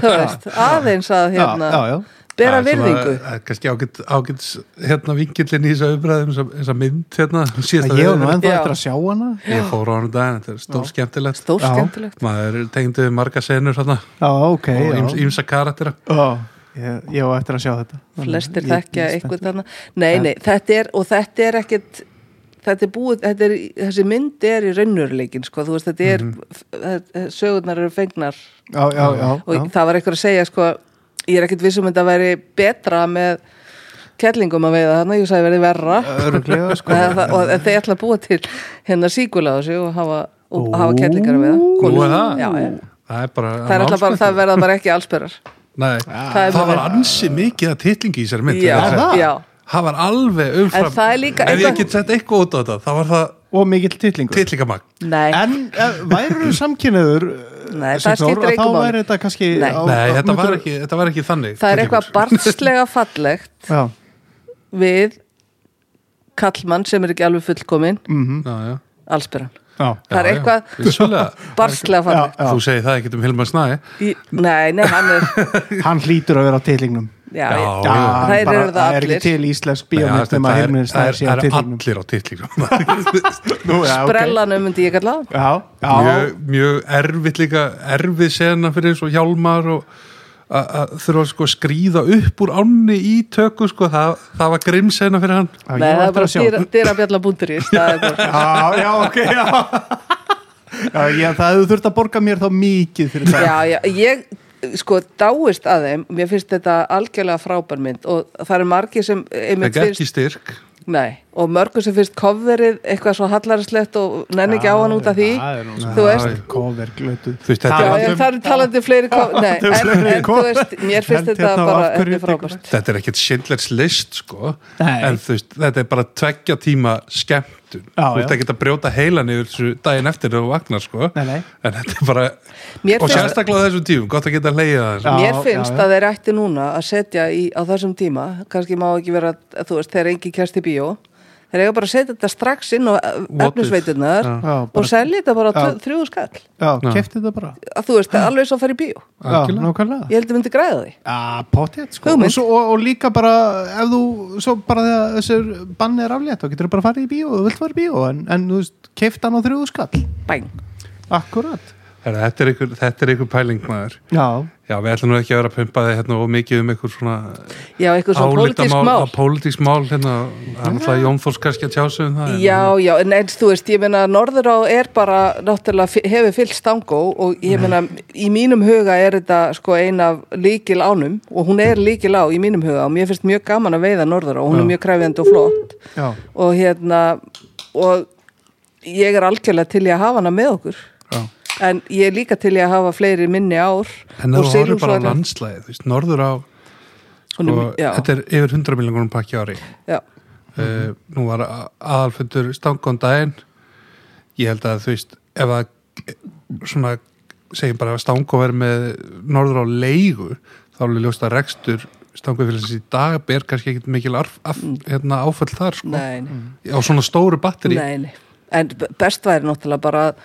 C: þú veist, aðeins að
A: Já,
C: hérna,
A: já, já.
C: bera
B: Það er svona-
C: virðingu
B: það er kannski ágætt, ágætt hérna vingillin í þess að umræðum þess að mynd hérna (laughs) síðasta
A: það ég er nú
B: veður.
A: ennþá
C: Já.
A: eftir að sjá hana
B: ég fór á hann um daginn, þetta er stór skemmtilegt
C: stór
A: Já.
C: skemmtilegt
B: maður tengdi við marga senur hérna
A: Já, ok,
B: og
A: já,
B: íms- ímsa karaktera
A: já. Ég, ég á eftir að sjá þetta
C: flestir
A: Ég-
C: þekkja
A: ég-
C: eitthvað annað nei, nei, þetta er, og þetta er ekkit þetta er búið, þetta er, þessi mynd er í raunurleikin, sko, þú veist, þetta er
A: Mhm.
C: sögurnar eru fengnar
A: Já, já, já,
C: og
A: já.
C: það var eitthvað að segja, sko ég er ekkit vissum að þetta væri betra með kettlingum að veiða þannig, ég sagði verið verra
A: Öruglega, sko
C: það, það, og þeir ætla að búa til hérna síkula á þessu og hafa, og hafa
A: Ó.
C: kettlingar að veiða
B: nú
C: Konur.
B: er það
C: já, já.
B: það er bara
C: það er alltaf bara, það verða bara ekki allsperrar
B: Nei,
C: Það er
B: það var
C: bara-
B: ansi mikið að titlingi í sér mynd
C: Já,
B: vil ég segja.
C: já.
B: það var alveg umfram
C: En það er líka
B: ef
C: eitthvað-
B: ég get sett eitthvað út á þetta, þá var það
A: Og mikill titlingur
B: titlingamagn
C: nei,
A: En uh, væru samkynniður
C: Nei, það skiptir
A: eh,
C: engu
A: Þá
C: máli.
A: væri þetta kannski
C: Nei.
A: á-
B: Nei,
A: á-
B: þetta var,
A: myndir-
B: ekki, þetta var ekki þannig
C: það er
B: titlingur.
C: eitthvað barnslega fallegt
A: Já,
C: við kallmann sem er ekki alveg fullkomin
B: Mhm. já, já.
C: allsbyrjan.
A: já,
C: Það er
B: Já, já,
C: eitthvað-
B: vissulega.
C: Barslega fallegt.
A: (laughs) Já.
B: Þú segir það ekkert um Hilmar Snæ
C: Í, nei, nei, hann er
A: hann hlýtur að vera á titlingnum
C: já,
B: Já,
C: já,
B: já.
A: hann
C: Þær
A: bara-
C: eru það
A: er ekki
C: allir.
A: til íslensk
B: Nei, já,
A: bíómynd
B: þetta
A: nema
B: er-
A: Hilmir
B: það
A: Snær
B: er-
A: sé á
B: það eru
A: titlingnum
B: allir á titlingum (laughs)
A: Nú, já, Ah, ok.
C: brellanum myndi ég kalla það.
A: Já, (laughs) já,
B: mjög, mjög erfitt líka erfið sena fyrir svo hjálmar og að- að þurfa sko að skríða upp úr ánni í tökum sko, það, það var grimm sena fyrir hann
A: já,
C: Nei,
A: ég
C: það
A: var
C: er
A: eftir
C: bara
A: að sjá
C: dyra- dyrabjallabúnduris það er
A: (laughs)
C: bara,
A: Já, já, ok, já (laughs) Já, já, það hefur þurft að borga mér þá mikið fyrir það
C: já, já, ég sko dáist að þeim, mér finnst þetta algjörlega frábær mynd og það eru margir sem eh, einmitt
B: það er ekki
C: fyrst,
B: styrk
C: nei, og mörgum sem finnst kofverið eitthvað svo hallarislegt og nenni ekki á hann út af því þú veist,
A: Cover glötu
B: Þú veist, þetta er
C: Já,
B: Talandi
C: já,
B: um-
C: það eru talandi um fleiri
A: (laughs)
C: kom...
A: um
C: Nei, en,
A: fleiri
C: en þú
A: kom-
C: veist, mér finnst
A: En
C: þetta
A: hérna,
C: bara,
A: af hverju
C: þetta er frábært.
B: þetta er ekkert Schindlers list sko
A: Nei.
B: en þú veist, þetta er bara tveggja tíma skemmtun,
A: Já,
B: þú veist
A: já.
B: ekki að brjóta heilan yfir þessu daginn eftir þegar þú vagnar sko
A: Nei, nei.
B: en þetta er bara og
C: Mér finnst-
B: sérstaklega á þessum tímum, gott að geta leiða það
A: Já,
C: Mér finnst
A: já, já.
C: að þeir ætti núna að setja í, á þessum tíma, kannski má ekki vera, þú veist, þeir er engi kerst í bíó, þeir eiga bara að setja þetta strax inn á
B: What if?
C: efnisveitunar
B: Já.
A: Já,
C: og
A: bara,
C: selja þetta bara á
A: Já.
C: þrjúðu skall
A: já
B: Já.
A: kefti þetta bara
C: að þú veist, alveg svo að fara í bíó
A: Já, nákvæmlega
C: ég held að myndi græða því
A: Já, potið, sko.
C: Hugmynd.
A: Og, svo, og, og líka bara, ef þú, svo bara þegar þessir banni er aflétt, þá getur þú bara farið í bíó, þú vilt fara í bíó, en, en þú veist, keift hann á þrjúðu skall.
C: Bæn.
A: Akkurat.
B: Herra, Þetta er ykkur, þetta er ykkur pæling maður.
A: Já,
B: Já, við ætlum nú ekki að vera að pumpa þig hérna og mikið um ykkur svona
C: Já, eitthvað svona pólitísk mál
B: pólitísk mál hérna, hann ætlaði Jón Þórs kannski að tjásu um það. en-
C: Já, já, en eins, þú veist, ég meina Norðurá er bara, náttúrulega fi- hefur fyllt stangó og ég meina í mínum huga er þetta sko ein af líkil ánum og hún er líkil á í mínum huga og mér finnst mjög gaman að veiða Norðurá og hún er mjög kræfjandi og flott
A: já,
C: og hérna og ég er algjörlega til ég að hafa hana með okkur
B: Já.
C: en ég er líka til ég að hafa fleiri minni ár
B: En það voru bara
C: silungsvagnar-
B: landslæði, þú veist, norður á,
C: Hún
B: sko,
C: er- já,
B: þetta er yfir 100 miljonum pakki á ári.
C: já,
B: Uh, nú var a- aðalfundur stangon daginn, ég held að þú veist, ef að svona, segjum bara að stango verið með norður á leigu, þá er alveg ljóst að rekstur stangofélagsins í dag ber kannski ekkit mikil arf, af,
C: Mm.
B: hérna, áföll þar, sko,
C: nei, nei
B: á svona stóru batteri.
C: Nei, nei. En b- best væri náttúrulega bara að-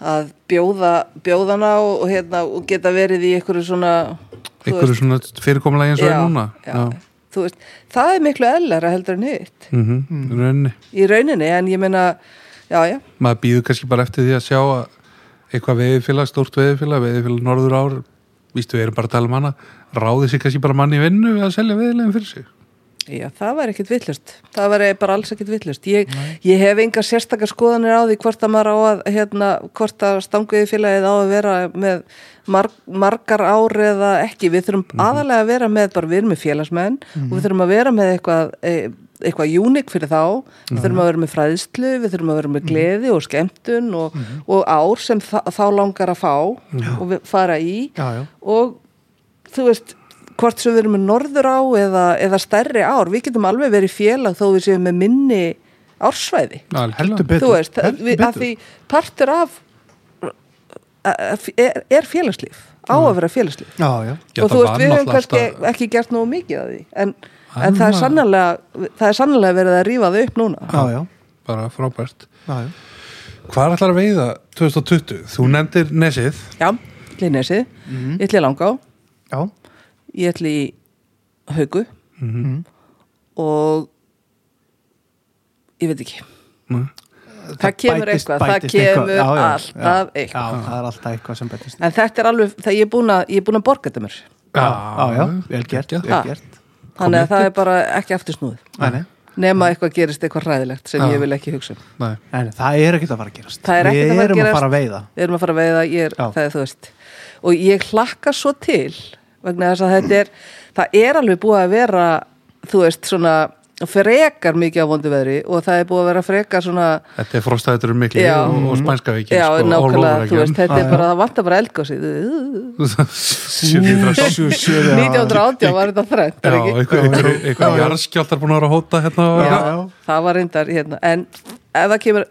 C: að bjóða bjóðana og, og, hérna, og geta verið í einhverju svona þú
B: einhverju svona fyrirkomulagi eins og er
C: já,
B: núna
C: já, þú veist, það er miklu ellara heldur en hitt
B: Mm rauninni
C: í rauninni en ég meina já, já,
B: maður býður kannski bara eftir því að sjá að eitthvað veðifélag, stórt veðifélag veðifélag norður ár, vístu við erum bara að tala um hana ráði sig kannski bara manni í vinnu við að selja veðilegum fyrir sig
C: já, það væri ekkit villust það væri bara alls ekkit villust ég, ég hef engar sérstakar skoðanir á því hvort að maður á að hérna, hvort að stanguði félagið á að vera með marg, margar ár eða ekki, við þurfum
A: Mhm.
C: aðalega að vera með bara við erum með félagsmenn og við þurfum að vera með eitthvað e, eitthvað júnik fyrir þá, við þurfum að vera með fræðslu, við þurfum að vera
A: Mhm.
C: með gleði og skemmtun og, og ár sem þa- þá langar að fá og við fara í
A: já, já.
C: og þú veist hvort sem við erum með norður á eða, eða stærri ár, við getum alveg verið félag þó við séum með minni ársvæði
A: Heldur betur.
C: þú veist,
A: heldur
C: að, við, að
A: betur.
C: því partur af að- að- er, er félagslíf, á að vera félagslíf
A: Já, já.
B: Mm. Já,
C: og
B: það
C: þú veist,
B: var
C: við höfum
B: náttúrulega
C: kannski
B: alltaf- Ah.
C: ekki gert nógu mikið af því en,
B: Það er
C: en það, er
B: núna-
C: sannlega, það er sannlega verið að rífa þau upp núna
A: Já, já,
B: bara frábært
A: já, já.
B: hvað ætlar að veiða 2020? þú nefndir nesið
C: já, ég ætli nesið,
B: Mhm.
C: ég ætli langa
A: Já,
C: ég ætli í haugu
A: Mhm.
C: og ég veit ekki
B: Nei.
A: það,
C: kemur eitthvað, það kemur alltaf eitthvað.
A: Já, það er alltaf eitthvað sem bætist.
C: En þetta er alveg, það ég er búin að, ég er búin að borga þetta mér.
A: Já, já, já, vel gert,
B: geggjað.
A: vel
C: Ha.
A: gert.
C: Þannig að það er bara ekki aftur snúið.
A: Nei, nei.
C: Nema eitthvað gerist eitthvað hræðilegt sem
B: Já.
C: ég vil ekki hugsa um.
B: Nei.
A: Nei, nei, það er ekkert að fara að gerast.
C: Það er ekkert að fara að
A: Við erum að
C: gerast.
A: fara að veiða.
C: Við erum að fara að veiða, ég er,
A: Já.
C: það er þú veist. Og ég hlakka svo til vegna þess að þetta er, það er alveg búið að vera, þú veist, svona frekar mikið á vondu veðri og það er búið að vera frekar svona,
B: þetta er frostaðitur mikli
C: Já.
B: og, og spænska vikin
C: já,
B: sko,
C: nákvæmlega, þú veist, þetta
A: Já,
C: er
A: já.
C: bara, það vantar bara eldgósið.
B: (laughs) 700
A: Sjö, sjö, já.
C: 1980 var þetta þrænt,
B: Já,
C: er ekki?
B: einhver, einhver, einhver jarðskjáltar búin að vera að hóta hérna og
A: Já,
B: eitthvað.
A: já.
C: það var reyndar hérna en ef það kemur,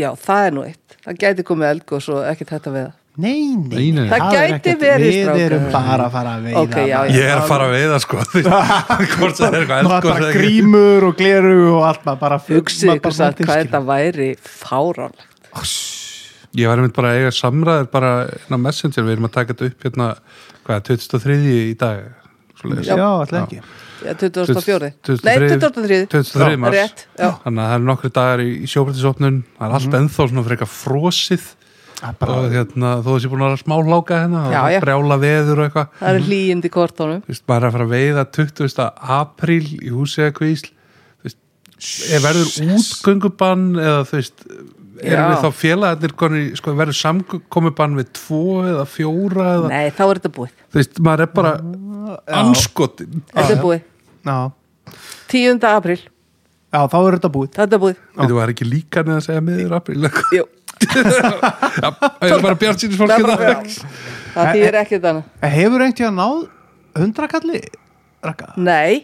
C: já það er nú eitt það gæti komið eldgós og ekkert hægt að veiða
A: Nei, nei,
B: Nei, nei.
A: er
C: Það gæti
A: ekkert-
C: verið,
A: Við erum
C: strákar.
A: bara að fara að veiða
C: Ok, já, já.
B: Ég er að fara að veiða sko (laughs) þú veist, (laughs) Hvort það er eitthvað
A: Nú er
B: eldgos
A: bara
B: eða ekki.
A: grímur og gleru og allt maður bara
C: hugsið
A: maður
C: ykkur
A: bara
C: satt
A: mætir
C: hvað
A: skilur.
C: þetta væri fáránlegt
B: Ég var einmitt bara að eiga samræður bara inn á Messenger, við erum að taka þetta upp hérna, hvað, 23. í dag svoleiðis.
A: Já, alltaf ekki
C: Já, 2004,
B: 23.
C: nei 2003
B: 23 mars.
C: rétt, já. Mhm.
B: Þannig að það eru nokkri dagar í, í sjóbrættisopnun það er allt ennþá svona frekar frosið
A: Það er
B: og
A: bara-
B: hérna, þó þessi búin að vera smá láka hérna
C: Já, já.
B: og brjála veður og eitthvað
C: það er hlýjandi í kortónum
B: Þú veist, maður er að fara að veiða 20. apríl í húsegakvísl er verður útgöngubann eða þú veist
C: Já.
B: erum við þá félagarnir konir, sko, verður samkomubann við tvo eða fjóra eða,
C: nei þá er þetta búið,
B: þú veist, maður er bara anskotin
C: þetta er búið
A: Já,
C: 10. april,
A: Já, þá er þetta búið
C: þetta er búið
B: Veitum, var ekki líka neða að segja miður apríl Já,
C: Jú, (laughs)
B: það er bara bjart sínus
C: það
B: fólk
C: er bara það þýðir ekkert annað
A: En Hefur einhvern tíðan náð hundrakalli rakka?
C: nei,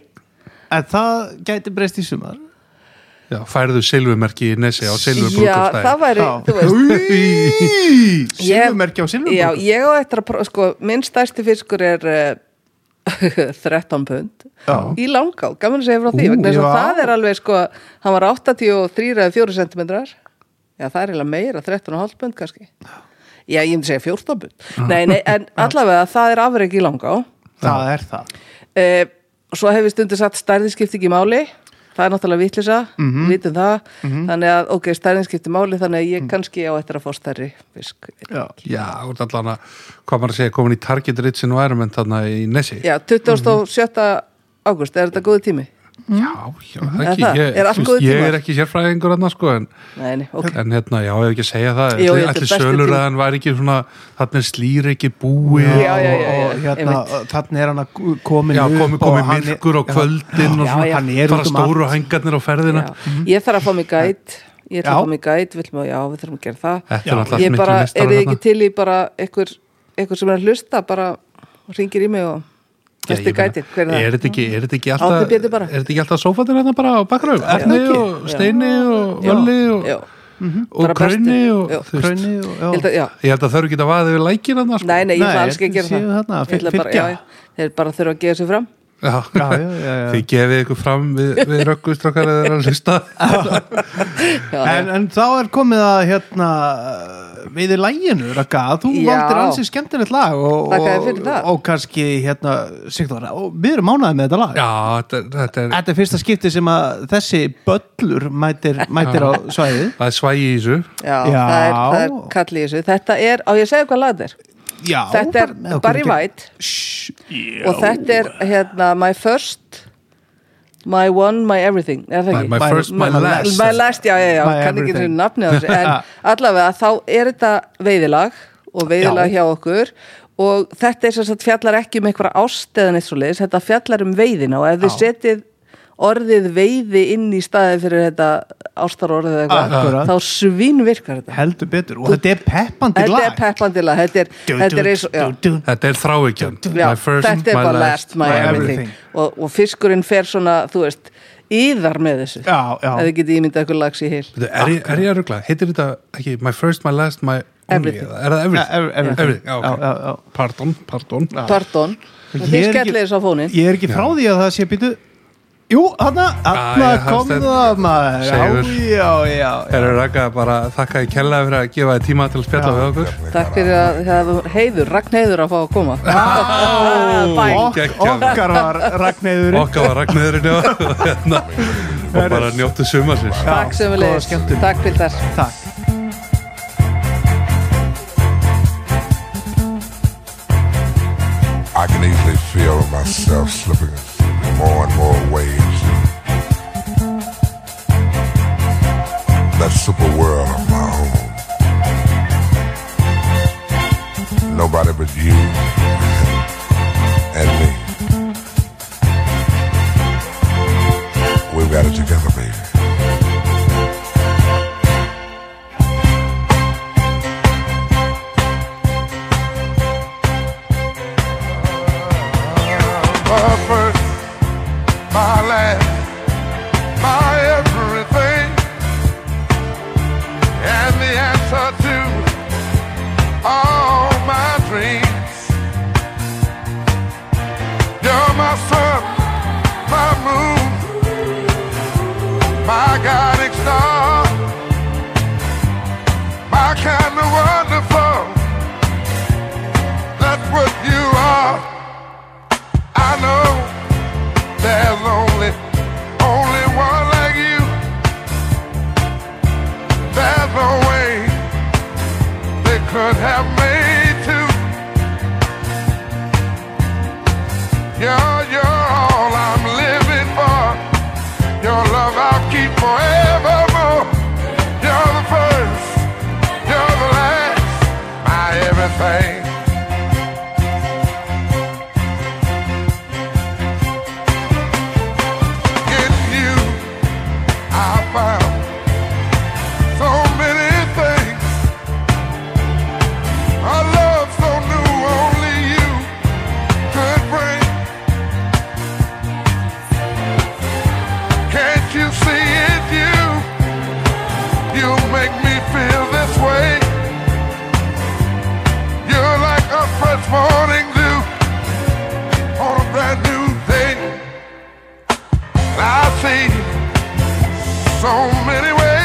A: En það gæti breyst í sumar
B: Já, færðu silfumerki í nesi á
C: já það
B: silfubrúkastæði
C: væri
A: Já.
C: þú veist
A: Í, Silfurmerki á
C: Já,
A: silfurmerki
C: (laughs) ég á eftir að prófa, sko, minn stærsti fiskur er uh, 13 pund
A: Já.
C: í langá, gaman að segja frá því
A: Ú,
C: vegna þess
A: já.
C: að það er alveg sko hann var 83 eða 4 cm já það er eiginlega meira, 13,5 pund kannski já ég myndi segja 14
A: Ah.
C: pund nei, nei,
A: (laughs)
C: en allavega það er afreg í langá
A: það er það
C: Eh, svo hefur stundu satt stærðinskipti ekki máli það er náttúrulega vitlisa,
A: Mhm.
C: vitum það þannig að, ok, stærðinskipti máli þannig að ég
A: Mm.
C: kannski á eftir að fá stærri fisk
A: Já.
B: Já, þú ert allan að, hvað maður að segja, komin í Target Rich Environment þarna í Nessi.
C: já,
B: Mhm.
C: 27. ágúst, er þetta góði tími?
B: já, já, það er
C: Mm. Er
B: ekki,
C: það?
B: ég,
C: Er allt
B: þú veist,
C: góður
B: ég
C: tímar?
B: er ekki sérfræðingur þarna sko, en,
C: nei, nei, ok
B: en hérna, já, ef ekki að segja það,
C: Jú,
B: ætli-
C: þetta er
B: ætli
C: bestu
B: sölur
C: tími.
B: að hann væri ekki svona, þarna er slýri ekki búið
C: Já, já, já, já,
A: og hérna,
C: einmitt.
A: þannig er hann að komin
B: Já,
A: upp
B: komi,
A: og
B: komi
A: hann er-
B: myrkur á
A: Já.
B: kvöldin og
A: Já,
B: svona,
A: já, hann er
B: bara
A: út um allt.
B: stóru hengarnir á ferðina.
C: Já. ég þarf að fá mig gæt ég
A: Já.
C: ætla að fá mig gæt, viljum að já, við þurfum að gera það
B: Þetta er alltaf
C: ég
B: miklu
C: bara,
B: meistarar
C: er þið ekki
B: þarna.
C: til í bara einhver, einhver sem er að hlusta bara ringir í mig og
B: Já,
C: Þetta er
B: ég meina,
C: gætin, hver er það?
B: er þetta ekki, er þetta ekki
C: Árni
B: alltaf
C: Pétur bara.
B: er þetta ekki alltaf sófatir hérna bara á bakraug Arni
A: ekki?
B: og Steini og Völli og,
C: já, Mhm.
B: og
C: Bara bestu.
B: Krauni og
C: Já.
B: þú veist,
A: Hraunið
C: Ég
A: og
C: held að, já
B: ég held að þau eru ekki að vaða yfir lækin hann sko.
C: Nei, nei, ég
A: Nei,
C: ætla alls ekki að gera
A: séu
C: það
A: þarna,
C: Ég ætla bara,
A: fylgja.
C: já, já, Þeir bara þurfa að gefa sér fram
B: já.
A: Já, já, já, já.
B: þið gefið ykkur fram við, við röggustrakar eða þeirra hlusta
C: já,
A: En, en þá er komið að hérna við í læginu, Raka þú
C: Já.
A: valdir ansið skemmtilegt lag og,
C: Þakka þér
A: og,
C: fyrir það.
A: og kannski hérna, Sigþór, og við erum ánæðið með þetta lag
B: já, þetta, er- þetta er
A: Þetta er fyrsta skipti sem að þessi böllur mætir, mætir á svæðið
B: það er svægi í þessu
C: já,
A: Já.
C: Það, er, það er kall í þessu Þetta er, á ég að segja hvað lag þetta er
A: Já,
C: Þetta er
A: bara-
C: Barry White
A: Shhh,
C: og þetta er hérna My First My One, My Everything er það
B: My-
C: ekki?
B: my first, my last.
C: My Last, já, já, já,
A: My
C: kann ekki
A: everything.
C: þessu nafni á þessu
A: (laughs)
C: en allavega þá er þetta veiðilag og veiðilag hjá okkur og þetta er sem sagt fjallar ekki um einhverja ástæðan eitt svo leiðis, þetta fjallar um veiðina og ef þið
A: Já.
C: setið orðið veiði inn í staði fyrir þetta ástarorðið eða
A: Akkurat.
C: eitthvað, þá svínvirkar þetta
A: heldur betur og þetta er peppandi
C: þetta er
A: lag
C: peppandilag, þetta er,
A: Du,
C: þetta
A: du,
C: er eins og já.
A: du, du.
B: þetta er þráikjan
C: Já,
B: my first,
C: þetta er
B: my
C: bara
B: last,
C: last, my everything,
A: everything.
C: Og, og fiskurinn fer svona, þú veist, íðar með þessu
A: Já, já.
C: ef þið getið ímyndað ykkur lags í heil
B: Bíddu, er, ég, er ég að ruggla, heitir þetta ekki my first, my last, my only
C: Everything.
B: eða er það
A: Ja,
B: everything,
A: ev- everything.
B: everything. Já, ok.
A: Já, já, já.
B: pardon, pardon
C: Pardon, og
A: Ég
C: þið
A: er ekki-
C: skellir þessu á fónin
A: Ég er ekki frá því að það sé býtu Jú, hann
B: já,
A: að
B: það
A: kom
B: stendur.
A: það maður
B: Sigur.
A: Já, já, já, já.
B: Herra Raka, bara þakka í kella fyrir að gefa þið tíma til að spjalla við okkur.
C: Takk fyrir að það var heiður, Ragnheiður að fá að koma Bæn
A: Ok- Okkar var Ragnæður
B: Okkar var Ragnarinn og, (laughs) hérna, og bara njóttu sumarsins.
C: Takk sem við leiðis, takk fyrir þess
A: Takk
D: I can easily feel myself slipping in more and more waves. That super world of my own. Nobody but you and me. We've got it together, baby.
E: my first, my last, my everything. And the answer to all my dreams. You're my sun, my moon, my guiding star. My kind of wonderful. That's what you are. I know there's only, only one like you. There's no way they could have made two. You're, you're all I'm living for. Your love I'll keep forevermore. You're the first, you're the last, my everything. in you I found so many things I love so new only you could bring Can't you see it you I see so many ways.